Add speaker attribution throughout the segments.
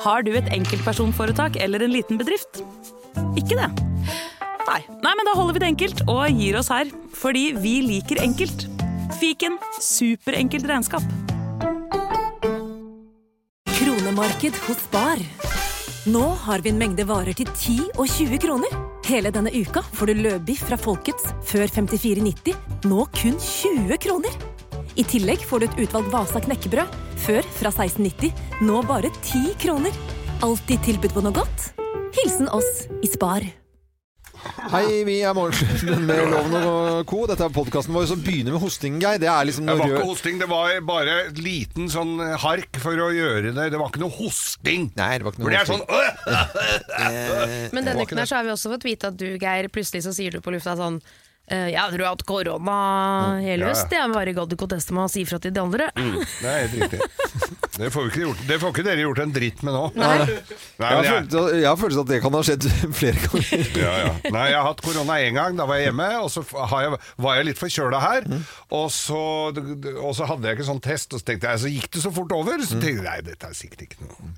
Speaker 1: Har du et enkeltpersonforetak eller en liten bedrift? Ikke det? Nei. Nei, men da holder vi det enkelt og gir oss her. Fordi vi liker enkelt. Fiken superenkelt regnskap.
Speaker 2: Kronemarked hos Spar. Nå har vi en mengde varer til 10 og 20 kroner. Hele denne uka får du løbiff fra Folkets før 54,90, nå kun 20 kroner. I tillegg får du et utvalgt Vasa knekkebrød, før fra 16,90, nå bare 10 kroner. Alltid tilbud på noe godt. Hilsen oss i Spar.
Speaker 3: Hei, vi er Morgenklubben med Loven og Co. Dette er podkasten vår som begynner med hosting, Geir. Det er liksom
Speaker 4: Det
Speaker 3: noe
Speaker 4: var ikke
Speaker 3: rør-
Speaker 4: hosting, det var bare et liten sånn hark for å gjøre det. Det var ikke noe hosting.
Speaker 3: Nei, det var ikke noe
Speaker 4: For det er sånn
Speaker 3: hosting.
Speaker 4: øh!
Speaker 5: Eh, Men denne
Speaker 4: Det var ikke
Speaker 5: uken her så har vi også fått vite at du, Geir, plutselig så sier du på lufta sånn «Eh, ja, du har hatt korona
Speaker 4: Mm.
Speaker 5: hele
Speaker 4: Ja, ja.
Speaker 5: høst. Jeg har bare gadd ikke å teste meg og si ifra til de andre.
Speaker 4: Nei, Mm. helt riktig. Det får, vi ikke gjort. det får ikke dere gjort en dritt med nå. Nei,
Speaker 3: Jeg har,
Speaker 4: men jeg,
Speaker 3: følelse, jeg har følelsen at det kan ha skjedd flere ganger.
Speaker 4: ja, ja. Nei, jeg har hatt korona én gang. Da var jeg hjemme, og så har jeg, var jeg litt forkjøla her.
Speaker 3: Mm.
Speaker 4: Og, så, og så hadde jeg ikke sånn test, og så tenkte jeg, så gikk det så fort over.
Speaker 3: Mm.
Speaker 4: Så tenkte jeg nei, dette er sikkert ikke noe.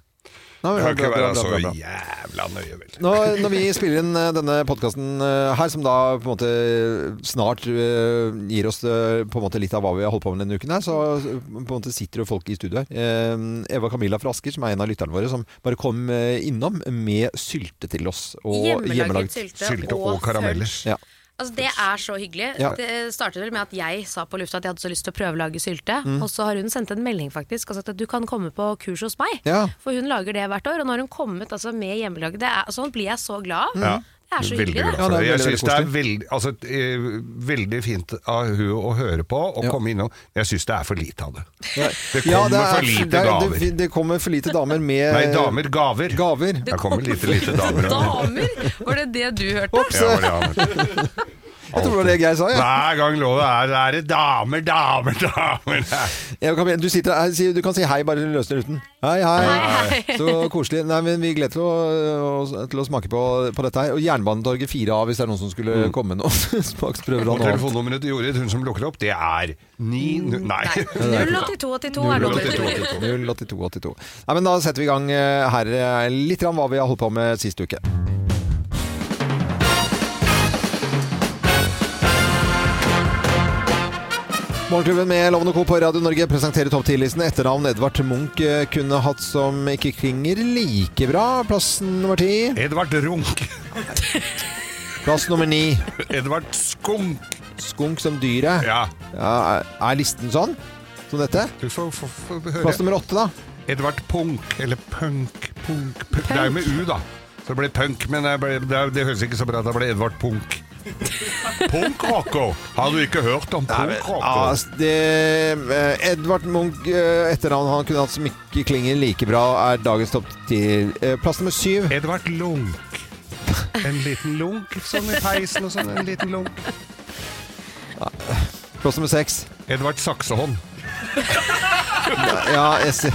Speaker 3: Nei,
Speaker 4: Det
Speaker 3: men
Speaker 4: kan ikke
Speaker 3: bra, bra,
Speaker 4: være
Speaker 3: bra,
Speaker 4: så
Speaker 3: bra, bra.
Speaker 4: jævla nøye, vel.
Speaker 3: Nå, når vi spiller inn eh, denne podkasten her, som da på en måte snart eh, gir oss eh, på en måte litt av hva vi har holdt på med denne uken her, så eh, på en måte sitter jo folk i studio her. Eh, Eva Camilla fra Asker, som er en av lytterne våre, som bare kom eh, innom med sylte til oss. Og
Speaker 6: Hjemmelaget sylte,
Speaker 4: Sylte og karameller.
Speaker 3: Ja.
Speaker 6: Altså, det er så hyggelig.
Speaker 3: Ja.
Speaker 6: Det startet vel med at jeg sa på lufta at jeg hadde så lyst til å prøvelage sylte.
Speaker 4: Mm.
Speaker 6: Og så har hun sendt en melding faktisk og sagt at du kan komme på kurs hos meg.
Speaker 3: Ja.
Speaker 6: For hun lager det hvert år. Og nå har hun kommet altså, med hjemmelaget. Det er- Sånn blir jeg så glad
Speaker 5: Mm.
Speaker 6: av.
Speaker 4: Mm. Ja.
Speaker 6: Det er så
Speaker 4: Veldig
Speaker 6: hyggelig,
Speaker 4: glad
Speaker 6: det.
Speaker 3: Ja,
Speaker 4: for
Speaker 3: det er
Speaker 4: det. Jeg
Speaker 3: veldig,
Speaker 4: syns det er veldig, altså, eh, veldig fint av hun å høre på og
Speaker 3: Ja.
Speaker 4: komme innom. Jeg syns det er for lite av det. Det
Speaker 3: Ja,
Speaker 4: kommer for lite
Speaker 3: det er-
Speaker 4: gaver.
Speaker 3: Det, det kommer for lite damer med
Speaker 4: Nei, damer. Gaver.
Speaker 3: Gaver.
Speaker 4: Det kommer lite, lite damer.
Speaker 5: Damer! Var det det du hørte?
Speaker 3: Ops!
Speaker 4: Ja, var det damer?
Speaker 3: jeg tror det var det jeg sa. Ja.
Speaker 4: Hver gang lovet er det er det damer, damer, damer.
Speaker 3: Jeg kan- Du, sitter, her, si- du kan si hei, bare løsner uten. Hei, hei. Så koselig. Nei, men Vi gleder til å, å- til å smake på, på dette her. Og Jernbanetorget 4A, hvis det er noen som skulle
Speaker 4: Mm.
Speaker 3: komme nå. Smaksprøver
Speaker 4: Og
Speaker 3: han annet.
Speaker 4: telefonnummeret til Jorid, hun som lukker opp, det er ni... Nei.
Speaker 6: 08282 er nummeret.
Speaker 3: 08282. Nei, men da setter vi i gang eh, her eh, litt grann hva vi har holdt på med sist uke. Morgenklubben med Lovende Co. på Radio Norge presenterer topp 10-listen. Etternavn Edvard Munch eh, kunne hatt som ikke klinger like bra. Plass nummer ti.
Speaker 4: Edvard Runk.
Speaker 3: Plass nummer ni.
Speaker 4: Edvard Skunk.
Speaker 3: Skunk som dyret.
Speaker 4: Ja,
Speaker 3: Ja, er- er listen sånn? Som dette?
Speaker 4: du får, får, får høre.
Speaker 3: Plass nummer åtte, da.
Speaker 4: Edvard Punk, eller Punk, Punk, punk. Det er jo med U, da. Så det ble punk, men det, ble, det, det høres ikke så bra ut. Det ble Edvard Punk. Punk Rocco! Har du ikke hørt om Punk
Speaker 3: Ja,
Speaker 4: Rocco?
Speaker 3: ah, s- det, eh, Edvard Munch, eh, etternavn han kunne hatt som ikke klinger like bra, er dagens topp ti. Eh, Plass nummer syv.
Speaker 4: Edvard Lunk. En liten lunk sånn i peisen og sånn. En liten lunk.
Speaker 3: Ah, Plass nummer seks.
Speaker 4: Edvard Saksehånd.
Speaker 3: Ja, jeg ser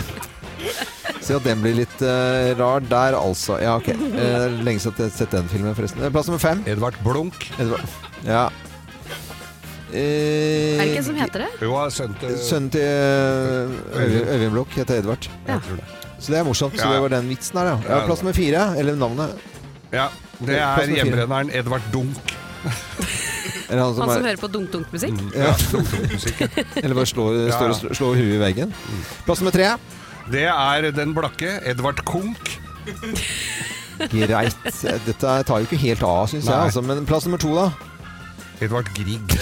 Speaker 3: Se at den blir litt eh, rar der, altså. Ja, ok. Eh, det er lenge siden jeg har sett den filmen, forresten. Eh, Plass nummer fem.
Speaker 4: Edvard Blunk.
Speaker 3: Edvard. Ja. Eh,
Speaker 6: Er det ikke en som heter det?
Speaker 4: Jo, har sendt eh,
Speaker 3: Sønnen til eh, Øyvind- Øyvind Blokk heter Edvard.
Speaker 4: jeg tror det.
Speaker 3: Så det er morsomt. Så
Speaker 4: Ja.
Speaker 3: det var den vitsen her, ja. ja plass nummer fire. Eller navnet.
Speaker 4: Ja, det
Speaker 3: Plass
Speaker 4: er
Speaker 3: nummer fire.
Speaker 4: hjemrenneren Edvard Dunk.
Speaker 3: Eller han
Speaker 5: Han
Speaker 3: som
Speaker 5: som
Speaker 3: er,
Speaker 5: hører på dunk-dunk-musikk?
Speaker 3: ja,
Speaker 4: Musikk.
Speaker 3: eller bare slår, står og slår- slår huet i veggen.
Speaker 4: Mm.
Speaker 3: Plass nummer tre.
Speaker 4: Det er den blakke Edvard Kunk.
Speaker 3: Greit. Dette tar jo ikke helt av, syns jeg.
Speaker 4: Nei.
Speaker 3: Altså. Men plass nummer to, da?
Speaker 4: Edvard Grieg.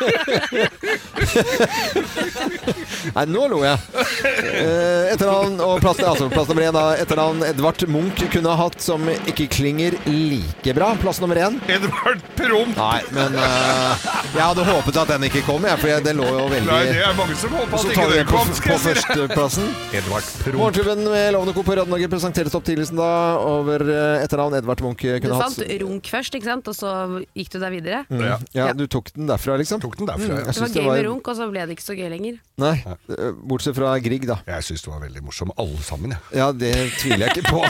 Speaker 3: Nei, nå lo jeg. Eh, Etternavn og plass, altså, plass nummer én, da. Etternavn Edvard Munch kunne hatt som ikke klinger like bra. Plass nummer én.
Speaker 4: Edvard Promp.
Speaker 3: Nei, men eh, jeg hadde håpet at den ikke kom, jeg, for den lå jo veldig
Speaker 4: Nei, det er mange som håper
Speaker 3: Så
Speaker 4: at
Speaker 3: tar
Speaker 4: ikke
Speaker 3: vi
Speaker 4: det
Speaker 3: den på,
Speaker 4: kom.
Speaker 3: på
Speaker 4: Skal jeg si det.
Speaker 3: førsteplassen.
Speaker 4: Edvard Promp.
Speaker 3: Morgenklubben med Lovende Co. på Radio Norge presenterer topptidelsen da over eh, etternavn Edvard Munch
Speaker 6: Du
Speaker 3: kunne
Speaker 6: fant
Speaker 3: hatt. Mm.
Speaker 6: runk først, ikke sant? og så gikk du deg videre.
Speaker 5: Mm.
Speaker 6: Det
Speaker 4: Ja.
Speaker 3: Ja,
Speaker 6: Ja.
Speaker 3: du tok den derfra, liksom?
Speaker 4: Tok den derfra. ja.
Speaker 3: Jeg
Speaker 6: var
Speaker 3: syns
Speaker 6: gøy med runk, og så ble det ikke så gøy lenger.
Speaker 3: Nei, eh, bortsett fra Grieg, da.
Speaker 4: Jeg syns det var veldig morsom, alle sammen. Jeg.
Speaker 3: Ja, det tviler jeg ikke på.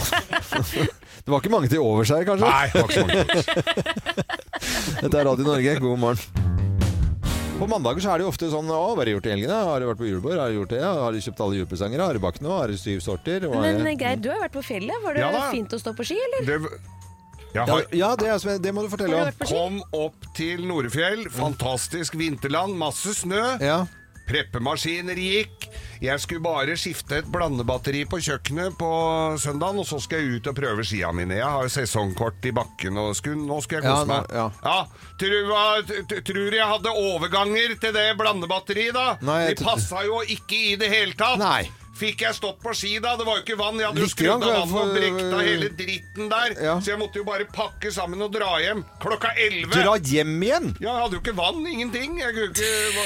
Speaker 3: Det var ikke mange til overs her, kanskje?
Speaker 4: Nei, det var ikke så mange.
Speaker 3: Dette er Radio Norge, god morgen. På mandager så er det jo ofte sånn Å, hva har du gjort i helgene? Har du vært på julebord? Har du gjort det? Har du kjøpt alle julepresanger? Har du bakt noe? Har du syv sorter? Hva er
Speaker 5: Men
Speaker 3: det?
Speaker 5: eh, Geir, du har jo vært på fjellet. Var det
Speaker 4: Ja da.
Speaker 5: fint å stå på ski, eller?
Speaker 4: Det, jeg
Speaker 3: Ja,
Speaker 4: har,
Speaker 3: ja det, er, det må du fortelle om.
Speaker 4: kom opp til Norefjell. Fantastisk vinterland, masse snø.
Speaker 3: Ja.
Speaker 4: Preppemaskiner gikk. Jeg skulle bare skifte et blandebatteri på kjøkkenet på søndagen, og så skal jeg ut og prøve skia mine. Jeg har jo sesongkort i bakken, og skulle, nå skal jeg
Speaker 3: Ja,
Speaker 4: kose
Speaker 3: nå-
Speaker 4: meg.
Speaker 3: ja.
Speaker 4: tror, hva- t- t- tror jeg hadde overganger til det blandebatteriet, da?
Speaker 3: Nei, jeg
Speaker 4: De
Speaker 3: tr-
Speaker 4: passa jo ikke i det hele tatt.
Speaker 3: Nei.
Speaker 4: Fikk jeg stått på ski da? Det var jo ikke vann. Jeg hadde jo
Speaker 3: Lite
Speaker 4: skrudd av
Speaker 3: grann,
Speaker 4: vannet og
Speaker 3: for-
Speaker 4: brekta hele dritten der.
Speaker 3: Ja.
Speaker 4: Så jeg måtte jo bare pakke sammen og dra hjem klokka elleve.
Speaker 3: Dra hjem igjen!
Speaker 4: Ja, jeg hadde jo ikke vann, ingenting. Jeg kunne ikke,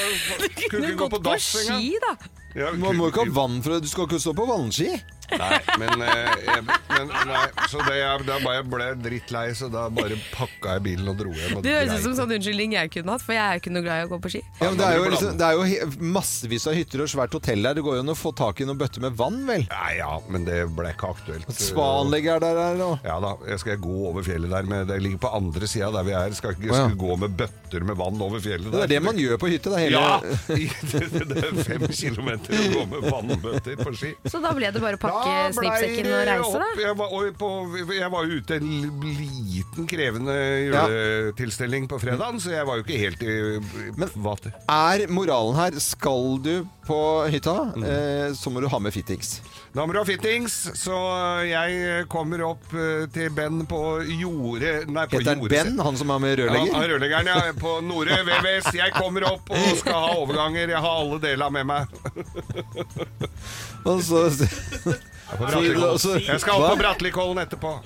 Speaker 4: var, kunne ikke gå på dass engang.
Speaker 5: ski, da.
Speaker 4: Ja,
Speaker 3: Man
Speaker 4: kunne-
Speaker 3: må ikke ha vann for det. Du skal ikke stå på vannski.
Speaker 4: Nei, men, eh, jeg, men nei, Så det, jeg, da bare jeg ble drittlei, så da bare pakka jeg bilen og dro hjem. og
Speaker 5: Det høres ut
Speaker 4: dreit.
Speaker 5: som sånn unnskyldning jeg kunne hatt, for jeg er jo ikke noe glad i å gå på ski.
Speaker 3: Ja, men det, er
Speaker 4: Ja,
Speaker 3: jo
Speaker 4: men
Speaker 3: liksom, det er jo he- massevis av hytter og svært hotell der. Det går jo an å få tak i noen bøtter med vann, vel?
Speaker 4: Nei, ja, men det ble ikke aktuelt.
Speaker 3: Spa-anlegget er der her nå.
Speaker 4: eh, Ja da, jeg skal gå over fjellet der, men det ligger på andre sida der vi er. Skal ikke
Speaker 3: Å, ja.
Speaker 4: skal gå med bøtter med vann over fjellet
Speaker 3: Det er det man gjør på hytte. Det er hele
Speaker 4: Ja! i- Det, det er fem kilometer å gå med vannbøtter på ski.
Speaker 6: Så da ble det bare å pakke
Speaker 4: Da ble
Speaker 6: snippsekken og
Speaker 4: det
Speaker 6: reise, da?
Speaker 4: opp. Jeg var, og på, jeg var jo ute en l- liten krevende juletilstelning på fredagen, så jeg var jo ikke helt i
Speaker 3: Men-
Speaker 4: vater.
Speaker 3: Er moralen her skal du på hytta,
Speaker 4: Mm.
Speaker 3: eh, så må du ha med fittings.
Speaker 4: Da må du ha fittings, så jeg kommer opp eh, til Ben på jordet Nei, på
Speaker 3: Heter han
Speaker 4: jordet.
Speaker 3: Ben, han som er med
Speaker 4: Ja, han
Speaker 3: rørlegger?
Speaker 4: rørleggeren, ja. På Nore VVS. Jeg kommer opp og skal ha overganger. Jeg har alle deler med meg.
Speaker 3: Og så
Speaker 4: Brattlikollen.
Speaker 3: så-
Speaker 4: Jeg skal opp
Speaker 3: hva?
Speaker 4: på Brattlikollen etterpå.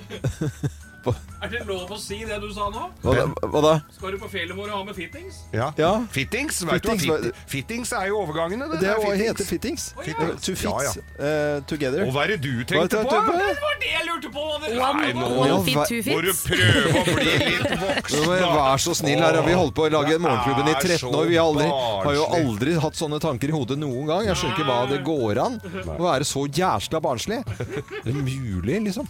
Speaker 7: Er det lov å si det du sa nå?
Speaker 3: Hva da? Hva da?
Speaker 7: Skal du på fjellet vår og ha med fittings?
Speaker 4: Ja.
Speaker 3: Ja.
Speaker 4: Fittings, vet
Speaker 3: Fittings,
Speaker 4: du hva fitti- Fittings er jo overgangene. Det,
Speaker 3: Det
Speaker 4: det er
Speaker 3: er hva heter
Speaker 4: fittings.
Speaker 3: fittings.
Speaker 4: ja.
Speaker 3: To fit
Speaker 4: Ja,
Speaker 3: eh, together.
Speaker 4: Og hva er det du
Speaker 3: Hva
Speaker 4: tenkte
Speaker 3: tenkte
Speaker 4: på?
Speaker 3: du på?
Speaker 7: Det var det jeg lurte på! hva det-
Speaker 4: Nei, nå
Speaker 3: Ja,
Speaker 6: One
Speaker 3: hva-
Speaker 6: fit, two
Speaker 4: må du
Speaker 6: fits.
Speaker 4: prøve å bli litt
Speaker 3: Nå
Speaker 4: voksen.
Speaker 3: må jeg
Speaker 4: da.
Speaker 3: Vær så snill her. Vi holdt på å
Speaker 4: Åh,
Speaker 3: lage Morgenklubben i
Speaker 4: det er
Speaker 3: 13
Speaker 4: så
Speaker 3: år. Vi har, aldri, har jo
Speaker 4: barnslig.
Speaker 3: aldri hatt sånne tanker i hodet noen gang. Jeg skjønner ikke hva det går an å være så jæsla barnslig. Det er mulig, liksom.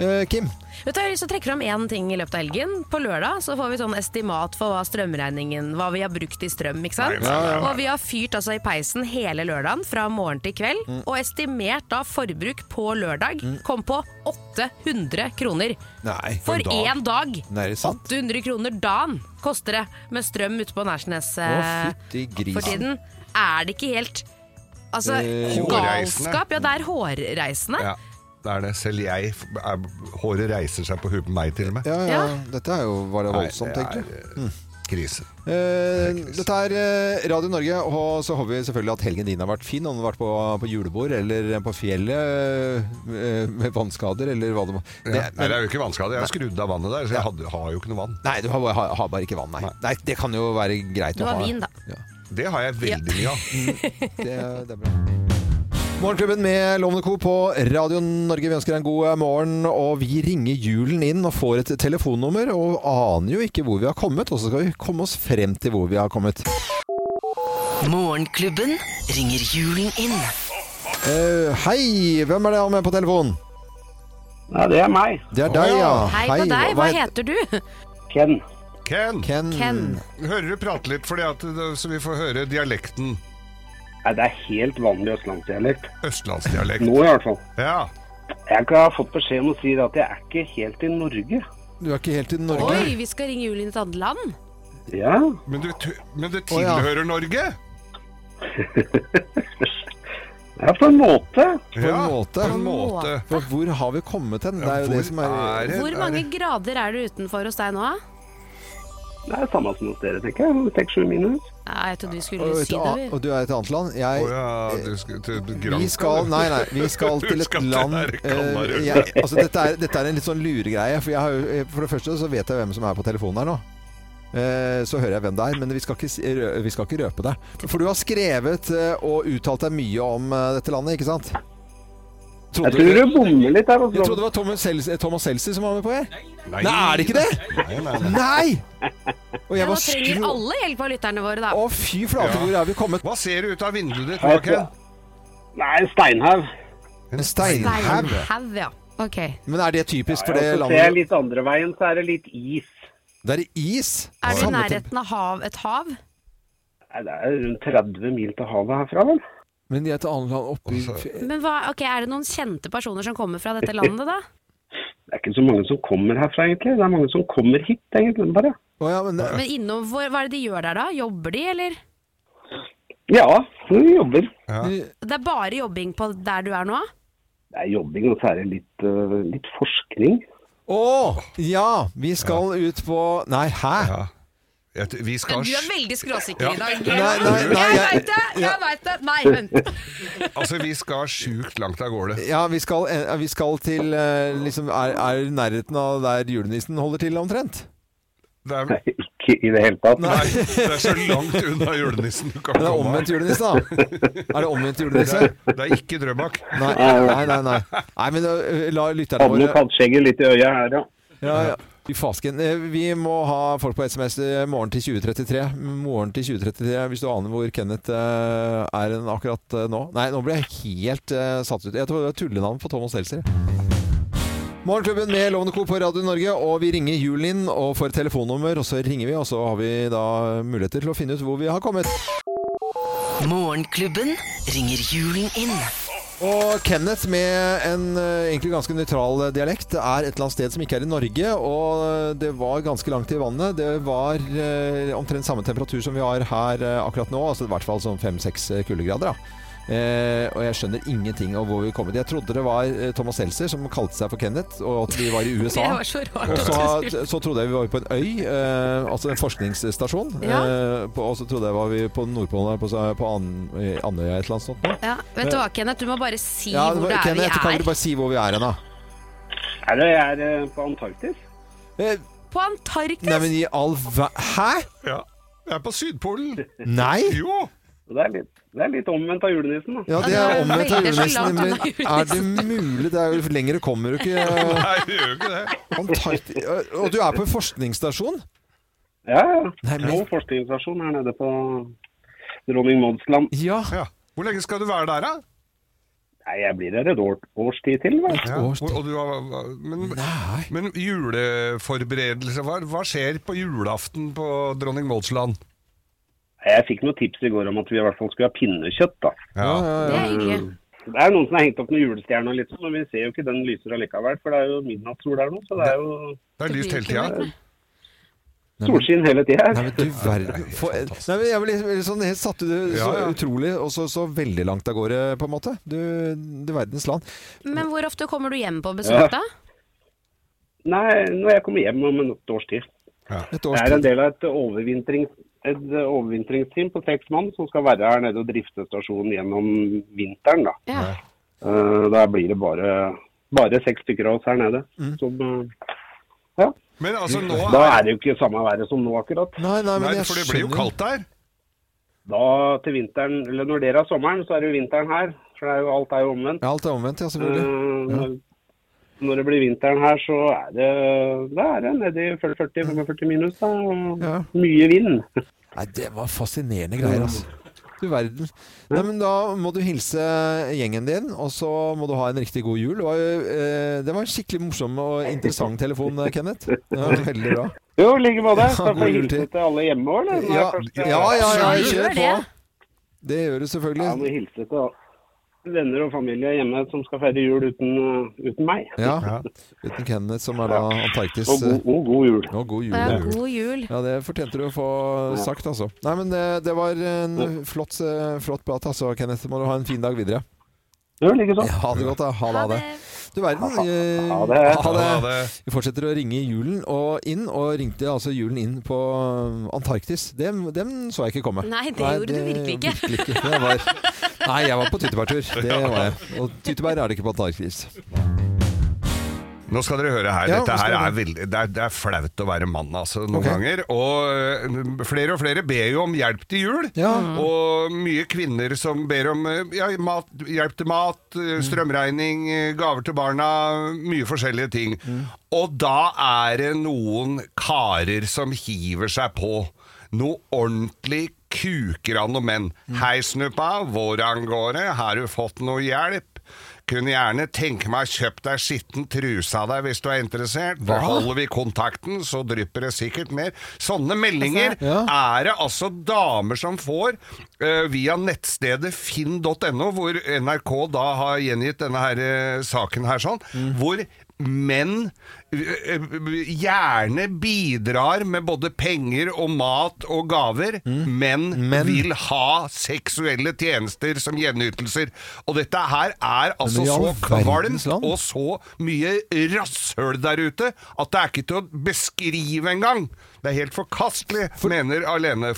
Speaker 3: Eh, Kim,
Speaker 6: Vet du, jeg har lyst til å trekke fram én ting i løpet av helgen. På lørdag så får vi sånn estimat for hva strømregningen, hva vi har brukt i strøm. ikke sant?
Speaker 4: Nei, nei, nei, nei.
Speaker 6: Og vi har fyrt altså i peisen hele lørdagen fra morgen til kveld.
Speaker 3: Mm.
Speaker 6: Og estimert da forbruk på lørdag kom på 800 kroner.
Speaker 3: Nei,
Speaker 6: for
Speaker 3: for en dag.
Speaker 6: én dag.
Speaker 3: Nei, er det sant?
Speaker 6: 800 kroner dagen koster det med strøm ute på Nærsnes eh,
Speaker 3: Å, fytti grisen.
Speaker 6: for tiden. Er det ikke helt Altså,
Speaker 3: Eh,
Speaker 4: hårreisende.
Speaker 6: galskap. Ja, det er hårreisende.
Speaker 4: Ja, det er det. Selv jeg f- er, Håret reiser seg på huet på meg, til og med.
Speaker 3: Ja, ja.
Speaker 6: Ja.
Speaker 3: Dette er jo, var det
Speaker 4: Nei,
Speaker 3: voldsomt,
Speaker 4: det
Speaker 3: egentlig.
Speaker 4: er, eh, Krise.
Speaker 3: Eh, dette er eh, Radio Norge, og så håper vi selvfølgelig at helgen din har vært fin. Om du har vært på, på julebord eller på fjellet eh, med vannskader eller hva det må
Speaker 4: Ja.
Speaker 3: Det-
Speaker 4: Nei, det er jo ikke vannskade. Jeg har skrudd av vannet der, så jeg hadde, har jo ikke noe vann.
Speaker 3: Nei, du har, har, har bare ikke vann, nei. nei. Det kan jo være greit
Speaker 6: Du
Speaker 3: å
Speaker 6: har
Speaker 3: ha.
Speaker 6: vin, da.
Speaker 3: Ja,
Speaker 4: Det har jeg veldig mye av.
Speaker 3: det, er- det er bra. Morgenklubben med Lovende Co. på Radio Norge. Vi ønsker deg en god eh, morgen. Og vi ringer julen inn og får et telefonnummer, og aner jo ikke hvor vi har kommet. Og så skal vi komme oss frem til hvor vi har kommet.
Speaker 8: Morgenklubben ringer julen inn.
Speaker 3: Eh, hei! Hvem er det jeg har med på telefon?
Speaker 9: Ja, det er meg.
Speaker 3: Det er deg, ja.
Speaker 6: Hei på deg, hva
Speaker 3: het-
Speaker 6: heter du?
Speaker 9: Ken.
Speaker 4: Ken,
Speaker 3: Ken.
Speaker 6: Ken.
Speaker 4: hører du prate litt, fordi at, eh, så vi får høre dialekten.
Speaker 9: Nei, det er helt vanlig østlandsdialekt.
Speaker 4: Østlandsdialekt.
Speaker 9: Nå i hvert fall.
Speaker 4: Ja.
Speaker 9: Jeg ikke har fått beskjed om å si det at jeg er ikke helt i Norge.
Speaker 3: Du er ikke helt i Norge?
Speaker 6: Oi, vi skal ringe julen i et annet land.
Speaker 9: Ja.
Speaker 4: Men du, tu- men du
Speaker 3: ja.
Speaker 4: tilhører Norge?
Speaker 9: ja, på en måte.
Speaker 4: På
Speaker 3: en
Speaker 4: ja,
Speaker 3: måte.
Speaker 4: På en måte.
Speaker 3: For hvor har vi kommet hen? Det er jo
Speaker 4: Hvor
Speaker 3: det som er
Speaker 4: det-
Speaker 6: Hvor
Speaker 4: er
Speaker 6: mange
Speaker 4: det-
Speaker 6: grader er det utenfor hos deg nå?
Speaker 9: Det er samme som hos dere, tenker jeg. Seks-sju minus.
Speaker 6: Ja, jeg trodde vi skulle
Speaker 3: Og et
Speaker 6: si
Speaker 3: a-
Speaker 6: det. vi.
Speaker 3: og du ah, er i et annet land.
Speaker 4: Å
Speaker 3: Jeg eh,
Speaker 4: ja, du skal til Granca,
Speaker 3: Vi skal,
Speaker 4: du.
Speaker 3: nei, nei, vi skal til
Speaker 4: Du
Speaker 3: et
Speaker 4: skal til
Speaker 3: land
Speaker 4: der, Kanarøy.
Speaker 3: eh, jeg, altså, dette, er, dette er en litt sånn luregreie. For, jeg har, jo- eh, for det første så vet jeg hvem som er på telefonen her nå. Eh, Så hører jeg hvem det er, men vi skal ikke, si- rø- vi skal ikke røpe det. For du har skrevet eh, og uttalt deg mye om eh, dette landet, ikke sant?
Speaker 9: Jeg tror du bommer litt her.
Speaker 3: Jeg trodde
Speaker 9: Altså.
Speaker 3: det var Thomas Seltzer, Thomas Seltzer som var med på her.
Speaker 4: Nei,
Speaker 3: Nei, er det ikke det?
Speaker 4: Nei, nei, nei.
Speaker 3: Nei! Og
Speaker 6: Ja,
Speaker 3: jeg
Speaker 6: Nå
Speaker 3: var
Speaker 6: trenger
Speaker 3: skru...
Speaker 6: alle hjelp av lytterne våre, da.
Speaker 3: Å, fy flate, hvor er vi kommet?
Speaker 4: Hva ser du ut av vinduet ditt,
Speaker 9: Jeg
Speaker 4: Ken?
Speaker 9: tror- Nei, Steinhaug.
Speaker 3: En steinhaug.
Speaker 6: Haug, ja. Ok.
Speaker 3: Men er det typisk for
Speaker 9: Og
Speaker 3: det
Speaker 9: så ser jeg
Speaker 3: landet?
Speaker 9: litt andre veien, så er det litt is.
Speaker 3: Det er is.
Speaker 6: Er du i
Speaker 3: Samme typ-
Speaker 6: nærheten av hav, et hav?
Speaker 9: Eh, Nei, det er rundt 30 mil til havet herfra, vel?
Speaker 3: Men de er til annet land oppi
Speaker 4: Altså-
Speaker 6: Men hva, ok, Er det noen kjente personer som kommer fra dette landet, da?
Speaker 9: Det er ikke så mange som kommer herfra, egentlig. Det er mange som kommer hit, egentlig, bare.
Speaker 3: Å ja, men
Speaker 6: Men innom, hvor, Hva er det de gjør der, da? Jobber de, eller?
Speaker 9: Ja, vi jobber.
Speaker 6: Det er bare jobbing på der du er nå?
Speaker 9: Det er jobbing, og så er det litt, øh,
Speaker 4: eh,
Speaker 9: litt forskning.
Speaker 3: Å! Ja, vi skal ut på Nei, hæ?
Speaker 4: Jeg t- Vi skal
Speaker 6: Du er
Speaker 4: sj-
Speaker 6: veldig skråsikker i dag.
Speaker 3: Nei, nei, nei,
Speaker 6: jeg
Speaker 3: jeg-
Speaker 6: veit det! Jeg veit det! Nei, vent.
Speaker 4: Altså, vi skal sjukt langt av gårde.
Speaker 3: Ja, vi skal, eh, vi skal til eh, liksom, er, er i nærheten av der julenissen holder til, omtrent?
Speaker 4: Det er,
Speaker 9: Nei, ikke i det hele tatt.
Speaker 4: nei, det er så langt unna julenissen du kan
Speaker 3: Men det er
Speaker 4: komme.
Speaker 3: omvendt julenisse, da. Er det omvendt julenisse?
Speaker 4: Det er ikke Drøbak.
Speaker 3: Nei, nei, nei. nei. nei men eh, la lytterne
Speaker 9: Hadde
Speaker 3: våre
Speaker 9: noe kaldskjegget litt i øya her, ja.
Speaker 3: Ja, ja. I fasken. Eh, Vi må ha folk på SMS i morgen til 2033. Morgen til 2033, hvis du aner hvor Kenneth eh, er en akkurat eh, nå. Nei, nå ble jeg helt eh, satt ut. Jeg tror det er tullenavn på Thomas Seltzer. Morgenklubben med Lovende Co. på Radio Norge, og vi ringer julen inn og får et telefonnummer, og så ringer vi, og så har vi da muligheter til å finne ut hvor vi har kommet.
Speaker 8: Morgenklubben ringer julen inn.
Speaker 3: Og Kenneth med en eh, egentlig ganske nøytral eh, dialekt er et eller annet sted som ikke er i Norge, og eh, det var ganske langt i vannet. Det var eh, omtrent samme temperatur som vi har her eh, akkurat nå, altså i hvert fall sånn fem-seks kuldegrader. da. Eh, og jeg skjønner ingenting av hvor vi kom. Jeg trodde det var eh, Thomas Seltzer som kalte seg for Kenneth, og at vi var i
Speaker 6: Det
Speaker 3: USA.
Speaker 6: var så rart.
Speaker 3: Og så, så trodde jeg vi var på en øy, eh, altså en forskningsstasjon. Eh, på, og så trodde jeg var vi på Nordpolen, her, på, på An eh, Andøya et eller annet sånt. nå.
Speaker 6: Ja, vet du hva, Kenneth, du må bare si
Speaker 3: Ja,
Speaker 6: hvor det er
Speaker 3: Kenneth,
Speaker 6: vi
Speaker 3: Kan
Speaker 6: er.
Speaker 3: du bare si hvor vi er hen, da?
Speaker 9: Er det jeg er øh, på Antarktis?
Speaker 3: Eh,
Speaker 6: På Antarktis!
Speaker 3: Nei, men i all ver... Hæ?
Speaker 4: Ja. Jeg er på Sydpolen.
Speaker 3: Nei?
Speaker 4: Jo!
Speaker 9: Og Det er litt, det er litt omvendt av julenissen, da.
Speaker 3: Ja, det er omvendt av
Speaker 6: Veldig så langt
Speaker 3: julenissen. Men
Speaker 6: unna
Speaker 3: er det mulig? Det er jo lenger kommer du ikke.
Speaker 4: Nei, det gjør jo ikke det.
Speaker 3: Antarktis Og du er på en forskningsstasjon?
Speaker 9: Ja, ja.
Speaker 3: Nei, men-
Speaker 9: Nå forskningsstasjon her nede på Dronning Mauds land.
Speaker 3: Ja.
Speaker 4: Ja. Hvor lenge skal du være der, da?
Speaker 9: Nei, jeg blir her et år, års tid til, vel.
Speaker 4: Ja.
Speaker 3: års tid.
Speaker 4: Og du har, men,
Speaker 3: Nei.
Speaker 4: men juleforberedelser, hva, hva skjer på julaften på Dronning Mauds land?
Speaker 9: Jeg fikk noen tips i går om at vi i hvert fall skulle ha pinnekjøtt, da. Mm.
Speaker 4: Ja.
Speaker 6: Det er hyggelig.
Speaker 9: Det er noen som har hengt opp noen julestjerner, litt, sånn, men vi ser jo ikke den lyser allikevel. For det er jo midnattssol der nå, så det er jo
Speaker 4: Det er lyst hele
Speaker 6: Nei,
Speaker 4: tida.
Speaker 9: solskinn hele tida.
Speaker 3: Nei, men du verden. For, nei, men jeg ble liksom- liksom sånn helt satt ut. Så
Speaker 4: Ja, ja.
Speaker 3: utrolig, og så, så veldig langt av gårde, på en måte. Du, du verdens land.
Speaker 6: Men hvor ofte kommer du hjem på besøk, da?
Speaker 9: Nei, når jeg kommer hjem om et års tid.
Speaker 3: Et
Speaker 9: Det
Speaker 3: års
Speaker 9: er en
Speaker 3: tid.
Speaker 9: del av et, overvintring, et overvintringsteam på seks mann som skal være her nede og drifte stasjonen gjennom vinteren. Da,
Speaker 6: Ja.
Speaker 9: Eh, da blir det bare, bare seks stykker av oss her nede.
Speaker 3: Mm.
Speaker 9: Som, eh, ja.
Speaker 4: Men altså nå
Speaker 9: Da er det jo ikke samme været som nå akkurat.
Speaker 3: Nei, nei, men
Speaker 4: Nei,
Speaker 3: jeg
Speaker 4: for det blir jo
Speaker 3: skjønner
Speaker 4: kaldt der.
Speaker 9: Da til vinteren, eller Når dere har sommeren, så er det jo vinteren her. For det er jo, alt er jo omvendt.
Speaker 3: Ja, alt er omvendt, ja,
Speaker 9: Eh,
Speaker 3: selvfølgelig.
Speaker 9: når, når det blir vinteren her, så er det, da er det nede i 40-45 minus. Da. og
Speaker 3: Ja.
Speaker 9: Mye vind.
Speaker 3: Nei, det var fascinerende greier, altså. Du verden. Nei, men da må du hilse gjengen din, og så må du ha en riktig god jul. Det var, jo, eh, det var en skikkelig morsom og interessant telefon, eh, Kenneth. Det var veldig bra.
Speaker 9: Jo, i like måte. Skal
Speaker 3: god
Speaker 9: jeg
Speaker 3: jul
Speaker 9: hilse
Speaker 3: til-
Speaker 9: til alle hjemme òg, eller? Nå er
Speaker 3: Ja,
Speaker 9: kanskje-
Speaker 3: ja, ja, ja
Speaker 6: Ja,
Speaker 3: kjør
Speaker 6: gjør
Speaker 3: på.
Speaker 6: det.
Speaker 3: Det gjør du
Speaker 9: Jeg må
Speaker 3: selvfølgelig.
Speaker 9: hilse til alle venner og familie hjemme som skal feire jul uten, eh, uten meg.
Speaker 3: Ja. Uten Kenneth, som er da Antarktis.
Speaker 9: Og god,
Speaker 3: eh,
Speaker 9: og god jul.
Speaker 3: Og god jul.
Speaker 6: Ja,
Speaker 3: ja.
Speaker 6: god jul.
Speaker 3: Ja, det fortjente du å få sagt, altså. Nei, men det, det var en flott, eh, flott prat, altså, Kenneth. Må du ha en fin dag videre.
Speaker 9: Jo, likeså.
Speaker 3: Ja, ha det godt, da. Ha det. Ha det. Du verden. eh,
Speaker 9: Ha det.
Speaker 4: Ha det.
Speaker 3: Vi fortsetter å ringe julen og inn, og ringte altså julen inn på eh, Antarktis. Dem, dem så jeg ikke komme.
Speaker 6: Nei, det gjorde du virkelig ikke.
Speaker 3: virkelig ikke. Det var, nei, jeg var på tyttebærtur. Det var jeg. Og tyttebær er det ikke på Antarktis.
Speaker 4: Nå skal dere høre her.
Speaker 3: Ja,
Speaker 4: Dette
Speaker 3: nå skal
Speaker 4: her er,
Speaker 3: dere-
Speaker 4: veldig, det, er, det er flaut å være mann altså, noen
Speaker 3: Ok.
Speaker 4: ganger. Og øh, flere og flere ber jo om hjelp til jul. Mm.
Speaker 3: Ja.
Speaker 4: Og mye kvinner som ber om øh, ja, mat, hjelp til mat,
Speaker 3: Mm.
Speaker 4: øh, strømregning, øh, gaver til barna, mye forskjellige ting.
Speaker 3: Mm.
Speaker 4: Og da er det noen karer som hiver seg på. Noe ordentlig
Speaker 3: Mm.
Speaker 4: kuker av noen menn. Hei, snuppa, hvordan går det? Har du fått noe hjelp? Kunne gjerne tenke meg å kjøpe deg skitten truse av deg hvis du er interessert. Da holder vi kontakten, så drypper det sikkert mer. Sånne meldinger er det altså damer som får eh, via nettstedet finn.no, hvor NRK da har gjengitt denne her, eh, saken her sånn. Hvor menn eh, eh, gjerne bidrar med både penger og mat og gaver, men, vil ha seksuelle tjenester som gjenytelser. Og dette her er altså
Speaker 3: i
Speaker 4: så
Speaker 3: all verdens
Speaker 4: kvalmt
Speaker 3: land?
Speaker 4: og så mye rasshøl der ute at det er ikke til å beskrive engang. Det er helt forkastelig, mener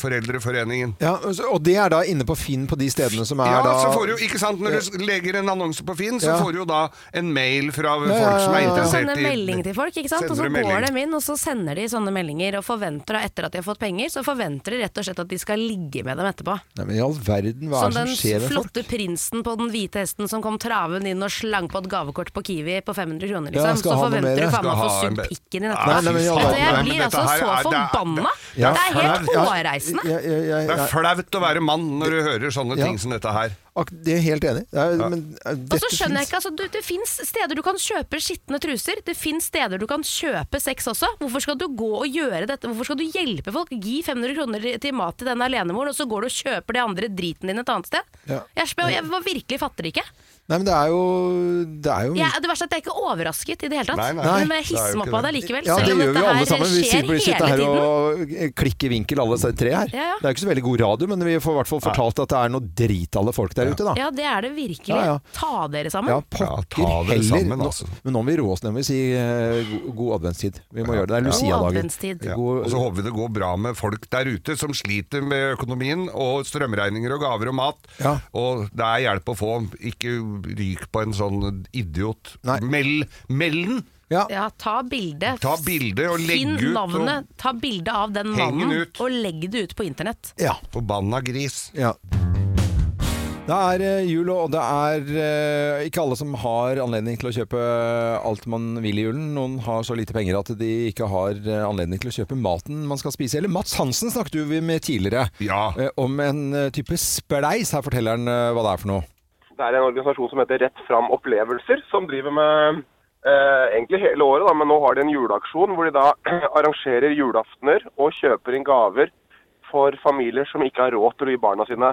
Speaker 4: Aleneforeldreforeningen.
Speaker 3: Ja, altså, og det er da inne på Finn på de stedene som er
Speaker 4: Ja,
Speaker 3: da
Speaker 4: så får du, jo- ikke sant, Når du legger en annonse på Finn, så
Speaker 3: Ja.
Speaker 4: får du jo da en mail fra folk
Speaker 3: ja,
Speaker 4: som er
Speaker 3: ja, ja.
Speaker 5: Du
Speaker 4: interessert
Speaker 5: sender
Speaker 4: i
Speaker 5: melding til folk, ikke sant? og så
Speaker 4: Sender du melding.
Speaker 5: går de inn og så sender de sånne meldinger og forventer da, etter at de har fått penger, så forventer de rett og slett at de skal ligge med dem etterpå.
Speaker 3: Nei, men i all verden, hva er
Speaker 5: Som
Speaker 3: det
Speaker 5: den
Speaker 3: som skjer med folk?
Speaker 5: flotte prinsen på den hvite hesten som kom traven inn og slang på et gavekort på Kiwi på 500 kroner,
Speaker 3: Ja,
Speaker 5: liksom.
Speaker 3: skal
Speaker 5: så
Speaker 3: ha noe mer,
Speaker 5: forventer du faen meg
Speaker 4: skal
Speaker 5: å få
Speaker 4: ha en
Speaker 5: sugd
Speaker 4: be-
Speaker 5: pikken din
Speaker 3: Nei,
Speaker 5: etterpå.
Speaker 3: nei, men i all
Speaker 5: Altså,
Speaker 3: verden.
Speaker 5: jeg
Speaker 4: Nei, men
Speaker 5: blir
Speaker 4: dette
Speaker 5: altså
Speaker 4: her
Speaker 5: så
Speaker 4: er- det er-
Speaker 5: forbanna! Det
Speaker 3: Ja.
Speaker 5: er helt hårreisende.
Speaker 3: Ja, ja, ja,
Speaker 4: Det
Speaker 3: ja,
Speaker 4: er flaut å være mann når du hører sånne
Speaker 3: Ja.
Speaker 4: ting som dette her.
Speaker 3: Ak- Det er jeg helt enig. i. Det er, men, eh,
Speaker 5: Og så
Speaker 3: dette
Speaker 5: skjønner jeg
Speaker 3: finnes.
Speaker 5: ikke, altså, du, Det fins steder du kan kjøpe skitne truser. Det fins steder du kan kjøpe sex også. Hvorfor skal du gå og gjøre dette? Hvorfor skal du hjelpe folk? Gi 500 kroner til mat til den alenemoren, og så går du og kjøper det andre driten din et annet sted?
Speaker 3: Ja.
Speaker 5: Jeg, spør, jeg var virkelig fatter det ikke.
Speaker 3: Nei, men det er jo, det er jo
Speaker 5: Jeg, det verste er at jeg er ikke overrasket i det hele tatt.
Speaker 4: Nei, nei.
Speaker 5: Men jeg
Speaker 4: det er
Speaker 5: hisser
Speaker 4: jo
Speaker 5: meg
Speaker 4: ikke
Speaker 5: opp av det
Speaker 4: det.
Speaker 5: likevel.
Speaker 3: Ja, det
Speaker 5: selv om
Speaker 3: gjør vi
Speaker 5: dette
Speaker 3: jo alle
Speaker 5: her
Speaker 3: sammen. Vi
Speaker 5: skjer
Speaker 3: sitter bare sitter her
Speaker 5: hele tiden.
Speaker 3: og eh, klikker i vinkel, alle disse tre her.
Speaker 5: Ja, ja.
Speaker 3: Det er jo ikke så veldig god radio, men vi får i hvert fall fortalt at det er noe drit alle folk der ute, da.
Speaker 5: Ja, det er det virkelig.
Speaker 3: Ja, ja.
Speaker 5: Ta dere sammen.
Speaker 3: Ja,
Speaker 4: Ja,
Speaker 3: pokker
Speaker 4: ta dere
Speaker 3: heller.
Speaker 4: sammen,
Speaker 3: Nå-
Speaker 4: altså.
Speaker 3: Men nå må vi roe oss ned og si eh, god, god adventstid. Vi må gjøre det. Det er
Speaker 5: God
Speaker 3: Lucia-dagen.
Speaker 5: adventstid.
Speaker 4: Ja.
Speaker 3: God-
Speaker 4: Og så håper vi det går bra med folk der ute som sliter med økonomien og strømregninger og gaver og mat.
Speaker 3: Ja.
Speaker 4: Og det er hjelp å få. Ikke ryk på en sånn idiot.
Speaker 3: Nei.
Speaker 4: Meld meld den!
Speaker 3: Ja.
Speaker 5: Ja, ta bilde.
Speaker 4: Ta bilde og legg
Speaker 5: Finn
Speaker 4: ut. og-
Speaker 5: navnet, ta bilde av den
Speaker 4: Heng den
Speaker 5: mannen,
Speaker 4: ut.
Speaker 5: og legg det ut på internett.
Speaker 3: ja.
Speaker 4: Forbanna gris.
Speaker 3: Ja. Det er eh, jul, og det er eh, ikke alle som har anledning til å kjøpe eh, alt man vil i julen. Noen har så lite penger at de ikke har eh, anledning til å kjøpe maten man skal spise. Eller Mats Hansen snakket vi med tidligere
Speaker 4: Ja.
Speaker 3: eh, om en eh, type spleis. Her forteller han eh, hva det er for noe.
Speaker 10: Det er en organisasjon som heter Rett Fram Opplevelser, som driver med eh, egentlig hele året, da, men nå har de en juleaksjon hvor de da arrangerer julaftener og kjøper inn gaver for familier som ikke har råd til å gi barna sine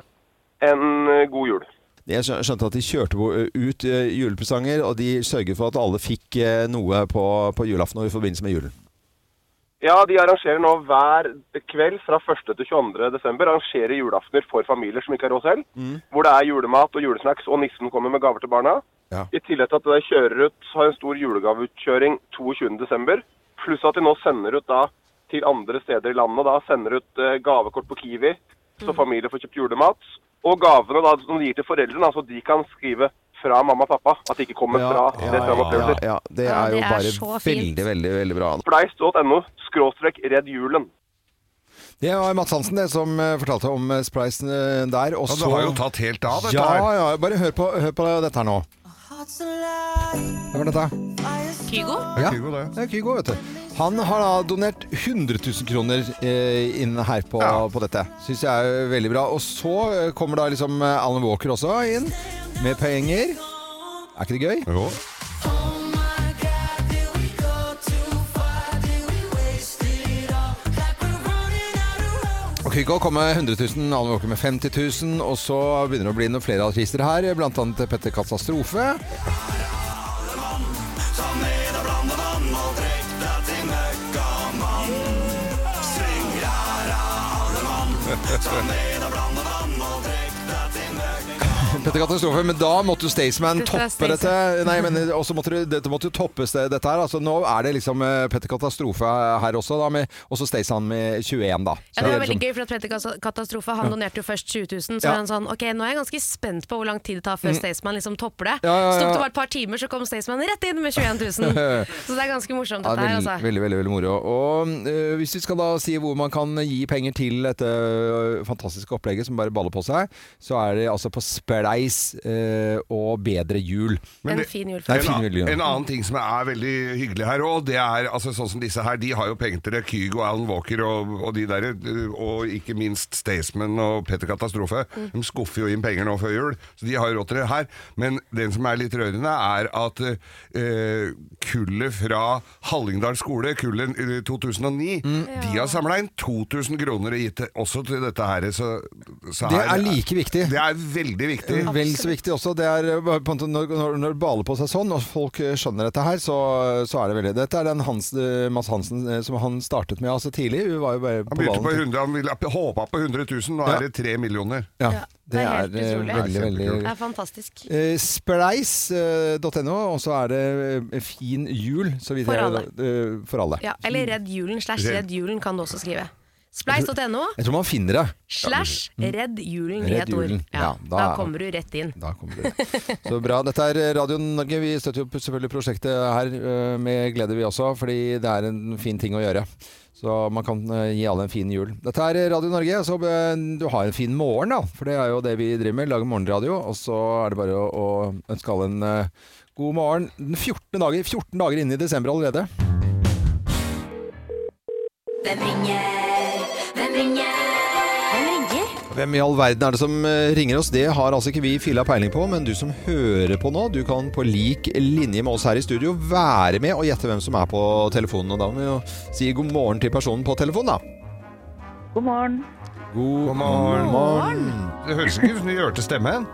Speaker 10: en eh, god jul.
Speaker 3: Jeg skjø- skjønte at de kjørte bo- ut eh, julepresanger, og de sørget for at alle fikk eh, noe på, på julaften og i forbindelse med julen.
Speaker 10: Ja, de arrangerer nå hver kveld fra 1. til 22. desember arrangerer julaftener for familier som ikke har råd selv. Hvor det er julemat og julesnacks, og nissen kommer med gaver til barna.
Speaker 3: Ja.
Speaker 10: I tillegg til at de kjører ut, har en stor julegaveutkjøring 22. desember. Pluss at de nå sender ut da til andre steder i landet, da sender ut eh, gavekort på Kiwi, så familier får kjøpt julemat. Og gavene da, som de gir til foreldrene, da, så de kan skrive fra mamma og pappa. At de ikke kommer fra
Speaker 3: ja,
Speaker 10: rett fram
Speaker 3: ja,
Speaker 10: opplevelser.
Speaker 3: ja, det
Speaker 5: Ja,
Speaker 3: er jo
Speaker 5: det er
Speaker 3: bare
Speaker 5: så fint.
Speaker 3: veldig, veldig, veldig bra.
Speaker 10: Spleis.no skråstrek redd julen.
Speaker 3: Det var Mats Hansen det som eh, fortalte om eh, spleisen eh, der. Og
Speaker 4: Og
Speaker 3: så
Speaker 4: det har jo tatt helt av, dette
Speaker 3: ja,
Speaker 4: her.
Speaker 3: ja, bare hør på, hør på dette her nå. Hva var dette?
Speaker 5: Kygo?
Speaker 3: Ja.
Speaker 4: Kygo, det.
Speaker 3: Det er Kygo, vet du. Han har da donert 100 000 kroner eh, inn her på,
Speaker 4: Ja.
Speaker 3: på dette. Syns jeg er veldig bra. Og så eh, kommer da liksom eh, Alan Walker også inn med penger. Er ikke det gøy?
Speaker 4: Jo.
Speaker 3: Og Kygo kom med 100 000, Alan Walker med 50 000, og så begynner det å bli noen flere artister her, blant annet Petter Katastrofe. Petter Katastrofe, men da måtte jo Staysman
Speaker 5: Dette er
Speaker 3: toppe
Speaker 5: Staysman.
Speaker 3: dette. Nei, men også måtte det, dette måtte jo toppes, det- dette her. Altså, nå er det liksom eh, Petter Katastrofe her også, da, med, også Staysman med 21, da. Så
Speaker 5: Ja, det var
Speaker 3: liksom-
Speaker 5: veldig gøy, for at Petter Katastrofe han donerte jo først 20 000. Så
Speaker 3: Ja. Mm.
Speaker 5: var han sånn Ok, nå er jeg ganske spent på hvor lang tid det tar før Staysman liksom topper det.
Speaker 3: Ja, ja, ja.
Speaker 5: Så tok det bare et par timer, så kom Staysman rett inn med 21 000. så det er ganske morsomt,
Speaker 3: Ja,
Speaker 5: dette her,
Speaker 3: veldig,
Speaker 5: Sånn altså.
Speaker 3: veldig, veldig, veldig moro. Og eh, hvis vi skal da si hvor man kan gi penger til dette eh, fantastiske opplegget som bare baller på seg, så er det altså på spleis.no. heis eh, og bedre hjul.
Speaker 4: Men
Speaker 5: En
Speaker 4: det-
Speaker 5: fin jul.
Speaker 3: Nei,
Speaker 4: en,
Speaker 3: fin
Speaker 4: annen-
Speaker 3: jul, ja.
Speaker 4: en annen ting som er veldig hyggelig her òg, det er altså, sånn som disse her. De har jo penger til det. Kygo, Alan Walker og, og de der, eh, og ikke minst Staysman og Petter Katastrofe. De skuffer jo inn penger nå før jul, så de har jo råd til det her. Men den som er litt rørende, er at eh, kullet fra Hallingdal skole, kullet eh, 2009, de har samla inn 2000 kroner og gitt det også til dette her. Så, så
Speaker 3: Det
Speaker 4: her-
Speaker 3: er like viktig.
Speaker 4: Det er veldig viktig.
Speaker 3: Vel så viktig også. Det er eh, på en måte når, når, når det baler på seg sånn, og folk eh, skjønner dette her, så, så er det veldig Dette er den Hans, eh, Mads Hansen eh, som han startet med altså tidlig. Vi var jo bare
Speaker 4: Han
Speaker 3: på
Speaker 4: begynte på
Speaker 3: ballen.
Speaker 4: 100, han ville, håpa på 100 000, nå
Speaker 3: Ja.
Speaker 4: er det 3 millioner.
Speaker 3: Ja,
Speaker 5: Ja,
Speaker 3: det er
Speaker 5: helt
Speaker 3: eh,
Speaker 5: utrolig.
Speaker 3: veldig, veldig
Speaker 5: Det er fantastisk.
Speaker 3: Eh, Spleis.no, og så er det eh, Fin jul. Så vidt
Speaker 5: For
Speaker 3: jeg-
Speaker 5: alle.
Speaker 3: eh, for alle.
Speaker 5: Ja, eller Redd julen slash
Speaker 4: Redd.
Speaker 5: Redd julen kan du også skrive. Spleis.no
Speaker 3: Jeg tror man finner det. Mm.
Speaker 5: slash Redd julen i
Speaker 3: Redd
Speaker 5: ett ord.
Speaker 3: julen.
Speaker 5: Ja,
Speaker 3: Ja, da
Speaker 5: da
Speaker 3: er-
Speaker 5: kommer du rett inn.
Speaker 3: Da kommer det. Så bra. Dette er eh, Radio Norge. Vi støtter jo selvfølgelig prosjektet her eh, med glede, vi også. Fordi det er en fin ting å gjøre. Så man kan eh, gi alle en fin jul. Dette er Radio Norge, så eh, du har en fin morgen, da. For det er jo det vi driver med. Lager morgenradio. Og så er det bare å, å ønske alle en eh, god morgen. Den 14 dager, 14 dager inne i desember allerede.
Speaker 11: Hvem ringer? Hvem ringer? Hvem ringer?
Speaker 3: Hvem i all verden er det som eh, ringer oss? Det har altså ikke vi filla peiling på, men du som hører på nå, du kan på lik linje med oss her i studio være med og gjette hvem som er på telefonen. Og da må vi jo si god morgen til personen på telefonen, da.
Speaker 11: God morgen.
Speaker 3: God
Speaker 4: morgen.
Speaker 3: morgen.
Speaker 4: Det høres ikke ut som du hørte stemmen.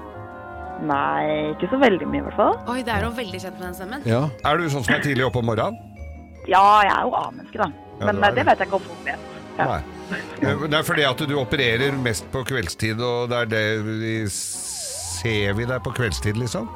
Speaker 11: Nei, ikke så veldig mye i hvert fall.
Speaker 5: Oi, det er jo veldig kjent med den stemmen.
Speaker 3: Ja.
Speaker 4: Er du sånn som er tidlig oppe om morgenen?
Speaker 11: Ja, jeg er jo A-menneske, da.
Speaker 4: Ja,
Speaker 11: Men
Speaker 4: du er
Speaker 11: eh,
Speaker 4: det.
Speaker 11: det vet jeg ikke om folk vet. Ja.
Speaker 4: Nei. Eh, men Det er fordi at du opererer mest på kveldstid, og det er det vi Ser vi deg på kveldstid, liksom?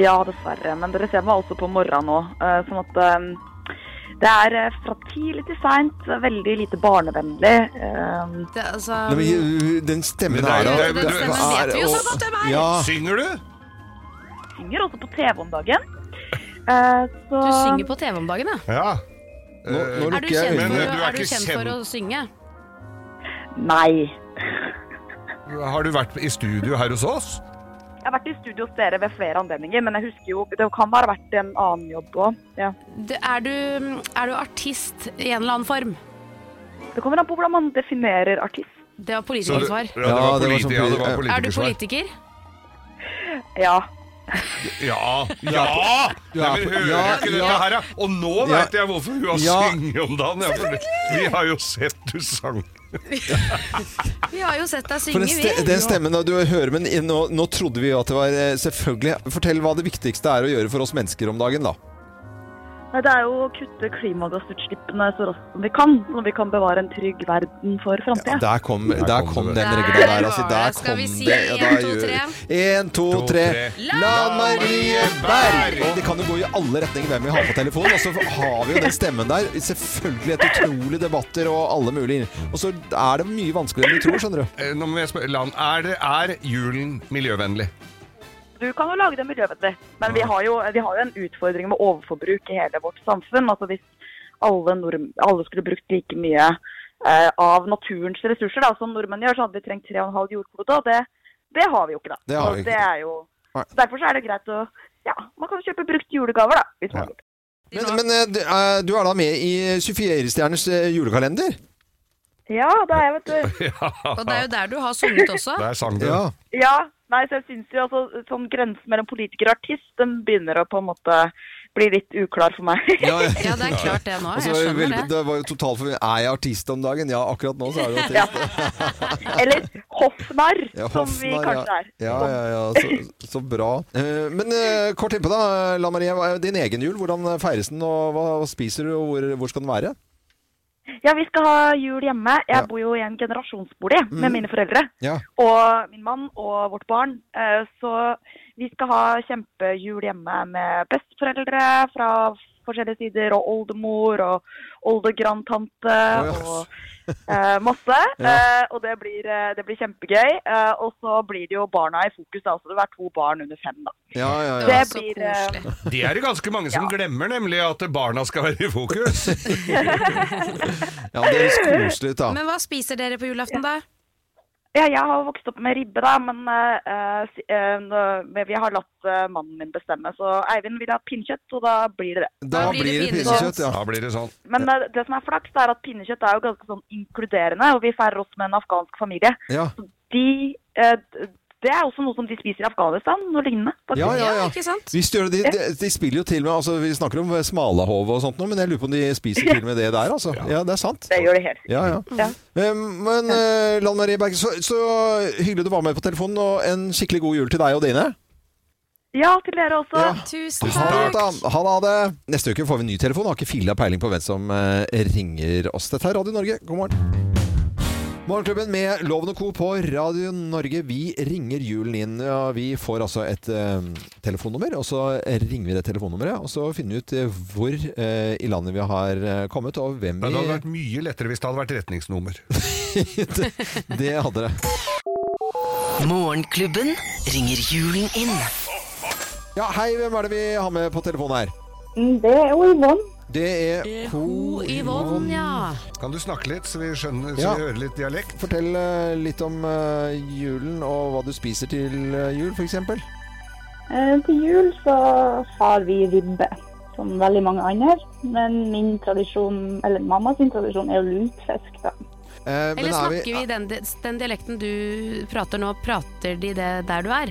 Speaker 11: Ja, dessverre. Men dere ser meg altså på morgenen nå. eh, Sånn at eh, det er eh, fra tidlig til seint, eh, veldig lite barnevennlig. eh,
Speaker 5: Det, er altså,
Speaker 3: Nei, men, eh, den stemmen
Speaker 4: Men det er
Speaker 3: her,
Speaker 4: jo-
Speaker 3: da.
Speaker 4: den stemmen
Speaker 3: er-
Speaker 5: vet vi jo så
Speaker 4: sånn
Speaker 3: og-
Speaker 5: godt hvem er.
Speaker 3: Ja.
Speaker 4: Synger du?
Speaker 11: Synger også på TV om dagen. Eh, Så
Speaker 5: du synger på TV om dagen, ja.
Speaker 4: Ja.
Speaker 3: Nå, nå
Speaker 5: Er du
Speaker 3: lukker jeg
Speaker 5: kjent
Speaker 4: Men,
Speaker 5: for,
Speaker 4: eh,
Speaker 3: øynene.
Speaker 4: du er
Speaker 5: er du
Speaker 4: ikke
Speaker 5: kjent
Speaker 4: kjent-
Speaker 5: for å synge?
Speaker 11: Nei.
Speaker 4: Eh, Har du vært i studio her hos oss?
Speaker 11: Jeg har vært i studio hos dere ved flere anledninger, men jeg husker jo Det kan være vært en annen jobb òg. Ja.
Speaker 5: Du, er, du, er du artist i en eller annen form?
Speaker 11: Det kommer an på hvordan man definerer artist.
Speaker 5: Det var
Speaker 4: Så du-
Speaker 5: politikersvar.
Speaker 4: Ja, det var,
Speaker 3: Ja, det var
Speaker 4: politi
Speaker 3: sånn-
Speaker 4: ja, det var
Speaker 5: Er du
Speaker 4: politikersvar.
Speaker 5: politiker?
Speaker 11: Ja.
Speaker 4: Ja! Ja!
Speaker 3: Du
Speaker 4: Nei,
Speaker 3: er
Speaker 4: men
Speaker 3: på-
Speaker 4: hører
Speaker 3: ja,
Speaker 4: du ikke
Speaker 3: ja.
Speaker 4: dette her, ja? Og nå
Speaker 3: Ja.
Speaker 4: vet jeg hvorfor hun har
Speaker 3: Ja.
Speaker 4: sunget om dagen. Ja, for det- vi har jo sett du sang.
Speaker 5: Vi har jo sett deg
Speaker 3: For den,
Speaker 5: synge, vi.
Speaker 3: ste den stemmen da du hører, men i- nå, nå trodde vi jo at det var eh, Selvfølgelig. Fortell hva det viktigste er å gjøre for oss mennesker om dagen, da.
Speaker 11: Nei, Det er jo å kutte klimagassutslippene så raskt som vi kan, når vi kan bevare en trygg verden for
Speaker 3: Ja,
Speaker 11: framtida.
Speaker 3: der kom, der
Speaker 4: kom
Speaker 3: kom
Speaker 4: det.
Speaker 3: den
Speaker 5: Der
Speaker 3: regla der. Altså,
Speaker 5: var
Speaker 3: der
Speaker 5: det. Skal
Speaker 3: kom
Speaker 5: vi si
Speaker 3: det.
Speaker 5: en, to, tre?
Speaker 3: En, to, tre. La Marie Berg! Og det kan jo gå i alle retninger hvem vi har på telefon. Og så har vi jo den stemmen der. Selvfølgelig etter utrolige debatter og alle mulige Og så er det mye vanskeligere enn vi tror, skjønner du.
Speaker 4: Eh, Nå må jeg spørre, Lan, er, det, er julen miljøvennlig?
Speaker 11: Du kan jo lage det miljøvennlig, men vi har, jo, vi har jo en utfordring med overforbruk i hele vårt samfunn. Altså Hvis alle, nordm- alle skulle brukt like mye eh, av naturens ressurser da, som nordmenn gjør, så hadde vi trengt 3,5 jordklode, og det, det har vi jo ikke, da.
Speaker 3: Det har vi
Speaker 11: Og
Speaker 3: ikke.
Speaker 11: det er jo,
Speaker 3: Nei.
Speaker 11: derfor så er det greit å Ja, man kan jo kjøpe brukt julegaver, da. Hvis man vil.
Speaker 3: Men, men eh, du er- du er da med i 24-stjerners eh, julekalender?
Speaker 11: Ja, det er jeg, vet du.
Speaker 5: Og det er jo der du har sunget også.
Speaker 4: Der sang du.
Speaker 3: Ja.
Speaker 11: Ja, nei, så jeg syns jo altså sånn grensen mellom politiker og artist, den begynner å på en måte bli litt uklar for meg.
Speaker 3: ja, ja.
Speaker 5: Ja, det er klart det nå.
Speaker 3: Og så
Speaker 5: Jeg
Speaker 3: var det,
Speaker 5: skjønner
Speaker 3: veldig-
Speaker 5: det.
Speaker 3: det var jo totalt for Er jeg artist om dagen? Ja, akkurat nå så er det
Speaker 11: Ja.
Speaker 3: artist.
Speaker 11: Eller hoffnarr,
Speaker 3: Ja,
Speaker 11: som vi
Speaker 3: Hoffmann,
Speaker 11: kanskje er.
Speaker 3: Ja, ja, ja, ja. Så, så bra. Eh, Men eh, kort innpå, da. La Marie, hva er din egen jul, hvordan feires den? Og hva hva spiser du, og hvor, hvor skal den være?
Speaker 11: Ja, vi skal ha jul hjemme. Jeg
Speaker 3: Ja. Mm.
Speaker 11: bor jo i en generasjonsbolig med mine foreldre.
Speaker 3: Ja.
Speaker 11: Og min mann og vårt barn. Eh, Så vi skal ha kjempejul hjemme med besteforeldre fra forskjellige sider, og oldemor og oldegrandtante
Speaker 3: ja.
Speaker 11: og eh, masse. Eh, og det blir, eh, det blir kjempegøy. Eh, og så blir det jo barna i fokus, da. Så det er to barn under fem, da.
Speaker 3: Ja, ja, ja.
Speaker 11: Det
Speaker 5: Så
Speaker 11: blir eh,
Speaker 5: koselig.
Speaker 4: Det er det ganske mange som glemmer, nemlig at barna skal være i fokus.
Speaker 3: ja det høres koselig ut, da.
Speaker 5: Men hva spiser dere på julaften, da?
Speaker 12: Ja, jeg har jo vokst opp med ribbe, da, men eh, si- eh, nå- men vi har latt eh, mannen min bestemme. Så Eivind vil ha pinnekjøtt, og da blir det det.
Speaker 3: Da blir det pinnekjøtt, ja.
Speaker 4: Da blir det sånn.
Speaker 12: Men eh, det som er flaks, det er at pinnekjøtt er jo ganske sånn inkluderende, og vi feirer oss med en afghansk familie.
Speaker 3: Ja,
Speaker 12: De, eh, d- det er også noe som de spiser i Afghanistan, noe lignende. faktisk.
Speaker 3: ja, ja. ja.
Speaker 5: Ikke sant?
Speaker 3: Hvis de, gjør det- de, de, de spiller jo til og med altså, Vi snakker om smalahove og sånt nå, men jeg lurer på om de spiser til og med det der, altså. Ja, det er sant.
Speaker 12: Det gjør de helt.
Speaker 3: Ja, ja.
Speaker 12: Ja.
Speaker 3: Eh, Men eh, Lan Marie Berge, så, så hyggelig du var med på telefonen, og en skikkelig god jul til deg og dine.
Speaker 12: Ja, til dere også.
Speaker 3: Ja.
Speaker 5: Tusen
Speaker 3: Ha det,
Speaker 5: takk.
Speaker 3: da. ha det, ha det. Neste uke får vi en ny telefon. Har ikke filla peiling på hvem som eh, ringer oss. Dette er Radio Norge. God morgen. Morgenklubben med Loven og Co. på Radio Norge. Vi ringer julen inn. Ja, vi får altså et eh, telefonnummer, og så ringer vi det telefonnummeret. Og så finner vi ut eh, hvor eh, i landet vi har eh, kommet, og hvem
Speaker 4: Men det hadde
Speaker 3: vi
Speaker 4: vært mye lettere hvis det hadde vært retningsnummer.
Speaker 3: det, det hadde det.
Speaker 8: Morgenklubben ringer julen inn.
Speaker 3: Ja, hei, hvem er det vi har med på telefonen her?
Speaker 12: Mm, Det er jo Yvonne.
Speaker 3: Det er Co. Yvonne.
Speaker 5: Ja.
Speaker 4: Kan du snakke litt, så vi skjønner, så
Speaker 3: Ja.
Speaker 4: vi hører litt dialekt?
Speaker 3: Fortell eh, litt om eh, julen og hva du spiser til eh, jul, f.eks.
Speaker 12: Eh, Til jul så har vi ribbe, som veldig mange andre. Men min tradisjon, eller mamma sin tradisjon, er jo lutefisk, da.
Speaker 3: Eller
Speaker 5: Eller snakker vi den, den dialekten du prater nå, prater de det der du er?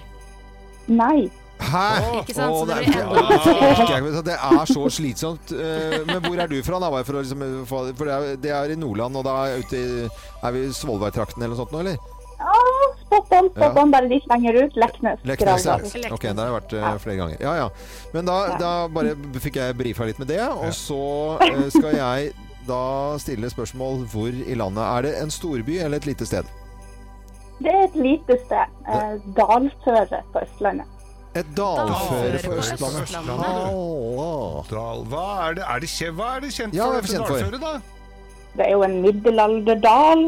Speaker 12: Nei.
Speaker 3: Hæ?
Speaker 5: Ikke sant?
Speaker 3: Å,
Speaker 5: Så det
Speaker 3: nei,
Speaker 5: blir enda
Speaker 3: orker jeg ikke. det er så slitsomt. Eh, Men hvor er du fra, da? Bare For, å liksom, eh, få- for det, er, det er i Nordland, og da er, ute i, er vi i Svolvær-trakten eller noe sånt nå, eller?
Speaker 12: Ja, spot on, spot
Speaker 3: Ja.
Speaker 12: on, bare litt lenger ut. Leknes.
Speaker 3: Leknes, ja.
Speaker 12: Gravdal.
Speaker 3: Ok, der har jeg vært eh, flere ganger. Ja, ja. Men da, da bare fikk jeg brifa litt med det, og så eh, skal jeg da stille spørsmål hvor i landet. Er det en storby eller et lite sted?
Speaker 12: Det er et lite sted. Eh, Dalføre på Østlandet.
Speaker 3: Et dalføre på
Speaker 5: på
Speaker 3: Østlandet.
Speaker 5: Østlandet.
Speaker 3: Halla.
Speaker 4: Dal, hva, er det, er det kje, hva er det kjent
Speaker 3: Ja,
Speaker 4: for?
Speaker 3: hva er det kjent for?
Speaker 4: Dalføre, da?
Speaker 12: Det er jo en middelalderdal.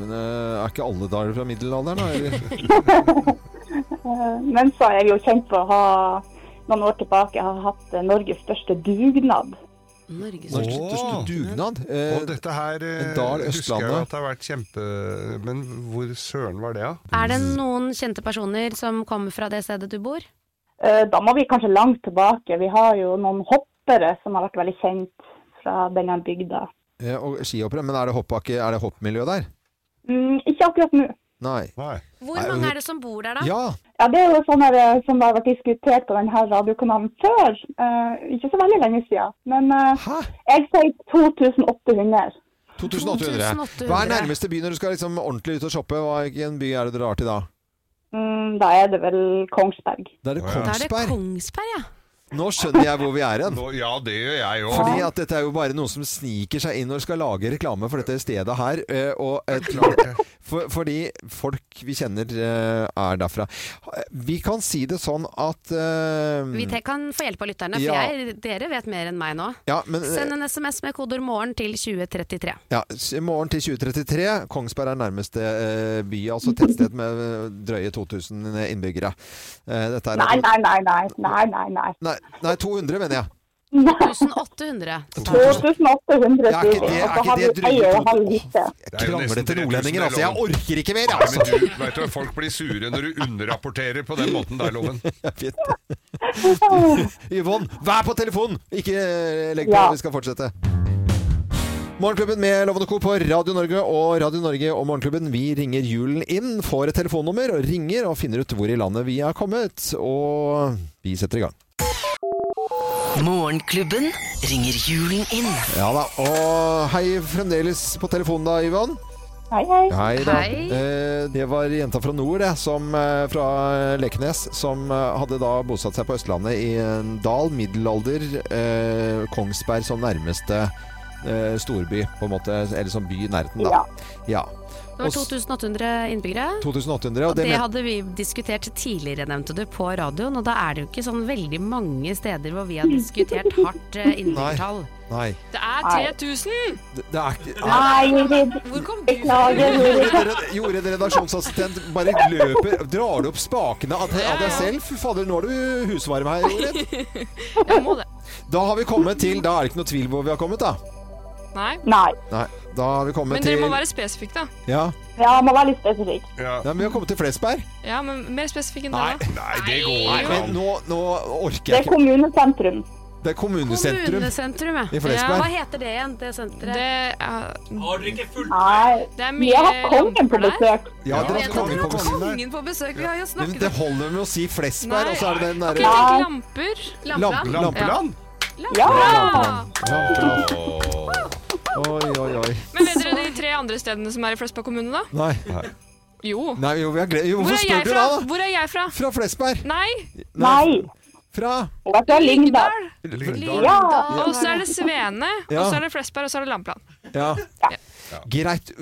Speaker 3: Men eh, er ikke alle daler fra middelalderen, da? Eller?
Speaker 12: Eh, Men så er vi jo kjent for å ha noen år tilbake har hatt eh, Norges største dugnad.
Speaker 5: Norges
Speaker 3: Norsk
Speaker 4: Åh.
Speaker 3: største dugnad?
Speaker 4: Og
Speaker 3: Eh,
Speaker 4: dette her eh,
Speaker 3: en
Speaker 4: husker
Speaker 3: dal,
Speaker 4: jeg
Speaker 3: Østlandet.
Speaker 4: at det har vært kjempe... Men hvor søren var det, da?
Speaker 5: Er det
Speaker 3: Mm.
Speaker 5: noen kjente personer som kommer fra det stedet du bor?
Speaker 12: Eh, Da må vi kanskje langt tilbake. Vi har jo noen hoppere som har vært veldig kjent fra denne bygda.
Speaker 3: eh, og skihoppere. Men er det, hoppbakke, er det hoppmiljø der?
Speaker 12: Mm, ikke akkurat nå.
Speaker 3: Nei.
Speaker 4: Nei.
Speaker 5: Hvor
Speaker 3: Nei,
Speaker 5: mange
Speaker 3: hun-
Speaker 5: er det som bor der, da?
Speaker 3: Ja!
Speaker 12: Ja, Det er jo sånn her, eh, som har vært diskutert på denne radiokanalen før. eh, ikke så veldig lenge siden. Men eh,
Speaker 3: Hæ?
Speaker 12: jeg sier 2800.
Speaker 3: 2800.
Speaker 5: 2800.
Speaker 3: Hva er nærmeste by når du skal liksom ordentlig ut og shoppe? Hvilken by er det du drar til da?
Speaker 12: Mm, da er det vel Kongsberg.
Speaker 3: Da er det
Speaker 5: Da er det
Speaker 3: Kongsberg.
Speaker 5: Kongsberg, ja.
Speaker 3: Nå skjønner jeg hvor vi er hen.
Speaker 4: Nå, ja, det gjør jeg jo.
Speaker 3: Fordi at dette er jo bare noen som sniker seg inn og skal lage reklame for dette stedet her. eh, Og et, for, fordi folk vi kjenner eh, er derfra. Vi kan si det sånn at eh,
Speaker 5: Vi te- kan få hjelp av lytterne, for
Speaker 3: Ja.
Speaker 5: jeg, dere vet mer enn meg nå.
Speaker 3: ja, men, eh,
Speaker 5: Send en SMS med kodeord 'morgen' til 2033.
Speaker 3: ja, s- Morgen til 2033. Kongsberg er nærmeste eh, by, altså tettsted med eh, drøye 2000 innbyggere. Eh, Dette er
Speaker 12: Nei, nei, nei. nei, nei, nei, nei.
Speaker 3: Nei, nei, 200 mener jeg.
Speaker 5: 1800.
Speaker 12: 2800
Speaker 3: Ja, er ikke det- er
Speaker 12: sier vi. Og så
Speaker 3: ikke
Speaker 12: har
Speaker 3: det
Speaker 12: vi ei og en halv
Speaker 3: drøye
Speaker 12: liter.
Speaker 4: Det er jo nesten
Speaker 3: Krangler til
Speaker 4: 3000
Speaker 3: nordlendinger, altså. Jeg
Speaker 4: det er lov.
Speaker 3: orker ikke mer,
Speaker 4: Nei,
Speaker 3: altså!
Speaker 4: men du, vet du, folk blir sure når du underrapporterer på den måten der, Loven.
Speaker 3: Fint. Yvonne, vær på telefonen! Ikke eh, legg på,
Speaker 12: Ja.
Speaker 3: vi skal fortsette. Morgenklubben med Lovende Co. på Radio Norge og Radio Norge og Morgenklubben. Vi ringer julen inn, får et telefonnummer og ringer og finner ut hvor i landet vi er kommet. Og vi setter i gang.
Speaker 8: Morgenklubben ringer julen inn.
Speaker 3: Ja da. Og hei fremdeles på telefonen da, Yvonne.
Speaker 12: Hei, hei.
Speaker 3: Hei da.
Speaker 5: Hei.
Speaker 3: Eh, det var jenta fra nord, det, som, eh, fra Leknes, som eh, hadde da bosatt seg på Østlandet i en dal, middelalder, eh, Kongsberg som nærmeste eh, storby, på en måte, eller som by i nærheten, da.
Speaker 12: Ja.
Speaker 3: Ja.
Speaker 5: Det var 2800 innbyggere.
Speaker 3: 2800, og
Speaker 5: Det
Speaker 3: det, men-
Speaker 5: hadde vi diskutert tidligere, nevnte du, på radioen. Og da er det jo ikke sånn veldig mange steder hvor vi har diskutert hardt eh, innbyggertall.
Speaker 3: Nei.
Speaker 5: Det er 3000!
Speaker 3: Det, det er ikke
Speaker 12: Nei, Rid.
Speaker 5: Hvor kom du fra?
Speaker 12: Beklager, Rid.
Speaker 3: Gjorde en redaksjonsassistent bare løper Drar du opp spakene av deg av deg selv? Fy fader, nå er du husvarm her, Jorid.
Speaker 5: Jeg må det.
Speaker 3: Da har vi kommet til Da er det ikke noe tvil hvor vi har kommet, da.
Speaker 13: Nei.
Speaker 11: Nei.
Speaker 3: Nei, da har vi kommet
Speaker 13: Men
Speaker 3: til
Speaker 13: dere må være spesifikke, da.
Speaker 3: ja.
Speaker 11: Ja, må være litt spesifikk.
Speaker 3: Nei, men vi har kommet til Flesberg.
Speaker 13: Ja, men mer spesifikke enn
Speaker 3: Nei,
Speaker 13: det, da.
Speaker 4: Nei, det går
Speaker 3: Nei,
Speaker 4: ikke
Speaker 3: men
Speaker 4: an.
Speaker 3: nå, nå orker
Speaker 11: Det
Speaker 3: jeg
Speaker 11: er
Speaker 3: ikke.
Speaker 11: kommunesentrum.
Speaker 3: Det er kommunesentrum.
Speaker 6: Kommunesentrum, ja.
Speaker 3: I
Speaker 6: ja. Hva
Speaker 3: Flesberg.
Speaker 6: heter det igjen, det senteret?
Speaker 13: Det er,
Speaker 7: Har dere ikke fulgt
Speaker 11: Nei.
Speaker 13: det er
Speaker 11: Vi
Speaker 13: mye
Speaker 11: har hatt kongen på
Speaker 13: lamper der.
Speaker 11: besøk.
Speaker 3: Ja, dere
Speaker 6: Jeg
Speaker 3: har
Speaker 6: vet at
Speaker 3: kongen
Speaker 6: vi
Speaker 3: på
Speaker 6: har
Speaker 3: besøk der.
Speaker 6: kongen på besøk. Vi har jo
Speaker 3: Men
Speaker 6: snakket
Speaker 3: det holder med å si Flesberg,
Speaker 13: Nei.
Speaker 3: og så er det den
Speaker 13: Ok,
Speaker 3: derre
Speaker 13: tenk lamper.
Speaker 3: Lamp-
Speaker 13: Lampeland.
Speaker 4: Lampeland?
Speaker 13: Ja!
Speaker 3: Lampeland. Oi, oi, oi.
Speaker 13: Men vet dere de tre andre stedene som er i Flesberg kommune, da?
Speaker 3: Nei.
Speaker 13: Jo.
Speaker 3: Nei, jo, vi har glemt jo,
Speaker 13: Hvor
Speaker 3: Hvorfor
Speaker 13: er
Speaker 3: spør
Speaker 13: jeg
Speaker 3: du
Speaker 13: fra?
Speaker 3: da, da?
Speaker 13: Hvor er jeg fra?
Speaker 3: Fra Flesberg.
Speaker 13: Nei,
Speaker 11: Nei.
Speaker 3: Fra
Speaker 11: Det er fra Lyngdal.
Speaker 13: Lyngdal.
Speaker 4: Lyngdal.
Speaker 11: Ja.
Speaker 13: Og så er det Svene, og
Speaker 3: Ja.
Speaker 13: så er det Flesberg, og så er det Lampeland.
Speaker 3: Ja. Greit.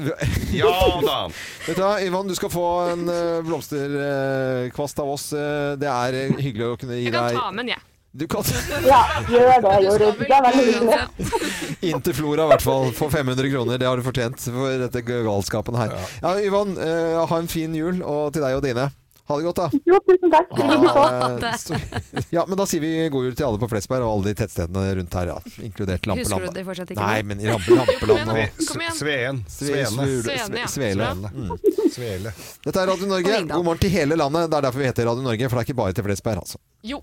Speaker 4: Ja da.
Speaker 3: Vet du hva, Ivan, du skal få en eh, blomsterkvast av oss. Eh, Det er eh, hyggelig å kunne gi
Speaker 13: Jeg kan
Speaker 3: deg
Speaker 13: ta med en, jeg.
Speaker 3: Du kan
Speaker 11: Ja, gjør det, Jorunn. Det er veldig hyggelig.
Speaker 3: Inn til Flora, i hvert fall. For 500 kroner. Det har du fortjent for dette galskapen her. Ja, Ivan, eh, ha en fin jul, og til deg og dine. Ha det godt, da.
Speaker 11: Jo, tusen takk. I like måte.
Speaker 3: Eh, så- Ja, men da sier vi god jul til alle på Flesberg og alle de tettstedene rundt her, ja. inkludert
Speaker 6: Husker du
Speaker 3: Lampeland.
Speaker 6: det fortsatt ikke?
Speaker 3: Nei, men i Lampe- Lampeland og
Speaker 4: Sve-
Speaker 13: Kom igjen.
Speaker 4: Sveen. Sveene.
Speaker 3: Svele.
Speaker 13: Svele, ja.
Speaker 3: Svele. Mm.
Speaker 4: Svele.
Speaker 3: Dette er Radio Norge. God morgen til hele landet. Det er derfor vi heter Radio Norge, for det er ikke bare til Flesberg, altså.
Speaker 13: Jo.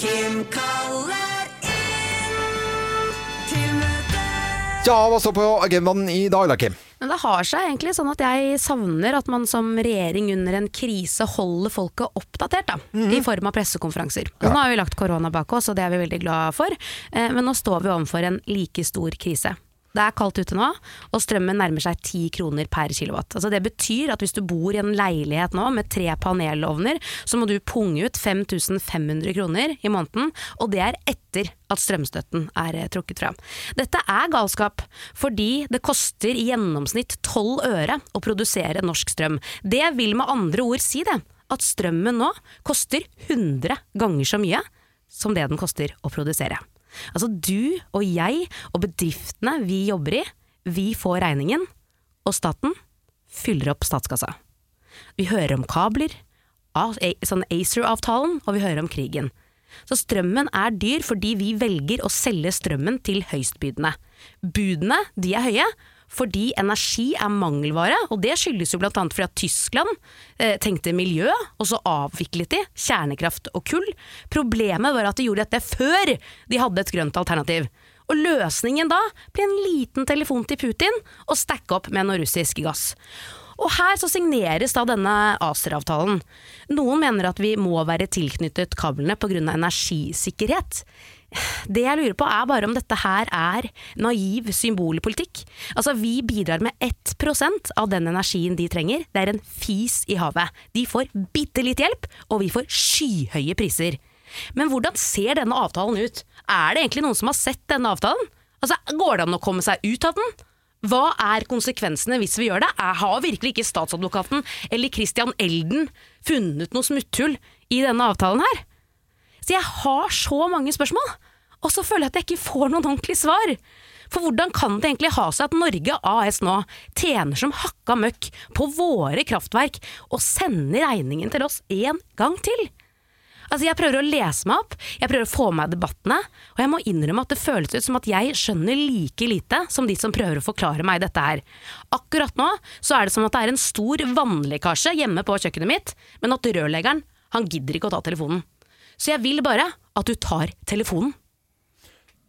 Speaker 8: Kim kaller inn til møte.
Speaker 3: Ja, hva står på agendaen i dag, da, Kim?
Speaker 5: Men det har seg egentlig sånn at jeg savner at man som regjering under en krise holder folket oppdatert, da. I form av pressekonferanser. Og Nå har vi lagt korona bak oss, og det er vi veldig glad for. Eh, men nå står vi overfor en like stor krise. Det er kaldt ute nå, og strømmen nærmer seg 10 kroner per kilowatt. Altså det betyr at hvis du bor i en leilighet nå med tre panelovner, så må du punge ut 5500 kroner i måneden, og det er etter at strømstøtten er eh, trukket fra. Dette er galskap, fordi det koster i gjennomsnitt 12 øre å produsere norsk strøm. Det vil med andre ord si det, at strømmen nå koster 100 ganger så mye som det den koster å produsere. Altså du og jeg og bedriftene vi jobber i, vi får regningen, og staten fyller opp statskassa. Vi hører om kabler, A- A- sånn ACER-avtalen, og vi hører om krigen. Så strømmen er dyr fordi vi velger å selge strømmen til høystbydende. Budene de er høye fordi energi er mangelvare, og det skyldes jo bl.a. fordi at Tyskland eh, tenkte miljø, og så avviklet de kjernekraft og kull. Problemet var at de gjorde dette før de hadde et grønt alternativ. Og løsningen da blir en liten telefon til Putin og stacke opp med noe russisk gass. Og her så signeres da denne ACER-avtalen. Noen mener at vi må være tilknyttet kablene pga. energisikkerhet. Det jeg lurer på er bare om dette her er naiv symbolpolitikk. Altså vi bidrar med 1 av den energien de trenger. Det er en fis i havet. De får bitte litt hjelp, og vi får skyhøye priser. Men hvordan ser denne avtalen ut? Er det egentlig noen som har sett denne avtalen? Altså, Går det an å komme seg ut av den? Hva er konsekvensene hvis vi gjør det? Er- Har virkelig ikke statsadvokaten eller Christian Elden funnet noe smutthull i denne avtalen her? Så jeg har så mange spørsmål, og så føler jeg at jeg ikke får noen ordentlige svar. For hvordan kan det egentlig ha seg at Norge AS nå tjener som hakka møkk på våre kraftverk og sender regningen til oss en gang til? Altså Jeg prøver å lese meg opp, jeg prøver å få med meg debattene, og jeg må innrømme at det føles ut som at jeg skjønner like lite som de som prøver å forklare meg dette her. Akkurat nå så er det som at det er en stor vannlekkasje hjemme på kjøkkenet mitt, men at rørleggeren, han gidder ikke å ta telefonen. Så jeg vil bare at du tar telefonen.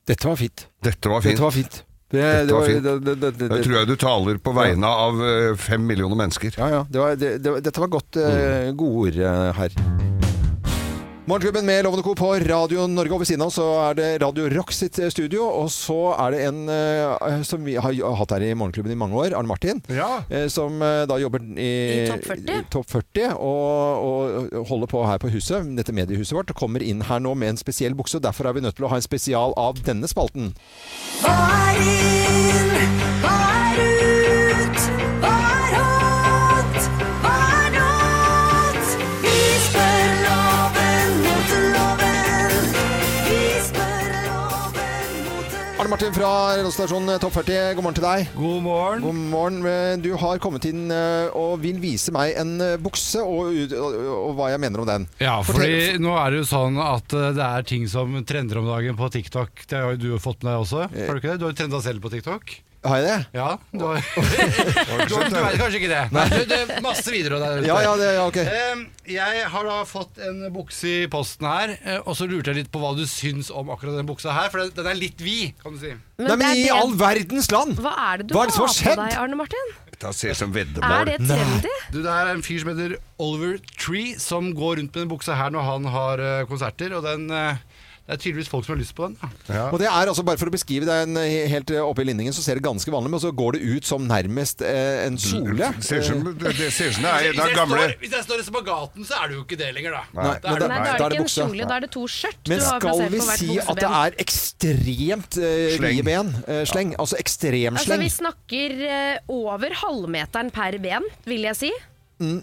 Speaker 3: Dette var fint.
Speaker 4: Dette var fint.
Speaker 3: Dette var fint. Det,
Speaker 4: Dette
Speaker 3: det
Speaker 4: var
Speaker 3: var,
Speaker 4: fint.
Speaker 3: det, det, det, det,
Speaker 4: Da tror jeg du taler på vegne av eh, fem millioner mennesker.
Speaker 3: Mm. eh, Ja, ja. Det var, det, det, dette var godt, eh, gode ord eh, her. Morgenklubben med Lovende Co. på Radio Norge, og ved siden av så er det Radio Rock sitt eh, studio. Og så er det en eh, som vi har jo- hatt her i Morgenklubben i mange år, Arne Martin. eh, som eh, da jobber i,
Speaker 5: I Topp 40.
Speaker 3: i Topp 40 og, og holder på her på huset, dette mediehuset vårt, og kommer inn her nå med en spesiell bukse. og Derfor er vi nødt til å ha en spesial av denne spalten.
Speaker 8: Hva er inn? Hva er ut? Hva er hot? Hva er not? Vi spør loven mot loven. Vi spør loven
Speaker 3: Arne Martin fra radiostasjonen Topp 40, god morgen til deg.
Speaker 14: God morgen.
Speaker 3: God morgen. Du har kommet inn eh, og vil vise meg en eh, bukse og, ut- og, og hva jeg mener om den.
Speaker 14: Ja,
Speaker 3: Fortell-
Speaker 14: fordi nå er det jo sånn at eh, det er ting som trender om dagen på TikTok. Det har jo du fått med deg også. Har du ikke det? Du har jo trenda selv på TikTok.
Speaker 3: Eh. Har jeg det?
Speaker 14: Ja. Du, har... du, har- du vet kanskje ikke det.
Speaker 3: Nei.
Speaker 14: Men du, det er masse videoer der ute.
Speaker 3: Ja, ja, det- ja, ok.
Speaker 14: Eh, Jeg har da fått en bukse i posten her, eh, og så lurte jeg litt på hva du syns om akkurat den buksa her, for den, den er litt vid, kan du si.
Speaker 5: Men Nei, men det er i det- all
Speaker 3: verdens land!
Speaker 5: Hva er det du
Speaker 14: Hva
Speaker 5: har
Speaker 14: er
Speaker 5: på
Speaker 14: det som har skjedd?
Speaker 5: deg, Arne Martin?
Speaker 4: Dette ser ut som
Speaker 5: Er det trendy?
Speaker 14: Du, det her er en fyr som heter Oliver Tree, som går rundt med den buksa her når han har eh, konserter, og den eh, det er tydeligvis folk som har lyst på den. da.
Speaker 3: Og det er altså, bare for å beskrive det en, eh, helt oppe i linningen, så ser det ganske vanlig, men så går det ut som nærmest eh, en Eh, kjole.
Speaker 4: Ser ut som- det- det ser ut som det er en av
Speaker 14: Hvis jeg
Speaker 4: gamle
Speaker 14: står- Hvis jeg står i spagaten, så er det jo ikke det lenger, da.
Speaker 3: Nei,
Speaker 14: Da er
Speaker 3: men
Speaker 14: det
Speaker 5: Nei,
Speaker 14: meg.
Speaker 3: da
Speaker 5: da er det
Speaker 3: er det
Speaker 5: ikke en
Speaker 3: bukse.
Speaker 5: kjole, da er det to skjørt.
Speaker 3: Men
Speaker 5: du har
Speaker 3: skal
Speaker 5: plassert
Speaker 3: vi
Speaker 5: på hvert
Speaker 3: si at det
Speaker 5: bukseben.
Speaker 3: er ekstremt eh,
Speaker 4: Sleng.
Speaker 3: vide ben? Eh, sleng. Altså
Speaker 5: Altså,
Speaker 3: ekstremsleng.
Speaker 5: vi snakker eh, over halvmeteren per ben, vil jeg si.
Speaker 3: Mm.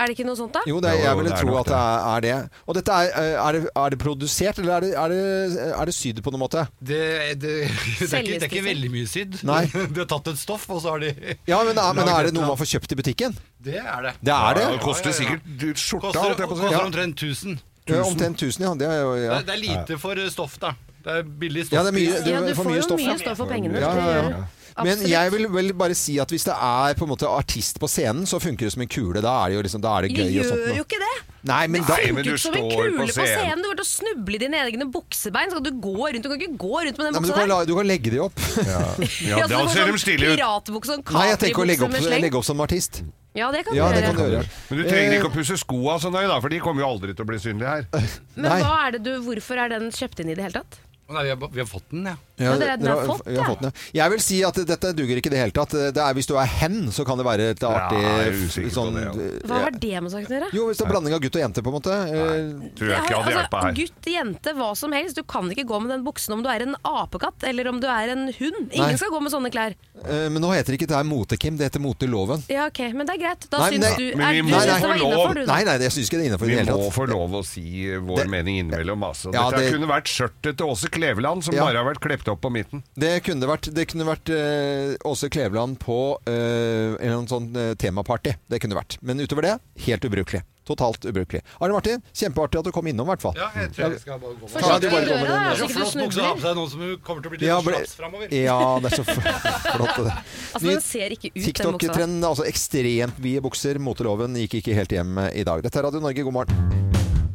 Speaker 5: Er det ikke noe sånt, da?
Speaker 3: Jo, det er, jeg ville
Speaker 4: det er
Speaker 3: tro
Speaker 4: nok
Speaker 3: at det er, er det. Og dette er, eh, er, det, er det produsert, eller er det, er det, er det sydd på noen måte?
Speaker 14: Det, det, det, er ikke, det er ikke
Speaker 3: Selvjustisering.
Speaker 14: veldig mye sydd.
Speaker 3: Nei.
Speaker 14: De har tatt et stoff, og så har de
Speaker 3: Ja, men, er, men
Speaker 14: laget
Speaker 3: er det
Speaker 14: et
Speaker 3: noe man
Speaker 14: eller
Speaker 3: får kjøpt i butikken?
Speaker 14: annet. Det er det.
Speaker 3: Det er det?
Speaker 4: Ja, det koster sikkert du, skjorta,
Speaker 14: Koster,
Speaker 4: holdt jeg på å si.
Speaker 14: koster
Speaker 4: Ja.
Speaker 14: omtrent 1000.
Speaker 3: Ja, Omtrent 1000, ja. Det er, jo, ja.
Speaker 14: Det, det er lite for eh, stoff, da. Det er billig stoff.
Speaker 3: Ja, det er mye, du,
Speaker 5: Ja, du
Speaker 3: for
Speaker 5: får
Speaker 3: mye
Speaker 5: jo
Speaker 3: stoff,
Speaker 5: mye stoff for pengene,
Speaker 3: Ja,
Speaker 5: det
Speaker 3: ja, ja.
Speaker 5: gjør du.
Speaker 3: Men
Speaker 5: Absolutt.
Speaker 3: jeg vil vel bare si at hvis det er på en måte artist på scenen, så funker det som en kule. Da er det jo liksom, da er det
Speaker 5: Du
Speaker 3: gøy og sånt.
Speaker 5: gjør
Speaker 3: noe.
Speaker 5: jo ikke det!
Speaker 3: Nei, men da,
Speaker 5: Funker ikke som en kule på scenen. Du kommer til å snuble i dine egne buksebein. Skal du gå rundt? Du kan ikke gå rundt med den
Speaker 3: Nei, men du,
Speaker 5: buksa
Speaker 3: kan
Speaker 5: der.
Speaker 3: la, du kan legge de opp. Ja,
Speaker 5: Ja, så det går sånn Piratbukse og
Speaker 3: Nei, jeg tenker å legge
Speaker 5: kapribukse
Speaker 3: opp,
Speaker 5: med sleng.
Speaker 3: legge opp som artist.
Speaker 5: Ja, det kan
Speaker 3: Ja,
Speaker 5: du
Speaker 3: det
Speaker 5: gjøre.
Speaker 3: kan du gjøre. Eh,
Speaker 4: Men du trenger ikke å pusse skoa så nøye, da, for de kommer jo aldri til å bli synlige her.
Speaker 5: Men hva er det du, hvorfor er den kjøpt inn i det hele tatt?
Speaker 14: Å, Nei, vi, har, vi har fått den, ja.
Speaker 5: Ja, dere- dere har fått,
Speaker 3: vi har
Speaker 5: ja.
Speaker 3: fått den, ja. Jeg vil si at dette duger ikke i det hele tatt. Det er, hvis du er hen, så kan det være et artig
Speaker 4: Ja, jeg er usikker på
Speaker 3: sånn
Speaker 5: Hva
Speaker 3: ja.
Speaker 5: har det med saken å gjøre?
Speaker 3: Jo, hvis det er blanding av gutt og jente, på en måte.
Speaker 4: Tror
Speaker 5: Jeg har- altså, Gutt, jente, hva som helst. Du kan ikke gå med den buksen om du er en apekatt eller om du er en hund. Ingen
Speaker 3: Nei.
Speaker 5: skal gå med sånne klær.
Speaker 3: Eh, Men nå heter det ikke det er mote-Kim, det heter moteloven.
Speaker 5: Ja, ok, Men det er greit. Da
Speaker 3: Nei, men
Speaker 5: syns
Speaker 3: det-
Speaker 5: du,
Speaker 3: men
Speaker 5: er,
Speaker 3: vi
Speaker 5: du
Speaker 3: må
Speaker 5: syns det
Speaker 3: få
Speaker 5: var
Speaker 3: lov.
Speaker 5: innafor, du. da?
Speaker 3: Nei, nei, jeg syns ikke det er innafor i
Speaker 4: Vi
Speaker 3: det hele
Speaker 4: må
Speaker 3: tatt.
Speaker 4: få lov å si vår mening innimellom, altså. Dette
Speaker 3: Ja, det-
Speaker 4: kunne vært skjørtet til Åse Kleveland, som
Speaker 3: Ja.
Speaker 4: bare har vært klept opp på midten.
Speaker 3: Det kunne vært, det kunne vært eh, Åse Kleveland på eh, en eller annen sånn eh, temaparty. Det kunne vært. Men utover det, helt ubrukelig. Totalt ubrukelig. Arne Martin, kjempeartig at du kom innom, i hvert fall.
Speaker 14: Ja, jeg tror jeg skal bare gå
Speaker 3: Ja, du bare går med den.
Speaker 14: Det er
Speaker 3: der.
Speaker 14: så flott bukse å ha på seg nå som hun kommer til å bli litt
Speaker 3: Ja, ble-
Speaker 14: slaps framover.
Speaker 3: ja, det er så f- flott. det.
Speaker 5: Altså,
Speaker 3: Ny
Speaker 5: den ser ikke ut, den buksa. der.
Speaker 3: TikTok-trenden, altså ekstremt vide bukser. Moteloven gikk ikke helt hjem eh, i dag. Dette er Radio Norge, god morgen.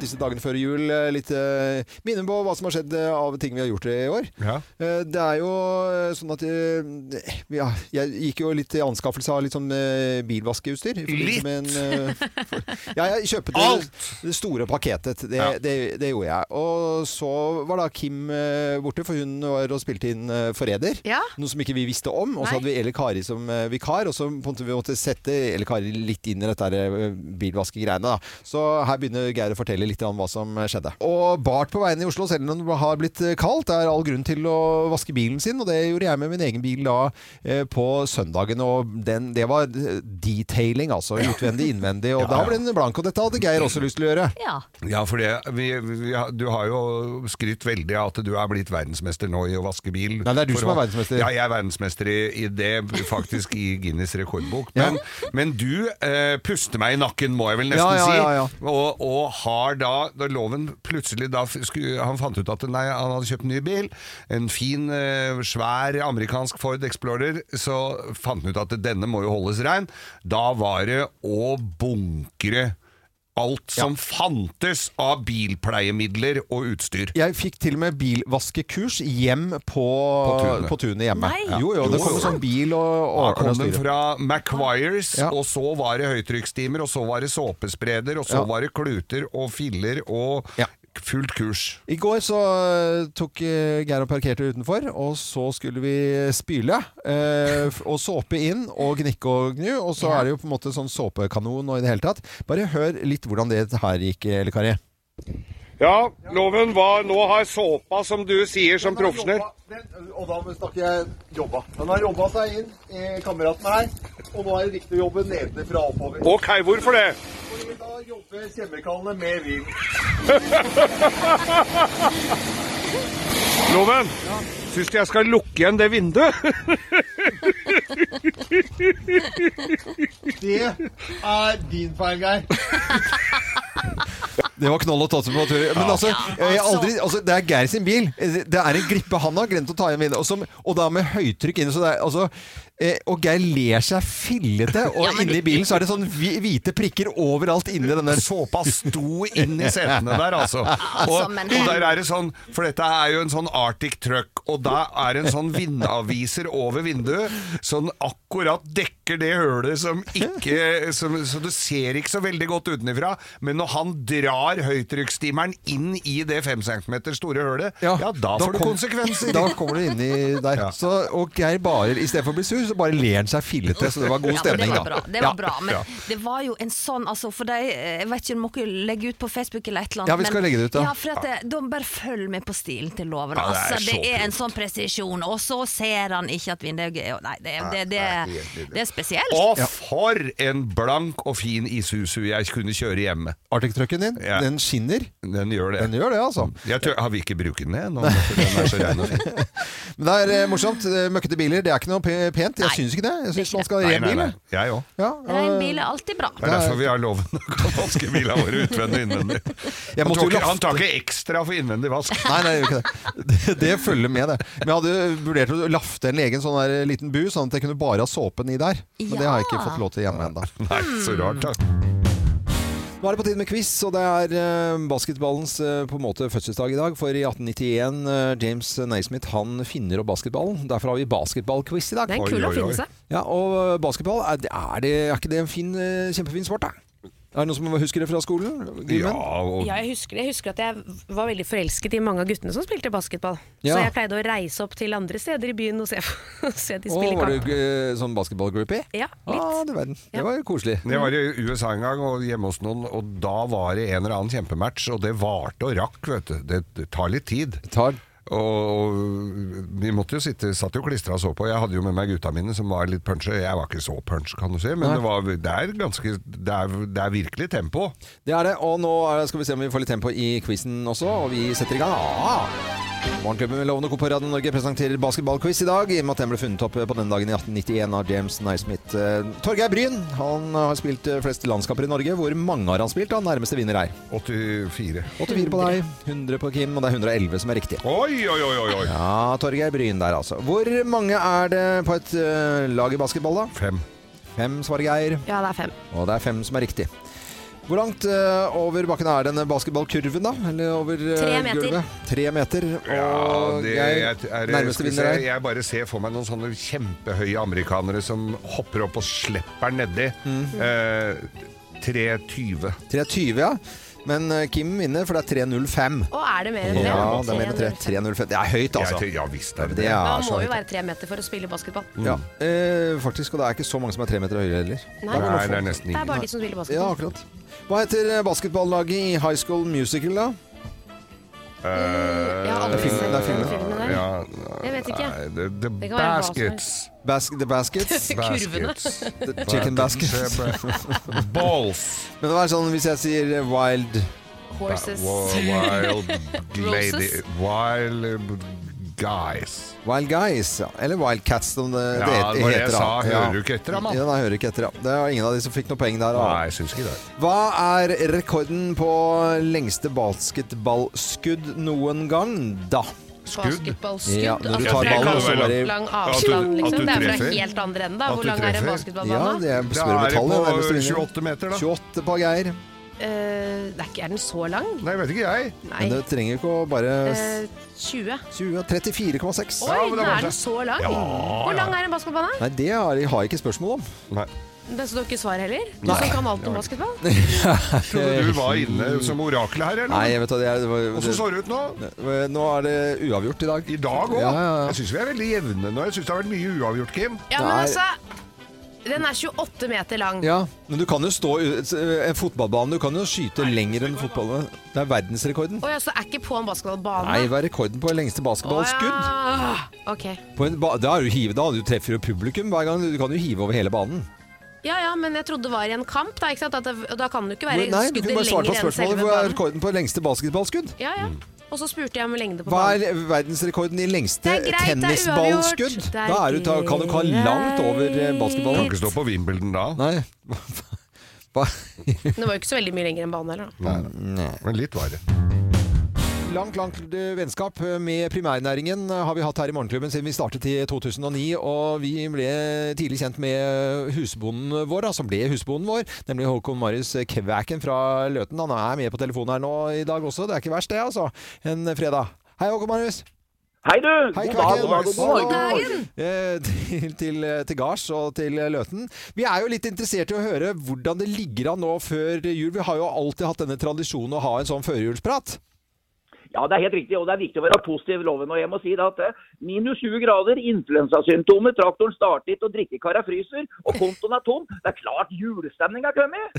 Speaker 3: Disse dagene før jul, eh, litt eh, minne på hva som har skjedd eh, av ting vi har gjort i år. Eh, Det er jo eh, sånn at eh, ja, Jeg gikk jo litt i anskaffelse av litt sånn eh, bilvaskeutstyr. i forbindelse
Speaker 4: Litt?
Speaker 3: med en, eh, ja, jeg kjøpte det store paketet. Det, det, det gjorde jeg. Og så var da Kim eh, borte, for hun var og spilte inn eh, 'Forræder'.
Speaker 5: Ja.
Speaker 3: Noe som ikke vi visste om. Og så
Speaker 5: Nei.
Speaker 3: hadde vi Eli Kari som eh, vikar, og så på en måte vi måtte sette Eli Kari litt inn i dette her, eh, bilvaskegreiene. Da. Så her begynner Geir å fortelle litt om hva som eh, skjedde. Og bart på veiene i Oslo, selv om det har blitt eh, kaldt, det er all grunn til å vaske bilen sin. Og det gjorde jeg med min egen bil da eh, på søndagen, og den, det var eh, detailing, altså. Utvendig, innvendig. Og da ble den blank, og dette hadde Geir også lyst til å gjøre.
Speaker 5: Ja.
Speaker 4: Ja, for det, vi, vi, har- du har jo skrytt veldig av at du er blitt verdensmester nå i å vaske bil.
Speaker 3: Nei, det er du
Speaker 4: For
Speaker 3: som er
Speaker 4: å-
Speaker 3: verdensmester.
Speaker 4: Ja, jeg er verdensmester i, i det, faktisk i Guinness rekordbok. Men, men du eh, puster meg i nakken, må jeg vel nesten
Speaker 3: Ja, ja, ja, ja.
Speaker 4: si. Og, og har da, da loven plutselig da f- sku, Han fant ut at nei, han hadde kjøpt en ny bil. En fin, eh, svær amerikansk Ford Explorer. Så fant han ut at denne må jo holdes rein. Da var det å bunkre alt som fantes av bilpleiemidler og utstyr.
Speaker 3: Jeg fikk til og med bilvaskekurs hjem på,
Speaker 4: tunet.
Speaker 3: på tunet hjemme.
Speaker 4: Nei.
Speaker 3: Jo, jo,
Speaker 4: Jo,
Speaker 3: det kom
Speaker 4: jo.
Speaker 3: sånn bil og
Speaker 4: Da
Speaker 3: ordna
Speaker 4: kom den
Speaker 3: styret.
Speaker 4: fra Macquires, og så var det høytrykkstimer, og så var det såpespreder, og så
Speaker 3: Ja.
Speaker 4: var det kluter og filler og fullt kurs.
Speaker 3: I går så eh, tok eh, Geir og parkerte utenfor, og så skulle vi spyle. Eh, f- og såpe inn og gnikke og gnu, og så er det jo på en måte sånn såpekanon og i det hele tatt. Bare hør litt hvordan det her gikk, eh, Elle Kari.
Speaker 4: Ja, loven var Nå har såpa, som du sier som profesjonell
Speaker 15: Og da snakker jeg jobba. Den har jobba seg inn i kameraten her, og nå er det riktig å jobbe nedenfra og oppover.
Speaker 4: Ok, hvorfor det?
Speaker 15: Fordi da jobber kjemikaliene med vin.
Speaker 4: Loven, syns du jeg skal lukke igjen det vinduet?
Speaker 15: Det er din feil, Geir.
Speaker 3: Det var knoll og tåte på tur. Men
Speaker 15: Ja.
Speaker 3: altså,
Speaker 15: Ja,
Speaker 3: jeg
Speaker 15: altså.
Speaker 3: aldri, altså, det er Geir sin bil. Det er en glippe han har glemt å ta igjen vinduet. Og, som- og da med høytrykk inne. Så det er, altså, eh, og Geir ler seg fillete, og inni bilen så er det sånn hvi- hvite prikker overalt inni den der
Speaker 4: Såpa sto inn i setene der, altså. Og,
Speaker 3: men-
Speaker 4: og der er det sånn, for dette er jo en sånn Arctic truck, og da er det en sånn vindaviser over vinduet, som akkurat dekker det hølet som ikke som, Så du ser ikke så veldig godt utenifra, men når han drar høytrykksstimeren inn i det fem centimeter store hølet, ja, da får det
Speaker 3: kom-
Speaker 4: konsekvenser.
Speaker 3: Da kommer du inni der. Så, og Geir bare, istedenfor å bli sur, så bare ler han seg fillete. Så det var god stemning,
Speaker 16: ja, men det var Bra.
Speaker 3: da.
Speaker 16: Det var
Speaker 3: Ja.
Speaker 16: bra, men
Speaker 3: Ja.
Speaker 16: det var jo en sånn altså, for de, Jeg vet ikke, du må ikke legge ut på Facebook eller et eller annet.
Speaker 3: Ja, vi skal
Speaker 16: men-
Speaker 3: legge det ut, da.
Speaker 16: Ja, for at det, da bare følg med på stilen til loven.
Speaker 3: Ja, det er
Speaker 16: altså,
Speaker 3: så
Speaker 16: det er en sånn presisjon, og så ser han ikke at vinduet er Nei, det, det, det,
Speaker 4: Nei, det
Speaker 16: det,
Speaker 4: er helt nydelig.
Speaker 16: er spesielt.
Speaker 4: Og for en blank og fin Isuzu jeg kunne kjøre hjemme.
Speaker 3: Arctic-trucken din, den skinner.
Speaker 4: Den gjør det. Mm.
Speaker 3: Den gjør det, altså.
Speaker 4: Jeg tør, har vi ikke brukt den igjen? nå, for Den er så rein og fin.
Speaker 3: Men det er eh, morsomt. Eh, Møkkete biler, det er ikke noe pe- pent. Jeg
Speaker 16: Nei,
Speaker 3: syns ikke det. Jeg syns man skal ha
Speaker 4: Nei,
Speaker 3: ren
Speaker 4: nei,
Speaker 3: bil.
Speaker 4: nei. Jeg òg.
Speaker 3: Ja,
Speaker 16: Ren bil er alltid bra.
Speaker 4: Det er derfor vi har loven å kan vaske bilene våre utvendig og innvendig.
Speaker 3: Jeg
Speaker 4: Han
Speaker 3: måtte
Speaker 4: tar,
Speaker 3: jo
Speaker 4: ikke,
Speaker 3: lafte.
Speaker 4: han tar ikke ekstra for innvendig vask.
Speaker 3: Nei, nei, jeg gjør ikke det. det. Det følger med, det. Men jeg hadde vurdert å lafte en legen sånn der liten bu, sånn at jeg kunne bare ha såpen i der. Men det har jeg ikke
Speaker 16: Ja.
Speaker 3: fått lov til hjemme ennå.
Speaker 4: Nei, så rart, da.
Speaker 3: Nå er det på tide med quiz, og det er eh, basketballens eh, på en måte fødselsdag i dag. For i 1891, eh, James Naismith, han finner opp basketballen. Derfor har vi basketballquiz i dag.
Speaker 4: Det er en kul Oi, oi, oi. oppfinnelse.
Speaker 3: Ja, og eh, basketball, er, det- er, det, er ikke det en fin, eh, kjempefin sport, da? Er det noen som husker det fra skolen? Gymmen?
Speaker 6: Ja, jeg husker det. Jeg husker at jeg var veldig forelsket i mange av guttene som spilte basketball.
Speaker 3: Ja.
Speaker 6: Så jeg pleide å reise opp til andre steder i byen og se, se de
Speaker 3: Å,
Speaker 6: spille
Speaker 3: var
Speaker 6: kamp.
Speaker 3: du eh, sånn basketballgroupie?
Speaker 6: Ja,
Speaker 3: litt. Ah, du verden. Det var jo koselig.
Speaker 4: Jeg var i USA en gang og hjemme hos noen, og da var det en eller annen kjempematch, og det varte og rakk, vet du. Det, det tar litt tid. Og, og vi måtte jo sitte, satt jo klistra og så på. Jeg hadde jo med meg gutta mine som var litt punchy. Jeg var ikke så punch, kan du si, men
Speaker 3: Nei.
Speaker 4: det, var, det, er ganske, det, er, det er virkelig tempo.
Speaker 3: Det er det, og nå er- skal vi se om vi får litt tempo i quizen også, og vi setter i gang. Ah! Morgenklubben med Lovende Co på Radio Norge presenterer basketballquiz i dag, i og med at den ble funnet opp eh, på denne dagen i 1891 av James Naismith. Eh, Torgeir Bryn han har spilt eh, flest landskamper i Norge. Hvor mange har han spilt? da? nærmeste vinner er
Speaker 4: 84.
Speaker 3: 84 på deg, 100 på Kim, og det er 111 som er riktig.
Speaker 4: Oi, oi, oi, oi, oi.
Speaker 3: Ja, Torgeir Bryn der, altså. Hvor mange er det på et eh, lag i basketball, da?
Speaker 4: Fem.
Speaker 3: Fem, svarer Geir.
Speaker 6: Ja, det er fem.
Speaker 3: Og det er fem som er riktig. Hvor langt eh, over bakken er denne basketballkurven, da? Eller over eh,
Speaker 6: Tre meter.
Speaker 3: gulvet? Tre meter. Og
Speaker 4: Ja, det,
Speaker 3: øh, jeg,
Speaker 4: jeg, er,
Speaker 3: nærmeste
Speaker 4: skal vi se,
Speaker 3: vinner er
Speaker 4: Jeg bare ser for meg noen sånne kjempehøye amerikanere som hopper opp og slipper nedi.
Speaker 3: Mm.
Speaker 4: Eh, 3,20.
Speaker 3: 3,20, ja. Men eh, Kim vinner, for det er 3,05.
Speaker 6: Og er det mer enn det?
Speaker 3: Ja, det er mer enn tre. 3,05. Det er høyt, altså.
Speaker 4: Jeg tror- ja, visst er det
Speaker 3: det.
Speaker 4: det.
Speaker 3: Er
Speaker 6: Man
Speaker 3: så
Speaker 6: må jo
Speaker 3: høyt.
Speaker 6: være tre meter for å spille basketball.
Speaker 3: Ja, eh, faktisk. Og det er ikke så mange som er tre meter høyere heller.
Speaker 6: Nei.
Speaker 3: Da må man
Speaker 6: Nei,
Speaker 3: få-
Speaker 6: det er nesten Det er bare de som spiller basketball.
Speaker 3: Ja, akkurat. Hva heter eh, basketballaget i High School Musical, da?
Speaker 4: Eh,
Speaker 6: Mm,
Speaker 3: ja, alle Det er filmen, det er filmen. filmen der.
Speaker 4: Ja,
Speaker 6: Jeg vet ikke.
Speaker 4: Nei, the, the
Speaker 6: Det kan være hva som
Speaker 4: Baskets.
Speaker 3: Bask the Baskets?
Speaker 6: Kurvene.
Speaker 3: The Chicken Baskets.
Speaker 4: Balls.
Speaker 3: Men det var sånn hvis jeg sier eh, Wild
Speaker 6: Horses.
Speaker 4: Wild lady.
Speaker 6: Roses.
Speaker 4: Wild eh, guys.
Speaker 3: Wild Guys, ja. Eller Wild Cats, som det,
Speaker 4: Ja,
Speaker 3: det
Speaker 4: det
Speaker 3: het-
Speaker 4: var
Speaker 3: heter.
Speaker 4: det jeg
Speaker 3: da.
Speaker 4: sa. Hører du ikke etter, da, mann?
Speaker 3: Ja, nei, hører ikke etter, ja. Det var ingen av de som fikk noe poeng der. da.
Speaker 4: Nei, jeg syns ikke det.
Speaker 3: Hva er rekorden på lengste basketballskudd noen gang, da?
Speaker 6: Basketballskudd.
Speaker 3: Ja, når du
Speaker 6: altså,
Speaker 3: tar
Speaker 6: fra
Speaker 3: ballen, så
Speaker 6: lang-
Speaker 3: bare
Speaker 6: Lang
Speaker 4: At du-
Speaker 6: avstand,
Speaker 4: at
Speaker 6: liksom.
Speaker 4: du
Speaker 6: Det
Speaker 5: altså
Speaker 6: er fra
Speaker 4: treffer.
Speaker 6: helt andre enden, da.
Speaker 4: At
Speaker 6: Hvor
Speaker 4: du
Speaker 6: lang er en
Speaker 4: treffer.
Speaker 6: basketballbane?
Speaker 3: Ja, det er
Speaker 4: Da
Speaker 3: spørre
Speaker 4: er
Speaker 3: med
Speaker 4: det
Speaker 3: tallet.
Speaker 4: på
Speaker 3: nærmeste vinner.
Speaker 4: 28 meter, da.
Speaker 3: 28 på Geir.
Speaker 5: Eh, det er, ikke, er den så lang?
Speaker 4: Nei, vet ikke jeg.
Speaker 5: Nei.
Speaker 3: Men det trenger ikke å bare
Speaker 5: Eh, 20.
Speaker 3: 20 34,6.
Speaker 5: Oi, da er den så lang?
Speaker 3: Ja,
Speaker 5: Hvor lang
Speaker 3: ja.
Speaker 5: er en basketballbane?
Speaker 3: Nei, det har har jeg ikke spørsmål om.
Speaker 4: Nei.
Speaker 5: Den som dere ikke svarer heller? Du
Speaker 3: Nei.
Speaker 5: som kan alt om basketball?
Speaker 4: Trodde du var inne som orakelet her, eller?
Speaker 3: Nei, jeg vet hva det er. det var-
Speaker 4: Åssen så det ut nå?
Speaker 3: det- Nå er det uavgjort i dag.
Speaker 4: I dag òg?
Speaker 3: Ja, ja, ja.
Speaker 4: Jeg syns vi er veldig jevne nå. Jeg syns det har vært mye uavgjort, Kim.
Speaker 5: Ja, men altså Den er 28 meter lang.
Speaker 3: Ja, men du kan jo stå i en fotballbane. Du kan jo skyte lenger enn fotballbane. Det er verdensrekorden.
Speaker 5: Å ja, så altså, er ikke på en basketballbane?
Speaker 3: Nei, hva er rekorden på lengste basketballskudd?
Speaker 5: Ah, Ok.
Speaker 3: På en ba da, er du hive, da du treffer jo publikum hver gang. Du kan jo hive over hele banen.
Speaker 5: Ja ja, men jeg trodde det var i en kamp, da. Ikke sant? At det, og da kan det jo ikke være
Speaker 3: Hvor- Nei, du kunne
Speaker 5: skuddet
Speaker 3: bare svare på
Speaker 5: lenger enn
Speaker 3: spørsmålet.
Speaker 5: selve
Speaker 3: Hvor er
Speaker 5: banen.
Speaker 3: rekorden på lengste basketballskudd?
Speaker 5: Ja ja. Og så spurte jeg om lengde på
Speaker 3: Hva
Speaker 5: banen.
Speaker 3: er verdensrekorden i lengste
Speaker 5: Det er greit, det er
Speaker 3: tennisballskudd?
Speaker 5: uavgjort. Det er
Speaker 3: Da er du, ta- kan du ikke ha langt over eh, basketballen.
Speaker 4: Kan ikke stå på Wimbledon da.
Speaker 3: Nei. Hva?
Speaker 5: Det var jo ikke så veldig mye lenger enn banen heller, da.
Speaker 4: Nei, Men litt var det.
Speaker 3: Langt, langt eh, vennskap med primærnæringen har vi hatt her i Morgenklubben siden vi startet i 2009. Og vi ble tidlig kjent med husbonden vår, da, som ble husbonden vår, nemlig Håkon Marius Kvæken fra Løten. Han er med på telefonen her nå i dag også. Det er ikke verst, det, altså. En fredag. Hei, Håkon Marius.
Speaker 17: Hei, du!
Speaker 3: Hei,
Speaker 17: God
Speaker 3: Kvæken.
Speaker 17: dag, god dag, god morgen.
Speaker 3: Hallo. Eh, Til, til, til gards og til Løten. Vi er jo litt interessert i å høre hvordan det ligger an nå før jul. Vi har jo alltid hatt denne tradisjonen å ha en sånn førjulsprat.
Speaker 17: Ja, det er helt riktig, og det er viktig å være positiv, loven. Og jeg må si det at eh, minus 20 grader, influensasymptomer, traktoren starter ikke, og drikkekara fryser, og kontoen er tom. Det er klart julestemning er kommet!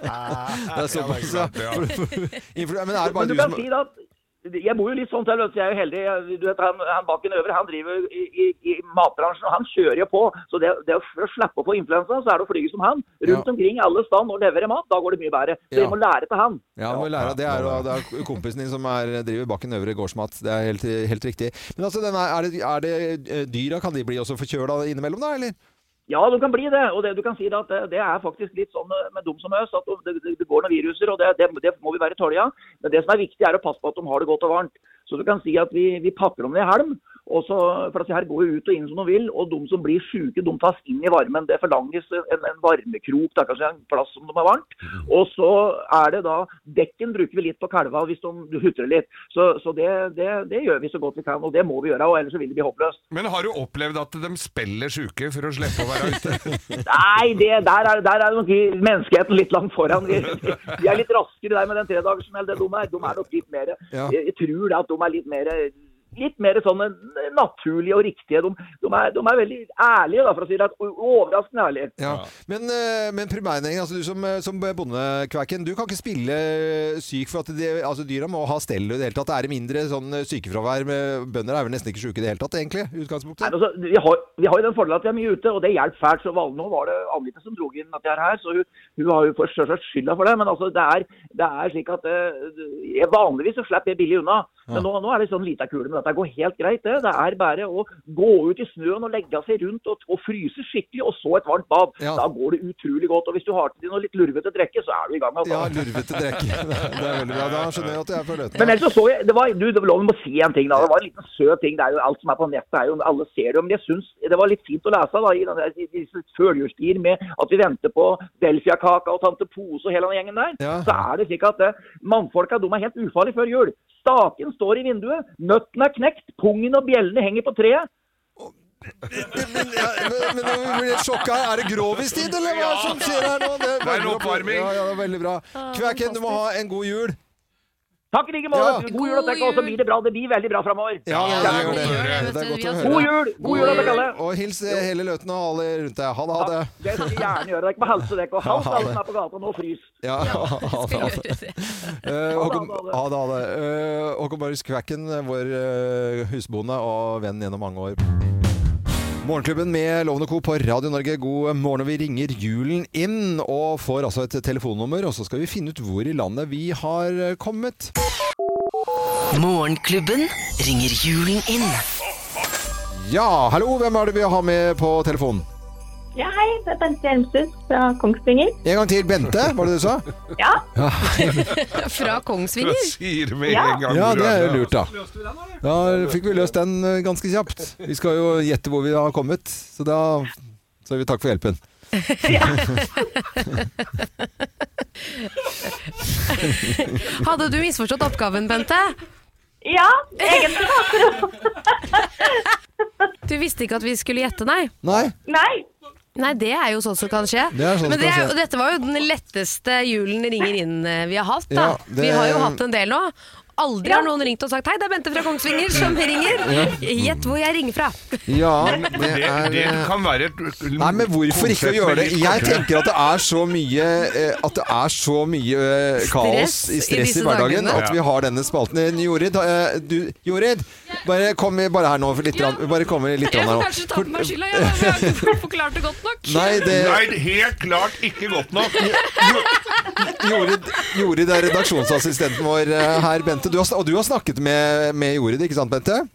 Speaker 3: Det er såpass, Ah, ja. Influ- Men er det
Speaker 17: Men
Speaker 3: bare
Speaker 17: du
Speaker 3: du
Speaker 17: kan
Speaker 3: som
Speaker 17: si det at jeg bor jo litt sånn til, vet du, jeg er jo heldig. Jeg- Du vet, han, han bakken øver, han driver jo i, i, i matbransjen, og han kjører jo på. Så det, det å- for å slippe å få influensa, så er det å flyge som han. Rundt
Speaker 3: Ja.
Speaker 17: omkring alle steder når det leverer mat, da går det mye bedre. Så
Speaker 3: Ja.
Speaker 17: jeg må lære til han.
Speaker 3: Ja, må lære av det er, jo- det er kompisen din som er, driver Bakken Øvre Gårdsmat. Det er helt, helt riktig. Men altså, den er, er, det, er det eh, dyra? Kan de bli også forkjøla innimellom, da, eller?
Speaker 17: Ja, du kan bli det. Og det du kan si da, at det, det er faktisk litt sånn eh, med dem som oss, at det, det, det går noen viruser, og det, det, det må vi være tålige av. Men det som er viktig, er å passe på at de har det godt og varmt. Så du kan si at vi, vi pakker dem ned i helm. Og så, for at her går jo ut og inn som de vil, og de som blir syke, de tas inn i varmen. Det forlanges en, en varmekrok, da, kanskje en plass som de er varmt. Og så er det da Dekken bruker vi litt på kalva hvis de hutrer litt. Så, så det, det, det gjør vi så godt vi kan, og det må vi gjøre. og Ellers så vil det bli håpløst.
Speaker 4: Men har du opplevd at de spiller sjuke for å slippe å være ute?
Speaker 17: Nei, det, der, er, der er nok vi, menneskeheten litt langt foran. Vi, vi er litt raskere der med den tredagersen enn det de er. De er nok litt mer
Speaker 3: Ja.
Speaker 17: jeg, jeg tror da at de er litt mer Litt mer sånne naturlige og riktige. De, de, er, de er veldig ærlige, da, for å si det. og- og Overraskende ærlige.
Speaker 3: Ja. Men, eh, men primærnæringen, altså du som, eh, som bondekvæken, du kan ikke spille syk for at de, altså, dyra må ha stell i det hele tatt. Er det mindre sånn sykefravær? med Bønder er vel nesten ikke sjuke i det hele tatt, egentlig? i
Speaker 17: Nei,
Speaker 3: Utgangspunktet.
Speaker 17: altså, vi, har, vi har jo den fordelen at vi er mye ute, og det hjelper fælt. så Val- Nå var det Anita som dro inn at jeg er her, så hun, hun har jo for selvsagt skylda for det. Men altså, det er, det er slik at eh, jeg, vanligvis så slipper jeg billig unna. Men
Speaker 18: Ja.
Speaker 17: nå, nå er det sånn lita kule, men dette går helt greit. Det Det er bare å gå ut i snøen og legge seg rundt og, og fryse skikkelig, og så et varmt bad. Da går det utrolig godt. Og hvis du har til deg noe litt lurvete drikke, så er du i gang. Altså.
Speaker 3: Ja, lurvete drikke. Det er veldig bra. Da skjønner jeg at jeg er fra Løten.
Speaker 17: Men ellers så så jeg det var, Du, det var lov å si en ting. da, Det var en liten søt ting. det er jo Alt som er på nettet, er jo, alle ser det. jo, Men jeg syns det var litt fint å lese da, i den der- i disse førjulstider med at vi venter på Delfiakaka og Tante Pose og hele den gjengen der. Så er det slik at eh, mannfolka de er helt ufarlige før jul. Staken står i vinduet, nøtten er knekt, pungen og bjellene henger på treet.
Speaker 3: Men nå blir jeg sjokka. Er det grovistid, eller hva som skjer her nå?
Speaker 4: Det er en
Speaker 3: veldig bra.
Speaker 4: oppvarming.
Speaker 3: Ja, ja, det er veldig bra.
Speaker 17: Ah,
Speaker 3: Kvæken, du må ha en god jul.
Speaker 17: Takk i like måte. God jul og takk, og så blir det bra. Det blir veldig bra framover.
Speaker 3: Ja, det, det, gjør det. det er godt å høre.
Speaker 17: God jul! God jul, alle kaller.
Speaker 3: Og hils eh, hele Løten og alle rundt deg. Ha det, ha det.
Speaker 17: Det skal vi gjerne gjøre. Dere må hilse dere. Og hals
Speaker 3: Ja, ha
Speaker 17: alle
Speaker 3: det.
Speaker 17: som er på gata nå, frys.
Speaker 3: Ja, ha det. Ha det, ha det. Eh, Håkon-
Speaker 17: Ha det, ha
Speaker 3: ha
Speaker 17: det.
Speaker 3: det, ha det. Eh, Håkon Marius Kvæken, vår eh, husbonde og venn gjennom mange år. Morgenklubben med Lovende Co. på Radio Norge, god morgen. og Vi ringer julen inn og får altså et telefonnummer, og så skal vi finne ut hvor i landet vi har eh, kommet.
Speaker 8: Morgenklubben ringer julen inn.
Speaker 3: Ja, hallo, hvem er det vi har med på telefon?
Speaker 12: Ja, hei. Det er Bente Hjelmsrud fra Kongsvinger.
Speaker 3: En gang til, Bente, var det det du sa?
Speaker 12: Ja.
Speaker 3: Ja,
Speaker 12: fra
Speaker 4: Hva sier vi
Speaker 12: Ja.
Speaker 4: en gang?
Speaker 3: ja
Speaker 4: hvor
Speaker 3: det er
Speaker 4: er
Speaker 3: jo lurt, da. Da fikk vi løst den eh, ganske kjapt. Vi skal jo gjette hvor vi har kommet, så da sier vi takk for hjelpen.
Speaker 5: Hadde du misforstått oppgaven, Bente?
Speaker 12: Ja, egentlig akkurat. sånn.
Speaker 5: Du visste ikke at vi skulle gjette, nei?
Speaker 3: Nei.
Speaker 12: Nei.
Speaker 5: Nei, det er jo sånn som kan skje.
Speaker 3: Det er sånn som
Speaker 5: Men det
Speaker 3: kan
Speaker 5: er,
Speaker 3: skje.
Speaker 5: jo- dette var jo den letteste julen ringer inn eh, vi har hatt, da.
Speaker 3: Ja, det-
Speaker 5: Vi har jo hatt en del nå. Aldri har noen ringt og sagt 'hei, det er Bente fra Kongsvinger som
Speaker 3: Ja.
Speaker 5: ringer'. Gjett hvor jeg ringer fra.
Speaker 3: Ja, det
Speaker 4: Det,
Speaker 3: er
Speaker 4: det
Speaker 3: eh,
Speaker 4: kan være et
Speaker 3: Nei, men hvorfor ikke å gjøre det? Jeg tenker at det er så mye eh, At det er så mye eh, kaos
Speaker 5: Stress
Speaker 3: i stress
Speaker 5: i
Speaker 3: i
Speaker 5: disse
Speaker 3: hverdagen
Speaker 5: dagene.
Speaker 3: at vi har denne spalten. Eh, Jorid, eh, du, Jorid bare kom bare her nå for litt grann. Bare kom litt
Speaker 13: Jeg
Speaker 3: grann
Speaker 13: får
Speaker 3: her
Speaker 13: kanskje ta på meg
Speaker 3: nå.
Speaker 13: skylda, jeg, da, for jeg har ikke forklart det godt nok.
Speaker 3: Nei, det
Speaker 4: Nei, helt klart ikke godt nok.
Speaker 3: Jorid, Jorid er redaksjonsassistenten vår eh, her, Bente. Du har, sn- og du har snakket med, med Jorid, ikke sant, Bente?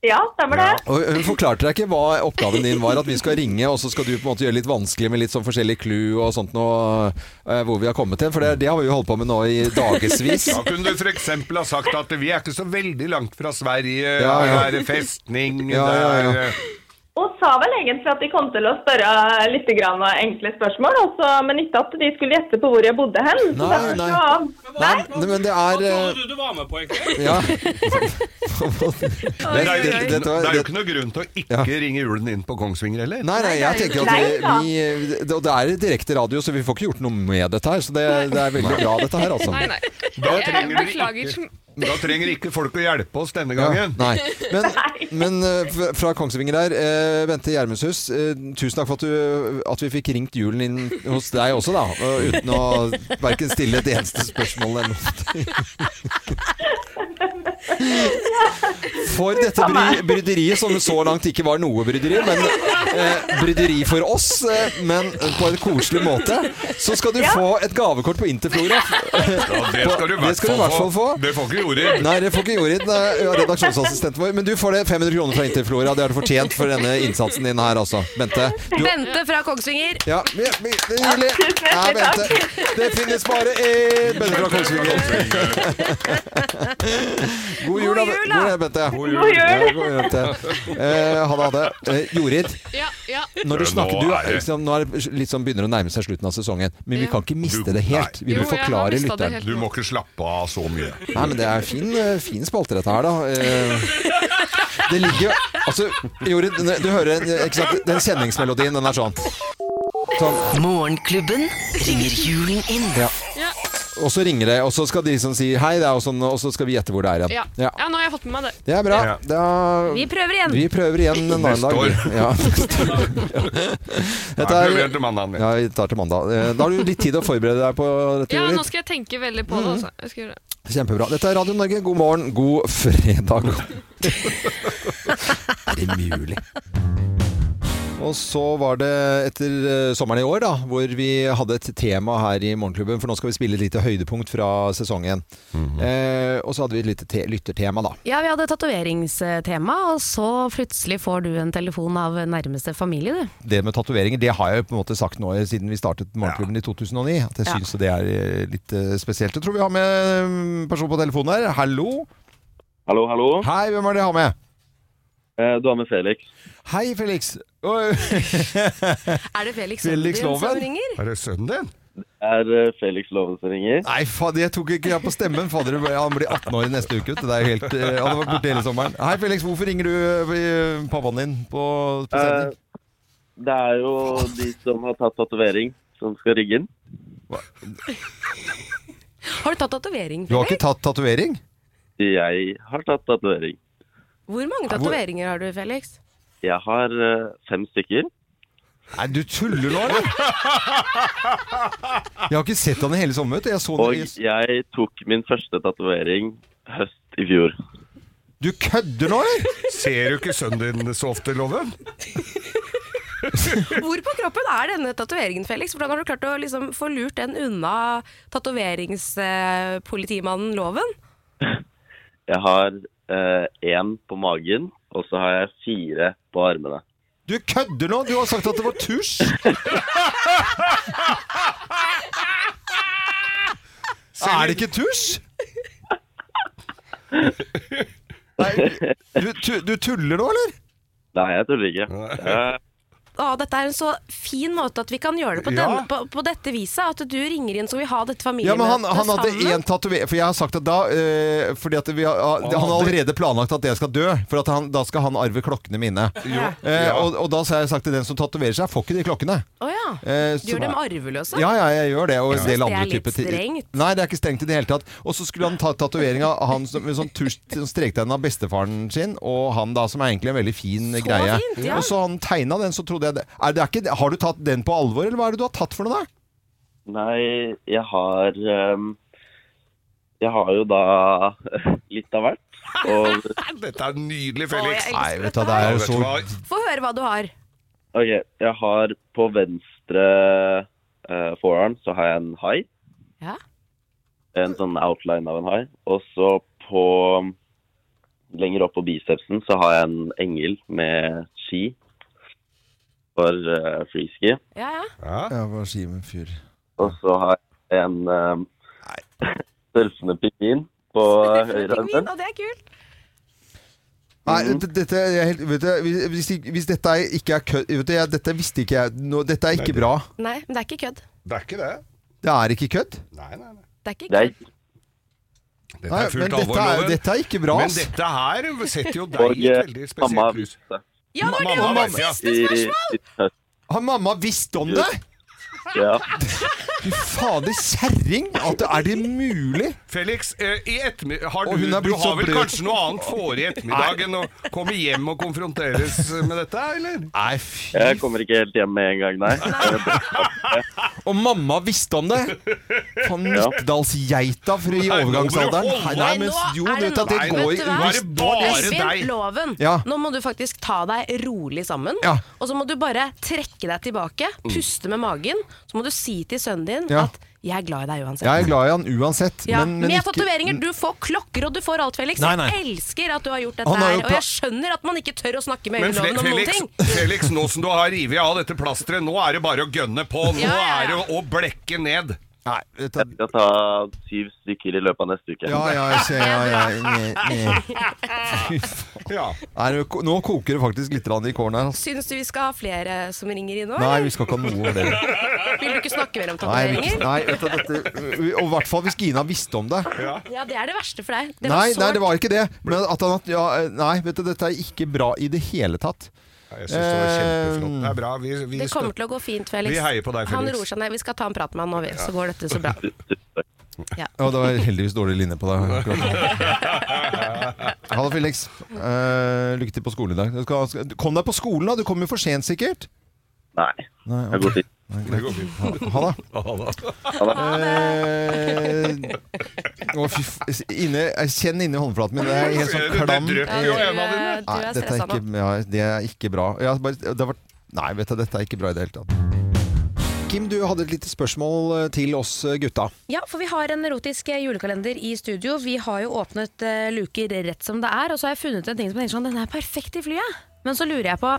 Speaker 12: Ja, stemmer det.
Speaker 3: Og hun forklarte deg ikke hva oppgaven din var, at vi skal ringe, og så skal du på en måte gjøre litt vanskelig med litt sånn forskjellige clue og sånt noe, eh, hvor vi har kommet til. For det, det har vi jo holdt på med nå i dagevis.
Speaker 4: Da kunne du f.eks. ha sagt at vi er ikke så veldig langt fra Sverige, ja,
Speaker 3: Ja, ja.
Speaker 4: det er festning
Speaker 3: Ja, ja, ja.
Speaker 4: det er- eh,
Speaker 12: Og sa vel egentlig at de kom til å spørre litt grann av enkle spørsmål, altså, men ikke at de skulle gjette på hvor jeg bodde hen. Så
Speaker 3: Nei,
Speaker 12: derfor
Speaker 3: nei.
Speaker 12: så-
Speaker 3: Nei, men det er
Speaker 9: Hva
Speaker 3: eh,
Speaker 9: trodde du du var med på, egentlig?
Speaker 3: Ja.
Speaker 4: Men det, er jo ikke-
Speaker 3: Det- det- dette var-
Speaker 4: det er jo ikke noe grunn til å ikke ringe julen inn på Kongsvinger heller.
Speaker 3: Nei, nei, jeg tenker at vi, vi det- Og det er direkte radio, så vi får ikke gjort noe med dette her. Så det, det er veldig bra, dette her, altså.
Speaker 13: Nei, nei.
Speaker 4: Da
Speaker 13: Jeg
Speaker 4: trenger, vi
Speaker 13: beklager.
Speaker 4: ikke, da trenger ikke folk å hjelpe oss denne
Speaker 3: Ja,
Speaker 4: gangen.
Speaker 3: nei. Men, men eh, f- fra Kongsvinger her, eh, Bente Gjermundshus, eh, tusen takk for at, du, at vi fikk ringt julen inn hos deg også, da. eh, Uten å verken stille et eneste spørsmål eller noe. For dette bry bryderiet, som så langt ikke var noe bryderi, men eh, bryderi for oss, eh, men på en koselig måte, så skal du få et gavekort på Interflora.
Speaker 4: Ja, det skal du i
Speaker 3: Det skal du
Speaker 4: hvert
Speaker 3: i
Speaker 4: fall få.
Speaker 3: få.
Speaker 4: Det får ikke Jorid.
Speaker 3: Nei, det får ikke Jorid, eh, redaksjonsassistenten vår. Men du får det 500 kroner fra Interflora. Det har du fortjent for denne innsatsen din her, altså. Bente. Du,
Speaker 5: Bente fra Kongsvinger.
Speaker 3: ja, vi- vi- det er nydelig. Ja, Bente. Det finnes bare én Bente fra Kongsvinger. God jul, da.
Speaker 5: God jul, da.
Speaker 3: God jul, Bente.
Speaker 4: God jul.
Speaker 12: God jul.
Speaker 3: Ja, god jul Bente. Eh, ha det, ha det. Eh, Jorid,
Speaker 13: Ja, ja.
Speaker 3: når du
Speaker 4: Nå
Speaker 3: snakker du,
Speaker 4: er det-
Speaker 3: liksom, Nå er det litt sånn begynner å nærme seg slutten av sesongen, men vi
Speaker 13: Ja.
Speaker 3: kan ikke miste
Speaker 4: Du-
Speaker 3: det helt. Vi
Speaker 13: Jo,
Speaker 3: må
Speaker 13: jeg har
Speaker 3: forklare
Speaker 13: mistet det
Speaker 3: lytteren.
Speaker 13: helt
Speaker 4: Du
Speaker 13: nå.
Speaker 4: må ikke slappe av så mye.
Speaker 3: Nei, men det er fin, eh, fin spalte dette her, da. Eh, Det ligger Altså, Jorid, du hører eh, ikke sant, den kjenningsmelodien, den er sånn. Sånn.
Speaker 19: Morgenklubben ringer julen inn.
Speaker 3: Ja.
Speaker 13: Ja,
Speaker 3: Og så ringer det, og så skal de som sier hei, det er, og, sånn, og så skal vi gjette hvor det er
Speaker 13: ja.
Speaker 3: igjen.
Speaker 13: ja, nå har jeg fått med meg det.
Speaker 3: Det er bra.
Speaker 4: Ja.
Speaker 3: Da,
Speaker 5: Vi prøver igjen.
Speaker 3: vi prøver igjen en annen
Speaker 4: Neste
Speaker 3: dag.
Speaker 4: år.
Speaker 3: Ja.
Speaker 4: Da
Speaker 3: Dette
Speaker 4: er det
Speaker 3: er,
Speaker 4: vel til mandagen, ja.
Speaker 3: ja, vi tar til mandag. Eh, Da har du litt tid å forberede deg på dette,
Speaker 13: Ja, nå
Speaker 3: Jorid.
Speaker 13: skal jeg tenke veldig på
Speaker 3: Mm.
Speaker 13: det. Altså. Jeg skal gjøre det.
Speaker 3: Kjempebra. Dette er Radio Norge, god morgen, god fredag. er det mulig? Og så var det etter eh, sommeren i år, da, hvor vi hadde et tema her i Morgenklubben. For nå skal vi spille et lite høydepunkt fra sesongen. eh, og så hadde vi et lite te lyttertema, da.
Speaker 5: Ja, vi hadde tatoveringstema, og så plutselig får du en telefon av nærmeste familie, du.
Speaker 3: Det med tatoveringer, det har jeg jo på en måte sagt nå eh, siden vi startet Morgenklubben i 2009. At jeg
Speaker 5: Ja.
Speaker 3: syns det er eh, litt eh, spesielt. Jeg tror vi har med en person på telefonen her. Hallo.
Speaker 18: Hallo, hallo.
Speaker 3: Hei, hvem er det jeg har med?
Speaker 18: Eh, Du har med Felix.
Speaker 3: Hei, Felix. Oi.
Speaker 5: Er det Felix,
Speaker 3: Felix
Speaker 5: Sundin som
Speaker 3: Loven?
Speaker 5: ringer?
Speaker 4: Er det sønnen din?
Speaker 18: Er eh, Felix Loven som ringer?
Speaker 3: Nei, fader, jeg tok ikke jeg på stemmen. Fader, han blir 18 år i neste uke. vet du. Det er jo helt, eh, han har vært borte hele sommeren. Hei, Felix, hvorfor ringer du eh, pappaen din på, på sending?
Speaker 18: Eh, Det er jo de som har tatt tatovering, som skal rigge den.
Speaker 5: Har du tatt tatovering?
Speaker 3: Du har ikke tatt tatovering?
Speaker 18: Jeg har tatt tatovering.
Speaker 5: Hvor mange
Speaker 3: hvor-
Speaker 5: tatoveringer har du, Felix?
Speaker 18: Jeg har eh, fem stykker.
Speaker 3: Nei, du tuller nå, eller? Jeg har ikke sett han i hele sommeren. vet du. Jeg så
Speaker 18: Og
Speaker 3: han i...
Speaker 18: jeg tok min første tatovering høst i fjor.
Speaker 3: Du kødder nå, eller?
Speaker 4: Ser du ikke sønnen din så ofte, Loven?
Speaker 5: Hvor på kroppen er denne tatoveringen, Felix? Hvordan har du klart å liksom få lurt den unna tatoveringspolitimannen Loven?
Speaker 18: Jeg har én på magen, og så har jeg fire på armene.
Speaker 3: Du kødder nå! Du har sagt at det var tusj! Er det ikke tusj? Nei, du, tu- du tuller nå, eller?
Speaker 18: Eh, Nei, jeg tuller ikke.
Speaker 5: å,
Speaker 18: Jeg
Speaker 5: dette er en så fin måte at vi kan gjøre det på,
Speaker 3: Ja.
Speaker 5: denne, på, på dette viset. At du ringer inn som vil ha dette
Speaker 3: Ja, men han,
Speaker 5: familiemøtet
Speaker 3: han hadde
Speaker 5: sammen.
Speaker 3: én tatovering For jeg har sagt at da eh, Fordi at vi har, han har allerede planlagt at jeg skal dø, for at han, da skal han arve klokkene mine.
Speaker 5: Jo,
Speaker 3: Eh,
Speaker 5: ja.
Speaker 3: og, og da har jeg sagt til den som tatoverer seg, får ikke de klokkene.
Speaker 5: Å ja.
Speaker 3: Eh,
Speaker 5: Du gjør
Speaker 3: så-
Speaker 5: dem arveløse?
Speaker 3: Ja, ja, jeg gjør det. Og en
Speaker 5: Jeg
Speaker 3: del
Speaker 5: synes det
Speaker 3: andre
Speaker 5: er litt
Speaker 3: typer ting.
Speaker 5: strengt.
Speaker 3: Nei, det er ikke strengt i det hele tatt. Og så skulle han ta tatovering av han som, med sånn tusj- sånn strektegn av bestefaren sin, og han da, som er egentlig en veldig fin greie.
Speaker 5: fint, ja.
Speaker 3: Og så han tegna den, så trodde jeg det. Er det er ikke, Har du tatt den på alvor, eller hva er det du har tatt for noe, da?
Speaker 18: Nei, jeg har ehm, Jeg har jo da litt av hvert. Og
Speaker 4: Dette er nydelig, Felix.
Speaker 18: Nei, vet du, det er jo så
Speaker 5: Få høre hva du har.
Speaker 18: OK, jeg har på venstre eh, forearm så har jeg en hai.
Speaker 5: Ja.
Speaker 18: En sånn outline av en hai. Og så på Lenger opp på bicepsen så har jeg en engel med ski for eh, freeski.
Speaker 5: Ja, ja.
Speaker 3: Ja, hva sier min fyr?
Speaker 18: Og så har jeg en um, surfende pingvin på eh, høyre armen.
Speaker 5: det er kult.
Speaker 3: Nei, d- dette er helt, vet du, hvis, hvis ikke- hvis dette er ikke er kødd vet du, jeg, Dette visste ikke jeg nå, Dette er ikke bra.
Speaker 5: Nei, men det er ikke kødd.
Speaker 4: Det er ikke det.
Speaker 3: Det er ikke kødd?
Speaker 4: Nei, nei, nei.
Speaker 5: Det er ikke
Speaker 18: Nei,
Speaker 4: Dette
Speaker 3: Nei,
Speaker 4: er fullt
Speaker 3: men dette
Speaker 4: alvor,
Speaker 3: er-
Speaker 4: Loven.
Speaker 3: dette er ikke bra,
Speaker 4: Men
Speaker 3: ass.
Speaker 4: dette her setter jo deg
Speaker 18: Og,
Speaker 4: i
Speaker 18: eh,
Speaker 4: et veldig
Speaker 18: mamma
Speaker 4: spesielt lys.
Speaker 18: visste.
Speaker 5: Ja,
Speaker 4: det var det Mamma var visste. siste spørsmål!
Speaker 18: I-
Speaker 3: Har mamma visst om det?
Speaker 18: i- Ja.
Speaker 3: Fy fader, kjerring! At det er det mulig?
Speaker 4: Felix, eh, i ettermi- har
Speaker 3: Og
Speaker 4: du,
Speaker 3: hun er
Speaker 4: du
Speaker 3: blitt
Speaker 4: har
Speaker 3: så
Speaker 4: vel
Speaker 3: bløt.
Speaker 4: kanskje noe annet for i ettermiddag enn å komme hjem og konfronteres med dette, eller?
Speaker 3: Nei, fy
Speaker 18: Jeg kommer ikke helt hjem med en gang, nei.
Speaker 3: Og mamma visste om det! Faen,
Speaker 18: Ja.
Speaker 3: Nittedalsgeita for i
Speaker 18: Nei, nå må du
Speaker 3: overgangsalderen.
Speaker 18: holde
Speaker 3: Nei,
Speaker 18: deg.
Speaker 3: men
Speaker 5: Nå
Speaker 3: jo,
Speaker 5: er
Speaker 3: du vet at det
Speaker 5: Nei,
Speaker 3: går
Speaker 5: vet du hva?
Speaker 3: hvis-
Speaker 5: Espen, Loven,
Speaker 3: Ja.
Speaker 5: nå må du faktisk ta deg rolig sammen.
Speaker 3: Ja. Mm.
Speaker 5: Og så må du bare trekke deg tilbake, puste med magen. Så må du si til sønnen din
Speaker 3: Ja.
Speaker 5: at 'jeg er glad i deg uansett'.
Speaker 3: Jeg er glad i han uansett,
Speaker 5: Ja,
Speaker 3: men,
Speaker 5: Med
Speaker 3: men
Speaker 5: tatoveringer! Du får klokker, og du får alt, Felix.
Speaker 3: Nei, nei.
Speaker 5: Jeg elsker at du har gjort dette
Speaker 3: Han har
Speaker 5: her.
Speaker 3: jo
Speaker 5: Og jeg
Speaker 3: pla-
Speaker 5: skjønner at man ikke tør å snakke med
Speaker 4: Men Fe-
Speaker 5: Øyvind Loven om noen
Speaker 4: Felix,
Speaker 5: ting.
Speaker 4: Felix, nå som du har revet av dette plasteret, nå er det bare å gønne på. Nå
Speaker 5: Ja, ja,
Speaker 4: er det å blekke ned.
Speaker 3: Nei,
Speaker 18: Jeg skal ta syv stykker i løpet av neste uke.
Speaker 3: Ja, ja, jeg ser ja, ja, ne, ne.
Speaker 4: Ja.
Speaker 3: Nei, nå ko- Nå koker det faktisk litt grann i kårene her. ass.
Speaker 5: Syns du vi skal ha flere eh, som ringer inn nå?
Speaker 3: Nei,
Speaker 5: eller?
Speaker 3: vi skal ikke ha noe av det.
Speaker 5: Vil du ikke snakke mer om
Speaker 3: Nei, vi,
Speaker 5: tatoveringer?
Speaker 3: nei vet du, dette, og i hvert fall hvis Gina visste om det.
Speaker 5: Ja, det er det verste for deg. Det
Speaker 3: nei,
Speaker 5: var
Speaker 3: nei,
Speaker 5: sårt.
Speaker 3: det var ikke det. Men at han, at- ja, nei, vet du, dette er ikke bra i det hele tatt.
Speaker 4: Jeg synes det var kjempeflott. Det er bra. Vi, vi
Speaker 5: Det kommer til å gå fint, Felix.
Speaker 3: Vi heier på deg,
Speaker 5: Han
Speaker 3: Felix.
Speaker 5: roer seg ned. Vi skal ta en prat med han nå, vi. Så går dette så bra. Ja.
Speaker 3: Ja, det var heldigvis dårlig linje på deg. akkurat. Ha det, Felix. Eh, lykke til på skolen i dag. Du skal, skal, kom deg på skolen, da. Du kommer jo for sent, sikkert.
Speaker 18: Nei.
Speaker 3: Nei,
Speaker 18: Det går
Speaker 3: ok.
Speaker 18: fint.
Speaker 3: Nei, greit. Ha, ha det. Eh, å, fy f- inne, jeg kjenn inni håndflaten min. Det er helt sånn
Speaker 4: Det- det
Speaker 3: klam.
Speaker 4: drypper jo Ja, du er- øynene dine. du er
Speaker 3: Nei, dette er
Speaker 4: stressa
Speaker 3: ikke, ja, det er ikke bra. Jeg har bare, det har vært, nei, vet du, dette er ikke bra i det hele tatt. Kim, du hadde et lite spørsmål eh, til oss eh, gutta.
Speaker 5: Ja, for vi har en erotisk eh, julekalender i studio. Vi har jo åpnet eh, luker rett som det er, og så har jeg funnet en ting som jeg tenker sånn, den er perfekt i flyet. Men så lurer jeg på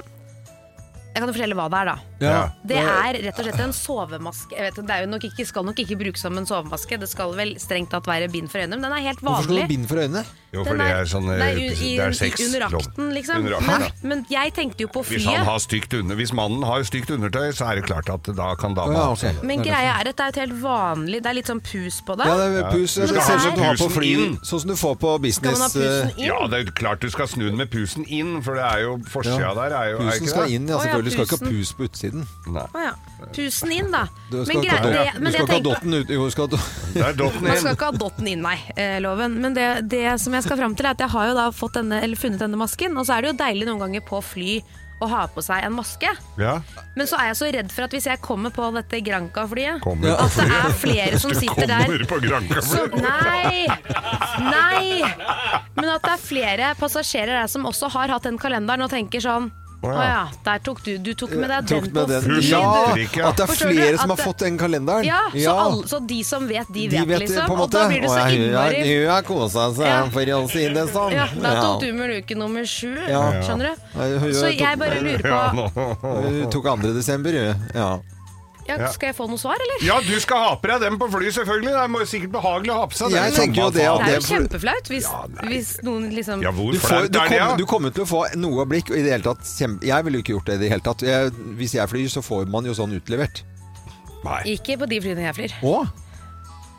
Speaker 5: Jeg kan jo fortelle hva det er, da.
Speaker 3: Ja.
Speaker 5: Det er rett og slett en sovemaske. Jeg vet, det er jo nok ikke, skal nok ikke brukes som en sovemaske. Det skal vel strengt tatt være bind for øynene, men den er helt
Speaker 3: Hvorfor skal du ha
Speaker 5: vanlig.
Speaker 3: bind for øynene?
Speaker 4: Jo,
Speaker 5: Den
Speaker 4: for det er sånn
Speaker 5: det
Speaker 4: eh,
Speaker 5: er, u- i,
Speaker 4: det er sex.
Speaker 5: i- under
Speaker 4: lov.
Speaker 5: akten, liksom.
Speaker 4: Under akten, ja.
Speaker 5: men, men jeg tenkte jo på
Speaker 4: Hvis, han
Speaker 5: flyet.
Speaker 4: har stygt under, hvis mannen har stygt undertøy, så er det klart at da kan dama
Speaker 3: Ja,
Speaker 4: ha
Speaker 3: ok.
Speaker 4: sånn.
Speaker 5: Men greia er at det er et helt vanlig Det er litt sånn pus på det.
Speaker 3: Ja, det er pus.
Speaker 4: Du
Speaker 3: Det
Speaker 4: skal
Speaker 3: ser ut
Speaker 4: ha
Speaker 3: som du har på
Speaker 4: pusen
Speaker 3: fly,
Speaker 4: inn.
Speaker 3: sånn som du får på business. eh,
Speaker 4: Ja, det er klart du skal snu den med pusen inn, for det er jo forsida
Speaker 3: Ja.
Speaker 4: der. Er jo, er
Speaker 3: Pusen
Speaker 4: ikke
Speaker 3: skal
Speaker 4: det?
Speaker 3: inn, ja,
Speaker 5: Å, ja,
Speaker 3: selvfølgelig. Du skal ikke ha
Speaker 5: pusen.
Speaker 3: pus på utsiden.
Speaker 5: Å ja. Tusen inn, da.
Speaker 3: Du skal
Speaker 5: Men
Speaker 3: ikke ha
Speaker 5: grei-
Speaker 3: dotten-
Speaker 5: det-
Speaker 3: du
Speaker 5: men
Speaker 3: skal ikke ha
Speaker 5: det jeg
Speaker 3: dotten ut... Jo, du skal ha do-
Speaker 4: Det er dotten
Speaker 5: Man skal ikke ha dotten inn, nei, eh, loven. Men det, det som jeg skal fram til, er at jeg har jo da fått denne, eller funnet denne masken. Og så er det jo deilig noen ganger på fly å ha på seg en maske.
Speaker 4: Ja.
Speaker 5: Men så er jeg så redd for at hvis jeg kommer på dette Granca-flyet,
Speaker 4: Kommer på
Speaker 5: at det er
Speaker 4: flyet.
Speaker 5: flere som
Speaker 4: Du
Speaker 5: sitter
Speaker 4: kommer
Speaker 5: der
Speaker 4: på Granca.
Speaker 5: som, Nei! Nei! Men at det er flere passasjerer der som også har hatt den kalenderen og tenker sånn
Speaker 3: Å
Speaker 5: Å
Speaker 3: ja.
Speaker 5: ja, der tok du Du tok med deg
Speaker 3: Tok
Speaker 5: den
Speaker 3: med
Speaker 5: på
Speaker 3: den.
Speaker 5: fly,
Speaker 3: Ja,
Speaker 5: du.
Speaker 3: at det er
Speaker 5: Forstår du?
Speaker 3: flere som
Speaker 5: At
Speaker 3: har
Speaker 5: det-
Speaker 3: fått den kalenderen.
Speaker 5: Ja, så,
Speaker 3: Ja.
Speaker 5: alle, så de som vet, de vet,
Speaker 3: det
Speaker 5: liksom. Og da blir det så
Speaker 3: Å, jeg-
Speaker 5: innmari
Speaker 3: jeg- Hun har kosa seg,
Speaker 5: Ja.
Speaker 3: for å si det sånn.
Speaker 5: ja, Da tok du med luke nummer sju,
Speaker 3: Ja.
Speaker 5: skjønner du.
Speaker 3: Ja. Hun- hun
Speaker 5: Så
Speaker 3: tok-
Speaker 5: jeg bare lurer på
Speaker 3: Hun tok 2. desember, hun. Ja.
Speaker 5: Ja,
Speaker 4: Ja.
Speaker 5: skal jeg få noe svar, eller?
Speaker 4: Ja, du skal ha på deg den på flyet, selvfølgelig. Det er må- sikkert behagelig å ha på seg den.
Speaker 3: Jeg tenker jo det at
Speaker 5: Det er
Speaker 3: det-
Speaker 5: jo kjempeflaut hvis, hvis noen liksom
Speaker 4: Ja, hvor
Speaker 3: Du, får,
Speaker 4: flaut
Speaker 3: du,
Speaker 4: er det,
Speaker 3: kommer,
Speaker 4: ja?
Speaker 3: du kommer til å få noe blikk, og i det hele tatt kjem- Jeg ville jo ikke gjort det i det hele tatt. Jeg, hvis jeg flyr, så får man jo sånn utlevert. Nei.
Speaker 5: Ikke på de flyene jeg flyr.
Speaker 3: Å?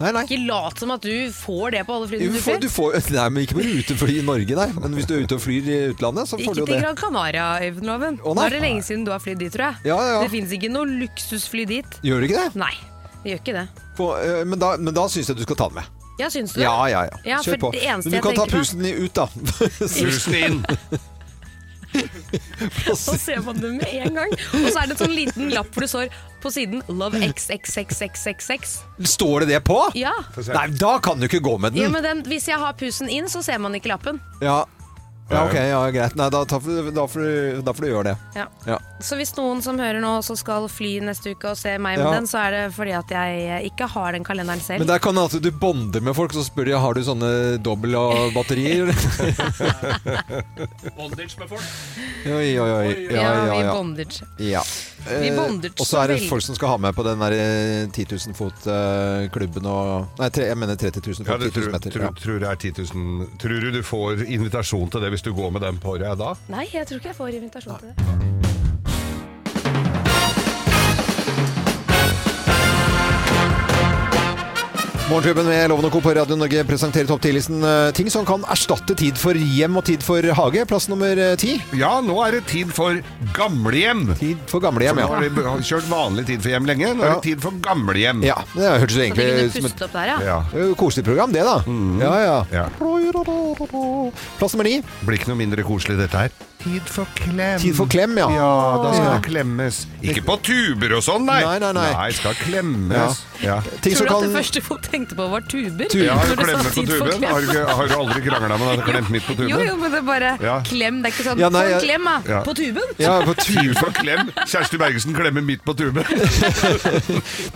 Speaker 3: Nei, nei.
Speaker 5: Ikke lat som at du får det på alle
Speaker 3: Du
Speaker 5: flyene du
Speaker 3: får, du
Speaker 5: flyr.
Speaker 3: får, nei, men ikke på rutefly i Norge, nei. Men hvis du er ute og flyr i utlandet, så
Speaker 5: Ikke
Speaker 3: får du jo
Speaker 5: til
Speaker 3: det.
Speaker 5: Gran Canaria, Øyvind-loven.
Speaker 3: Å,
Speaker 5: Nå
Speaker 3: nei.
Speaker 5: er det lenge siden du har flydd dit, tror jeg.
Speaker 3: Ja, ja, ja.
Speaker 5: Det fins ikke noe luksusfly dit.
Speaker 3: Gjør du ikke det?
Speaker 5: Nei, det gjør ikke det.
Speaker 3: På, øh, men da, men da syns jeg du skal ta den med.
Speaker 5: Ja, syns du det?
Speaker 3: Ja, ja, ja.
Speaker 5: Ja,
Speaker 3: Kjør
Speaker 5: for
Speaker 3: på.
Speaker 5: det
Speaker 3: Men du
Speaker 5: eneste jeg
Speaker 3: kan ta
Speaker 5: tenker på-
Speaker 3: pusten i- ut, da.
Speaker 4: Pusten inn.
Speaker 5: Så ser man det med en gang. Og så er det en sånn liten lapp hvor det står på siden 'Love XXXXXX'.
Speaker 3: Står det det på?
Speaker 5: Ja. Få se.
Speaker 3: Nei, da kan du ikke gå med den.
Speaker 5: ja, men den, hvis jeg har pusen inn, så ser man ikke lappen.
Speaker 3: Ja, ja ok, ja, greit. Nei, da, tar- da, får du, da får du gjøre det.
Speaker 5: Ja.
Speaker 3: Ja.
Speaker 5: Så hvis noen som hører nå også skal fly neste uke og se meg med
Speaker 3: Ja.
Speaker 5: den, så er det fordi at jeg ikke har den kalenderen selv.
Speaker 3: Men der kan det at du bonder med folk, så spør de har du sånne dobbel av batterier.
Speaker 7: Bondage med folk.
Speaker 3: oi, oi, oi. Ja,
Speaker 5: Ja,
Speaker 3: ja,
Speaker 5: vi
Speaker 3: ja.
Speaker 5: bonder.
Speaker 3: Ja.
Speaker 5: Vi
Speaker 3: Eh,
Speaker 5: bonder
Speaker 3: Og så er det
Speaker 5: så veldig.
Speaker 3: folk som skal ha med på den der eh, 10 000 fot-klubben og Nei, tre, jeg mener 30 000
Speaker 4: Ja,
Speaker 3: fot,
Speaker 4: du
Speaker 3: 10 000
Speaker 4: tror,
Speaker 3: meter.
Speaker 4: tror,
Speaker 3: Ja.
Speaker 4: tror, det er 10 000. tror du du får invitasjon til det hvis du går med den på deg da?
Speaker 5: Nei, jeg tror ikke jeg får invitasjon til det.
Speaker 3: Morgenklubben med Loven og Co. på Radio Norge presenterer topp 10-listen eh, ting som kan erstatte tid for hjem og tid for hage. Plass nummer eh, ti.
Speaker 4: Ja, nå er det tid for gamlehjem.
Speaker 3: Tid for gamlehjem,
Speaker 4: For nå
Speaker 3: ja.
Speaker 4: har de har kjørt vanlig tid for hjem lenge. Nå er det tid for gamlehjem.
Speaker 3: Ja, det hørtes jo
Speaker 5: Så de
Speaker 3: egentlig
Speaker 5: kunne
Speaker 3: som
Speaker 5: puste opp der, ja.
Speaker 4: Ja. Mhm.
Speaker 3: Det er jo et Koselig program, det, da. Ja, ja. Plass nummer ni.
Speaker 4: Blir ikke noe mindre koselig dette her. Tid for klem.
Speaker 3: Tid for klem, ja.
Speaker 4: Ja, da skal
Speaker 3: Ja.
Speaker 4: det klemmes. Ikke på tuber og sånn, nei.
Speaker 3: Nei, nei, nei.
Speaker 4: skal klemmes. Ja.
Speaker 3: Ting
Speaker 5: Tror
Speaker 3: som
Speaker 5: du at
Speaker 3: kan
Speaker 5: det første folk tenkte på, var tuber?
Speaker 4: Ja,
Speaker 5: Når du sa
Speaker 4: klemmer på
Speaker 5: tid for
Speaker 4: tuben.
Speaker 5: klem.
Speaker 4: Har, du- har du aldri krangla med deg? Klemt midt på tuben?
Speaker 5: Jo, jo, men det er bare
Speaker 4: Ja.
Speaker 5: klem. Det er ikke sånn
Speaker 4: Ja, nei,
Speaker 5: Få en
Speaker 4: jeg-
Speaker 5: klem, da!
Speaker 4: Ja.
Speaker 5: På tuben!
Speaker 3: ja, på
Speaker 4: Tid for klem. Kjersti Bergesen klemmer midt på tuben.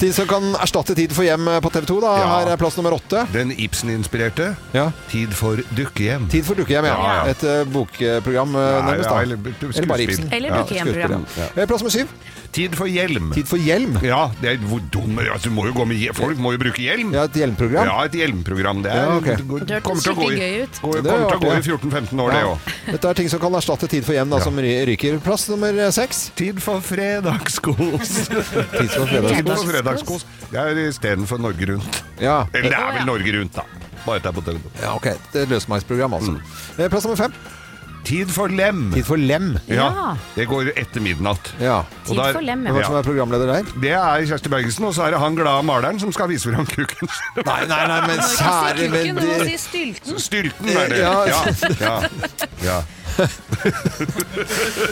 Speaker 3: Tid som kan erstatte tid for hjem eh, på TV 2, da.
Speaker 4: Ja.
Speaker 3: Her er plass nummer åtte.
Speaker 4: Den Ibsen-inspirerte.
Speaker 3: Ja.
Speaker 4: Tid for dukkehjem.
Speaker 3: Tid for dukkehjem, ja.
Speaker 4: Ja, ja.
Speaker 3: Et eh, bokprogram, eh,
Speaker 4: Ja,
Speaker 3: nærmest.
Speaker 4: ja,
Speaker 3: da.
Speaker 4: eller b- skuespill.
Speaker 3: eller bare Ibsen.
Speaker 5: Eller
Speaker 3: Ja,
Speaker 5: dukkehjemprogram.
Speaker 3: skuespill, ja. Eh, Plass nummer syv.
Speaker 4: Tid for hjelm.
Speaker 3: Tid for hjelm.
Speaker 4: Ja, det er hvor dum altså, du må jo gå med, hje- Folk må jo bruke hjelm.
Speaker 3: Ja, et hjelmprogram.
Speaker 4: Ja, et hjelmprogram. Det, er,
Speaker 3: Ja, ok.
Speaker 4: det går-
Speaker 5: Det hørtes
Speaker 4: kommer til å gå i,
Speaker 5: skikkelig gøy ut.
Speaker 4: går, kommer til
Speaker 3: Det er
Speaker 4: å gå
Speaker 3: artig, ja.
Speaker 4: i 14-15 år, det
Speaker 3: Ja.
Speaker 4: òg.
Speaker 3: Dette er ting som kan erstatte tid for hjem, da, som ry- ryker. Plass nummer eh, seks.
Speaker 4: Tid for fredagskos.
Speaker 3: Tid for
Speaker 4: Tid
Speaker 3: fredag.
Speaker 4: for fredagskos. Det er istedenfor Norge Rundt.
Speaker 3: Ja.
Speaker 4: Eller det er vel Norge Rundt, da. Bare Mm. at det er på TV2.
Speaker 3: ja, ok. Det er et løsmarksprogram, altså. Eh, Plass nummer fem.
Speaker 4: Tid for lem.
Speaker 3: Tid for lem.
Speaker 4: Ja. Det går etter midnatt.
Speaker 3: Ja.
Speaker 4: Og da er-
Speaker 5: for lem, ja.
Speaker 3: Hvem er det som er programleder der?
Speaker 4: Det er Kjersti Bergesen, og så er det han glade maleren som skal vise fram kuken.
Speaker 3: Nei, nei, nei, men kjære
Speaker 5: Kuken,
Speaker 3: men
Speaker 5: du må
Speaker 3: det-
Speaker 5: si stylten.
Speaker 4: Stylten er det.
Speaker 3: Ja.
Speaker 4: Ja. ja. ja.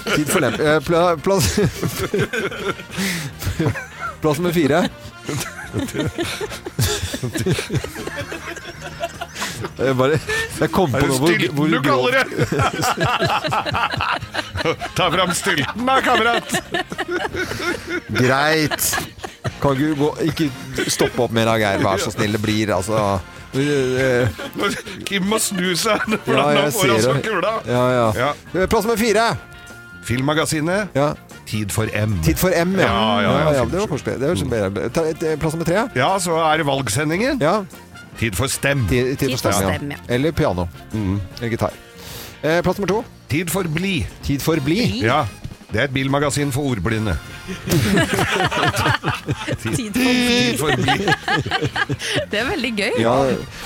Speaker 3: Tid for lem. Eh, pla- Plass Plass nummer fire. Jeg Eh, bare Jeg kom på
Speaker 4: Er det
Speaker 3: noe hvor,
Speaker 4: stylten
Speaker 3: hvor
Speaker 4: du
Speaker 3: grov-
Speaker 4: kaller det? Ta fram stylten da, kamerat!
Speaker 3: Greit. Kan du gå Ikke stoppe opp mer da, Geir. Vær så snill. Det blir altså Eh,
Speaker 4: Kim må snu seg, for
Speaker 3: Ja,
Speaker 4: han
Speaker 3: jeg
Speaker 4: får altså
Speaker 3: ser det.
Speaker 4: kula.
Speaker 3: Ja, ja.
Speaker 4: Ja.
Speaker 3: Eh, Plass nummer fire.
Speaker 4: Filmmagasinet,
Speaker 3: Ja.
Speaker 4: tid for M.
Speaker 3: Tid for M, ja.
Speaker 4: Ja, ja, Mm. ja.
Speaker 3: det var koselig. Det høres bedre ut. Ta- eh, Plass nummer tre.
Speaker 4: Ja, så er det valgsendingen.
Speaker 3: Ja.
Speaker 4: Tid for stem. Mm.
Speaker 3: Tid, tid for
Speaker 5: for
Speaker 3: stemme.
Speaker 5: stem,
Speaker 3: Ja. Eller piano. Eller gitar. Eh, Plass nummer to.
Speaker 4: Tid for bli.
Speaker 3: Tid for bli.
Speaker 4: Ja, det er et bilmagasin for ordblinde.
Speaker 5: Tid for
Speaker 4: Tid for bli.
Speaker 5: Det er veldig gøy.
Speaker 3: Ja.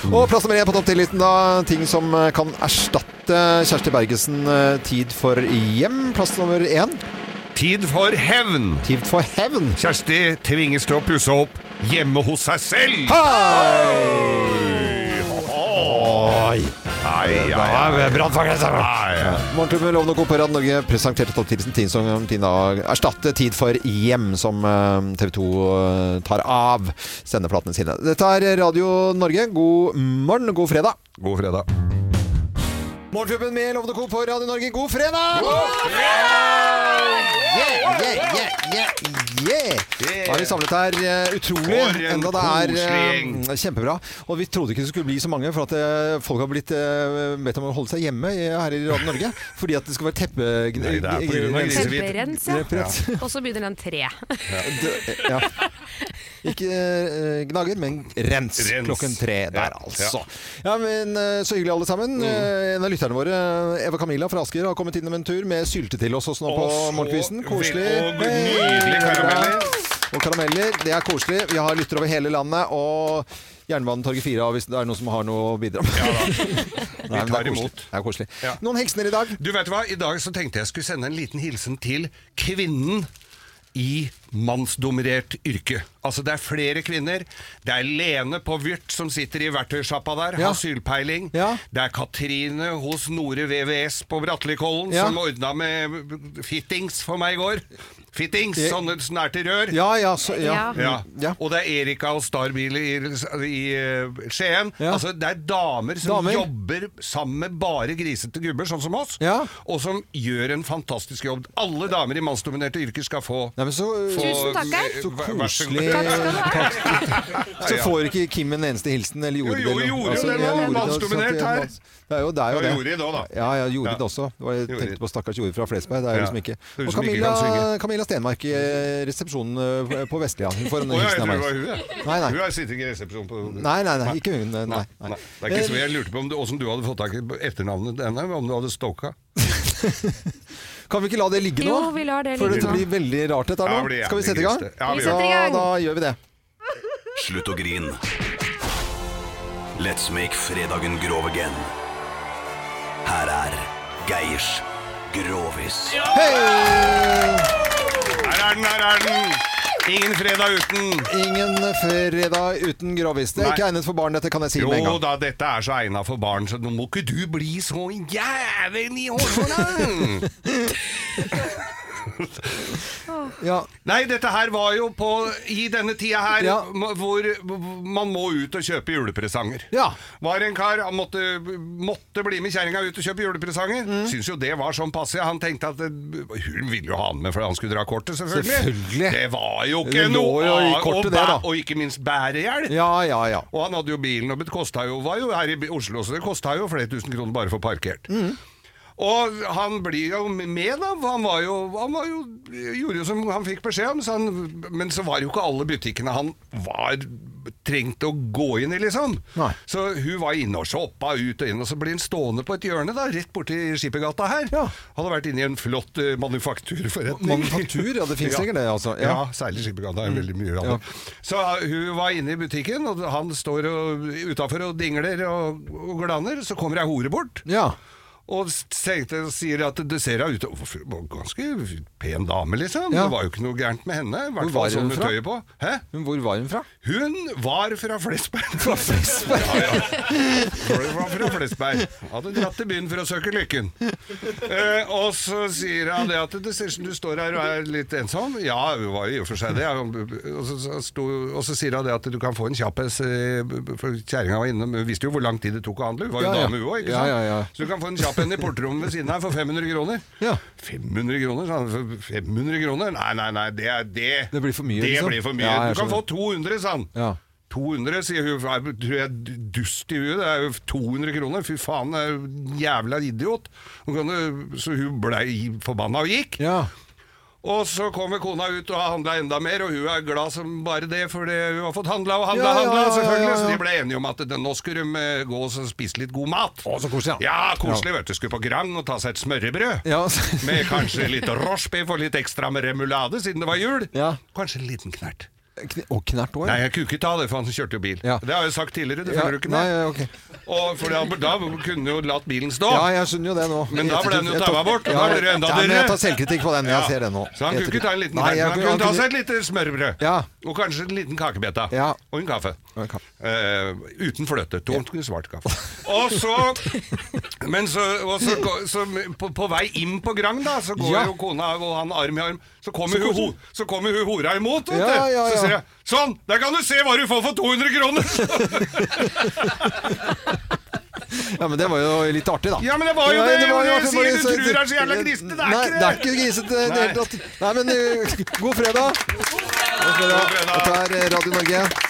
Speaker 3: Og plass nummer én på topp 10-listen, da. Ting som eh, kan erstatte Kjersti Bergesen eh, tid for hjem. Plass nummer én.
Speaker 4: Tid for hevn.
Speaker 3: Tid for hevn.
Speaker 4: Kjersti tvinges til å pusse opp hjemme hos seg selv. Oi! Ai, ai, ai. Ai, ai.
Speaker 3: Morgenklubben Loven og Co. på Radio Norge presenterte topp 10-listen ting som ting da erstatte tid for hjem, som eh, TV 2 tar av sendeplatene sine. Dette er Radio Norge. God morgen, god fredag.
Speaker 4: God fredag.
Speaker 3: Morgenklubben med Lovende Co. på Radio Norge, god fredag! God fredag! Yeah, yeah, yeah, yeah, yeah. Da er vi samlet her. eh, Utrolig.
Speaker 4: For en
Speaker 3: Enda det er eh,
Speaker 4: koselig
Speaker 3: kjempebra. Og vi trodde ikke det skulle bli så mange, for at eh, folk har blitt eh, bedt om å holde seg hjemme i- her i Radio Norge. Fordi at det skal være teppe...
Speaker 4: Nei, det er på grunn av
Speaker 3: Tepperens,
Speaker 5: Temperens, ja.
Speaker 3: Temperens.
Speaker 5: Og så begynner den tre.
Speaker 3: Eh, Det- Ja. Ikke eh, gnager, men rens.
Speaker 4: Rens.
Speaker 3: Klokken tre der,
Speaker 4: Ja, Mm.
Speaker 3: altså. Ja, men eh, Så hyggelig, alle sammen. Eh, En av lytterne våre, eh, Eva Camilla fra Asker, har kommet innom en tur med sylte til oss også nå på
Speaker 4: så
Speaker 3: morgenkvisten. Koselig.
Speaker 4: vel- og
Speaker 3: Hei!
Speaker 4: nydelige karameller.
Speaker 3: Og karameller. Det er koselig. Vi har lyttere over hele landet. og Jernbanetorget 4A, hvis det er noen som har noe å bidra med. Nei, men det er
Speaker 4: tar
Speaker 3: koselig.
Speaker 4: imot.
Speaker 3: Det er koselig. Noen hilsener i dag?
Speaker 4: Du vet hva, I dag så tenkte jeg skulle sende en liten hilsen til kvinnen i mannsdominert yrke. Altså Det er flere kvinner. Det er Lene på Vyrt som sitter i verktøysjappa der,
Speaker 3: Ja.
Speaker 4: har sylpeiling. Det er Katrine hos Nore VVS på Brattelikollen
Speaker 3: Ja.
Speaker 4: som ordna med fittings for meg i går. Fittings,
Speaker 3: Ja.
Speaker 4: sånne snærte rør.
Speaker 3: Ja, ja, så, ja.
Speaker 4: Ja. Og det er Erika og Starbil i, i eh, Skien. Altså, det er damer som
Speaker 3: Damer.
Speaker 4: jobber sammen med bare grisete gubber, sånn som oss, og som gjør en fantastisk jobb. Alle damer i mannsdominerte yrker skal få, få
Speaker 3: Tusen takk,
Speaker 4: eh,
Speaker 3: Så
Speaker 4: vær- vær så god.
Speaker 3: koselig. Så får ikke Kim en eneste hilsen, eller gjorde
Speaker 4: Jo, jo,
Speaker 3: det? eller Altså,
Speaker 4: gjorde jo
Speaker 3: noe.
Speaker 4: det,
Speaker 3: jeg
Speaker 4: nå,
Speaker 3: gjorde det,
Speaker 4: mannsdominert
Speaker 3: så at
Speaker 4: her.
Speaker 3: jeg- Det er jo, det er jo
Speaker 4: Ja,
Speaker 3: det.
Speaker 4: Jorid også, da.
Speaker 3: Ja, ja, Jorid
Speaker 4: Ja.
Speaker 3: også. Det var- Jeg tenkte på stakkars Jorid fra Flesberg. Det er jo
Speaker 4: Ja.
Speaker 3: liksom ikke.
Speaker 4: Det er hun
Speaker 3: Og
Speaker 4: som ikke
Speaker 3: Camilla,
Speaker 4: kan synge.
Speaker 3: Camilla Stenmark i eh, resepsjonen eh, på Vestlia. Hun får en
Speaker 4: Å, ja, jeg
Speaker 3: hilsen
Speaker 4: tror det
Speaker 3: av meg.
Speaker 4: var hun, ja.
Speaker 3: Nei, nei.
Speaker 4: Hun har sittet i resepsjonen på
Speaker 3: Nei, nei, nei, ikke hun. Nei, nei.
Speaker 4: Det er ikke så jeg lurte på om du, hvordan du hadde fått tak i etternavnet denne, om du hadde stalka.
Speaker 3: Kan vi ikke la det ligge nå?
Speaker 4: Jo, vi lar det
Speaker 3: For
Speaker 4: ligge nå.
Speaker 3: dette blir veldig rart dette
Speaker 4: Ja,
Speaker 3: her
Speaker 4: det blir
Speaker 3: nå. Skal vi
Speaker 4: jævlig
Speaker 3: sette i gang?
Speaker 4: grist, det. Ja,
Speaker 3: vi
Speaker 4: vi gjør
Speaker 3: gjør
Speaker 4: det.
Speaker 3: det. Da gjør vi det.
Speaker 20: Slutt å grin. Let's make fredagen grov again. Her er Geirs Grovis.
Speaker 4: Her er den, her er den! Ingen fredag uten.
Speaker 3: Ingen fredag uten grovis. Det er
Speaker 4: Nei.
Speaker 3: ikke egnet for barn, dette kan jeg si med en
Speaker 4: Jo
Speaker 3: gang.
Speaker 4: da, dette er så egna for barn, så nå må ikke du bli så jævlig hårhåra! Nei, dette her var jo på I denne tida her m- hvor man må ut og kjøpe julepresanger. Var en kar han måtte, måtte bli med kjerringa ut og kjøpe julepresanger.
Speaker 3: Mm.
Speaker 4: Syns jo det var sånn passe. Han tenkte at eh, hun ville jo ha den med fordi han skulle dra kortet, selvfølgelig.
Speaker 3: Selvfølgelig.
Speaker 4: Det var jo ikke
Speaker 3: Det lå
Speaker 4: noe
Speaker 3: jo i
Speaker 4: av-
Speaker 3: kortet,
Speaker 4: og,
Speaker 3: det,
Speaker 4: bæ-
Speaker 3: da.
Speaker 4: Og ikke minst bærehjelm.
Speaker 3: Ja, ja, ja.
Speaker 4: Og han hadde jo bilen, og det kosta jo, var jo her i Oslo, så det kosta jo flere tusen kroner bare for parkert.
Speaker 3: Mm.
Speaker 4: Og han blir jo med, da. Han, var jo, han var jo, gjorde jo som han fikk beskjed om. Så han, men så var jo ikke alle butikkene han var trengt å gå inn i, liksom. Så hun var inne og shoppa ut og inn, og så blir han stående på et hjørne, da, rett borti Skippergata her. Hadde vært inne i en flott eh, manufakturforretning.
Speaker 3: Manufaktur, ja, det finnes sikkert det, altså.
Speaker 4: Ja,
Speaker 3: Ja.
Speaker 4: særlig Skippergata er veldig mye av det. Så uh, hun var inne i butikken, og han står utafor og dingler og, og glaner. Så kommer ei hore bort. Og s- tenkte, sier at det ser da ut Hvorfor- Ganske pen dame, liksom.
Speaker 3: Ja.
Speaker 4: Det var jo ikke noe gærent med henne. i hvert
Speaker 3: Hvor var
Speaker 4: fall sånn
Speaker 3: hun
Speaker 4: med
Speaker 3: fra?
Speaker 4: tøyet på. Hæ?
Speaker 3: Hvor var hun fra?
Speaker 4: Hun var fra Flesberg. Fra Flesberg? ja, ja. Hun var fra Flesberg. Hadde dratt til byen for å søke lykken. Eh, og så sier han det at det ser ut som du står her og er litt ensom. Ja, hun var jo i og for seg det. Og så, så sto, og så sier han det at du kan få en kjappes eh, For kjerringa var inne, men hun visste jo hvor lang tid det tok å handle. Hun var jo
Speaker 3: Ja, ja.
Speaker 4: dame, hun òg, ikke
Speaker 3: Ja,
Speaker 4: sant?
Speaker 3: ja, ja.
Speaker 4: Så du kan få en kjapp en i portrommet ved siden av for 500 kroner. 500 kroner, sa han. For 500 kroner? Nei, nei, nei, det er det.
Speaker 3: Det blir for mye,
Speaker 4: Det
Speaker 3: liksom.
Speaker 4: blir for mye.
Speaker 3: Ja, jeg
Speaker 4: du kan
Speaker 3: skjønner.
Speaker 4: få 200, sa han. 200, sier hun. Jeg tror jeg er dust i huet. Det er jo 200 kroner. Fy faen, jeg er jo en jævla idiot. Hun kan jo- Så hun blei forbanna og gikk. Og så kommer kona ut og har handla enda mer, og hun er glad som bare det, fordi hun har fått handla og handla
Speaker 3: Ja, ja,
Speaker 4: handla,
Speaker 3: ja,
Speaker 4: selvfølgelig.
Speaker 3: ja, ja.
Speaker 4: Så de ble enige om at det, nå skulle de eh, gå og så spise litt god mat. Å, så koselig, ja. koselig, vet du. Skulle på Grang og ta seg et smørrebrød. med kanskje litt rochebiff og litt ekstra med remulade, siden det var jul. Kanskje en liten knert.
Speaker 3: Og knert òg?
Speaker 4: Nei, jeg kunne ikke ta det, for han kjørte jo bil. Det har jeg jo sagt tidligere, det
Speaker 3: Ja,
Speaker 4: følger du ikke
Speaker 3: nei,
Speaker 4: med.
Speaker 3: ja, ok.
Speaker 4: Og for da, da kunne jo latt bilen stå.
Speaker 3: Ja, jeg skjønner jo det nå.
Speaker 4: Men da ble den jo
Speaker 3: Jeg tok-
Speaker 4: taua bort, og
Speaker 3: Ja,
Speaker 4: da ble det enda
Speaker 3: ja, men jeg
Speaker 4: dyrere.
Speaker 3: tar selvkritikk på den. Jeg
Speaker 4: Ja.
Speaker 3: ser det nå.
Speaker 4: Så han kunne
Speaker 3: Ettertid.
Speaker 4: ikke ta en liten
Speaker 3: Nei,
Speaker 4: knert,
Speaker 3: jeg
Speaker 4: men han
Speaker 3: kunne-
Speaker 4: kunne ta
Speaker 3: han
Speaker 4: seg et lite smørbrød. Og kanskje en liten kakebete. Og en kaffe. Eh, uten fløte. Tårn svart kaffe. Og så, men så, og så, gå- så på, på vei inn på Grang, da, så går
Speaker 3: Ja.
Speaker 4: jo kona og han arm i arm. Så
Speaker 3: Så
Speaker 4: kommer, hun,
Speaker 3: koselig.
Speaker 4: ho- så kommer hun hora imot, vet du.
Speaker 3: Ja, ja, ja.
Speaker 4: Så sier jeg Sånn! Der kan du se hva du får for 200 kroner!
Speaker 3: Ja, men det var jo litt artig, da.
Speaker 4: Ja, men det var jo det! Når
Speaker 3: var
Speaker 4: du
Speaker 3: artig,
Speaker 4: sier
Speaker 3: bare
Speaker 4: du
Speaker 3: så-
Speaker 4: tror det er så jævla grisete, det er
Speaker 3: Nei,
Speaker 4: ikke det.
Speaker 3: det er ikke grisete i det hele tatt. Nei, men eh, god fredag. God fredag. Dette er Radio Norge.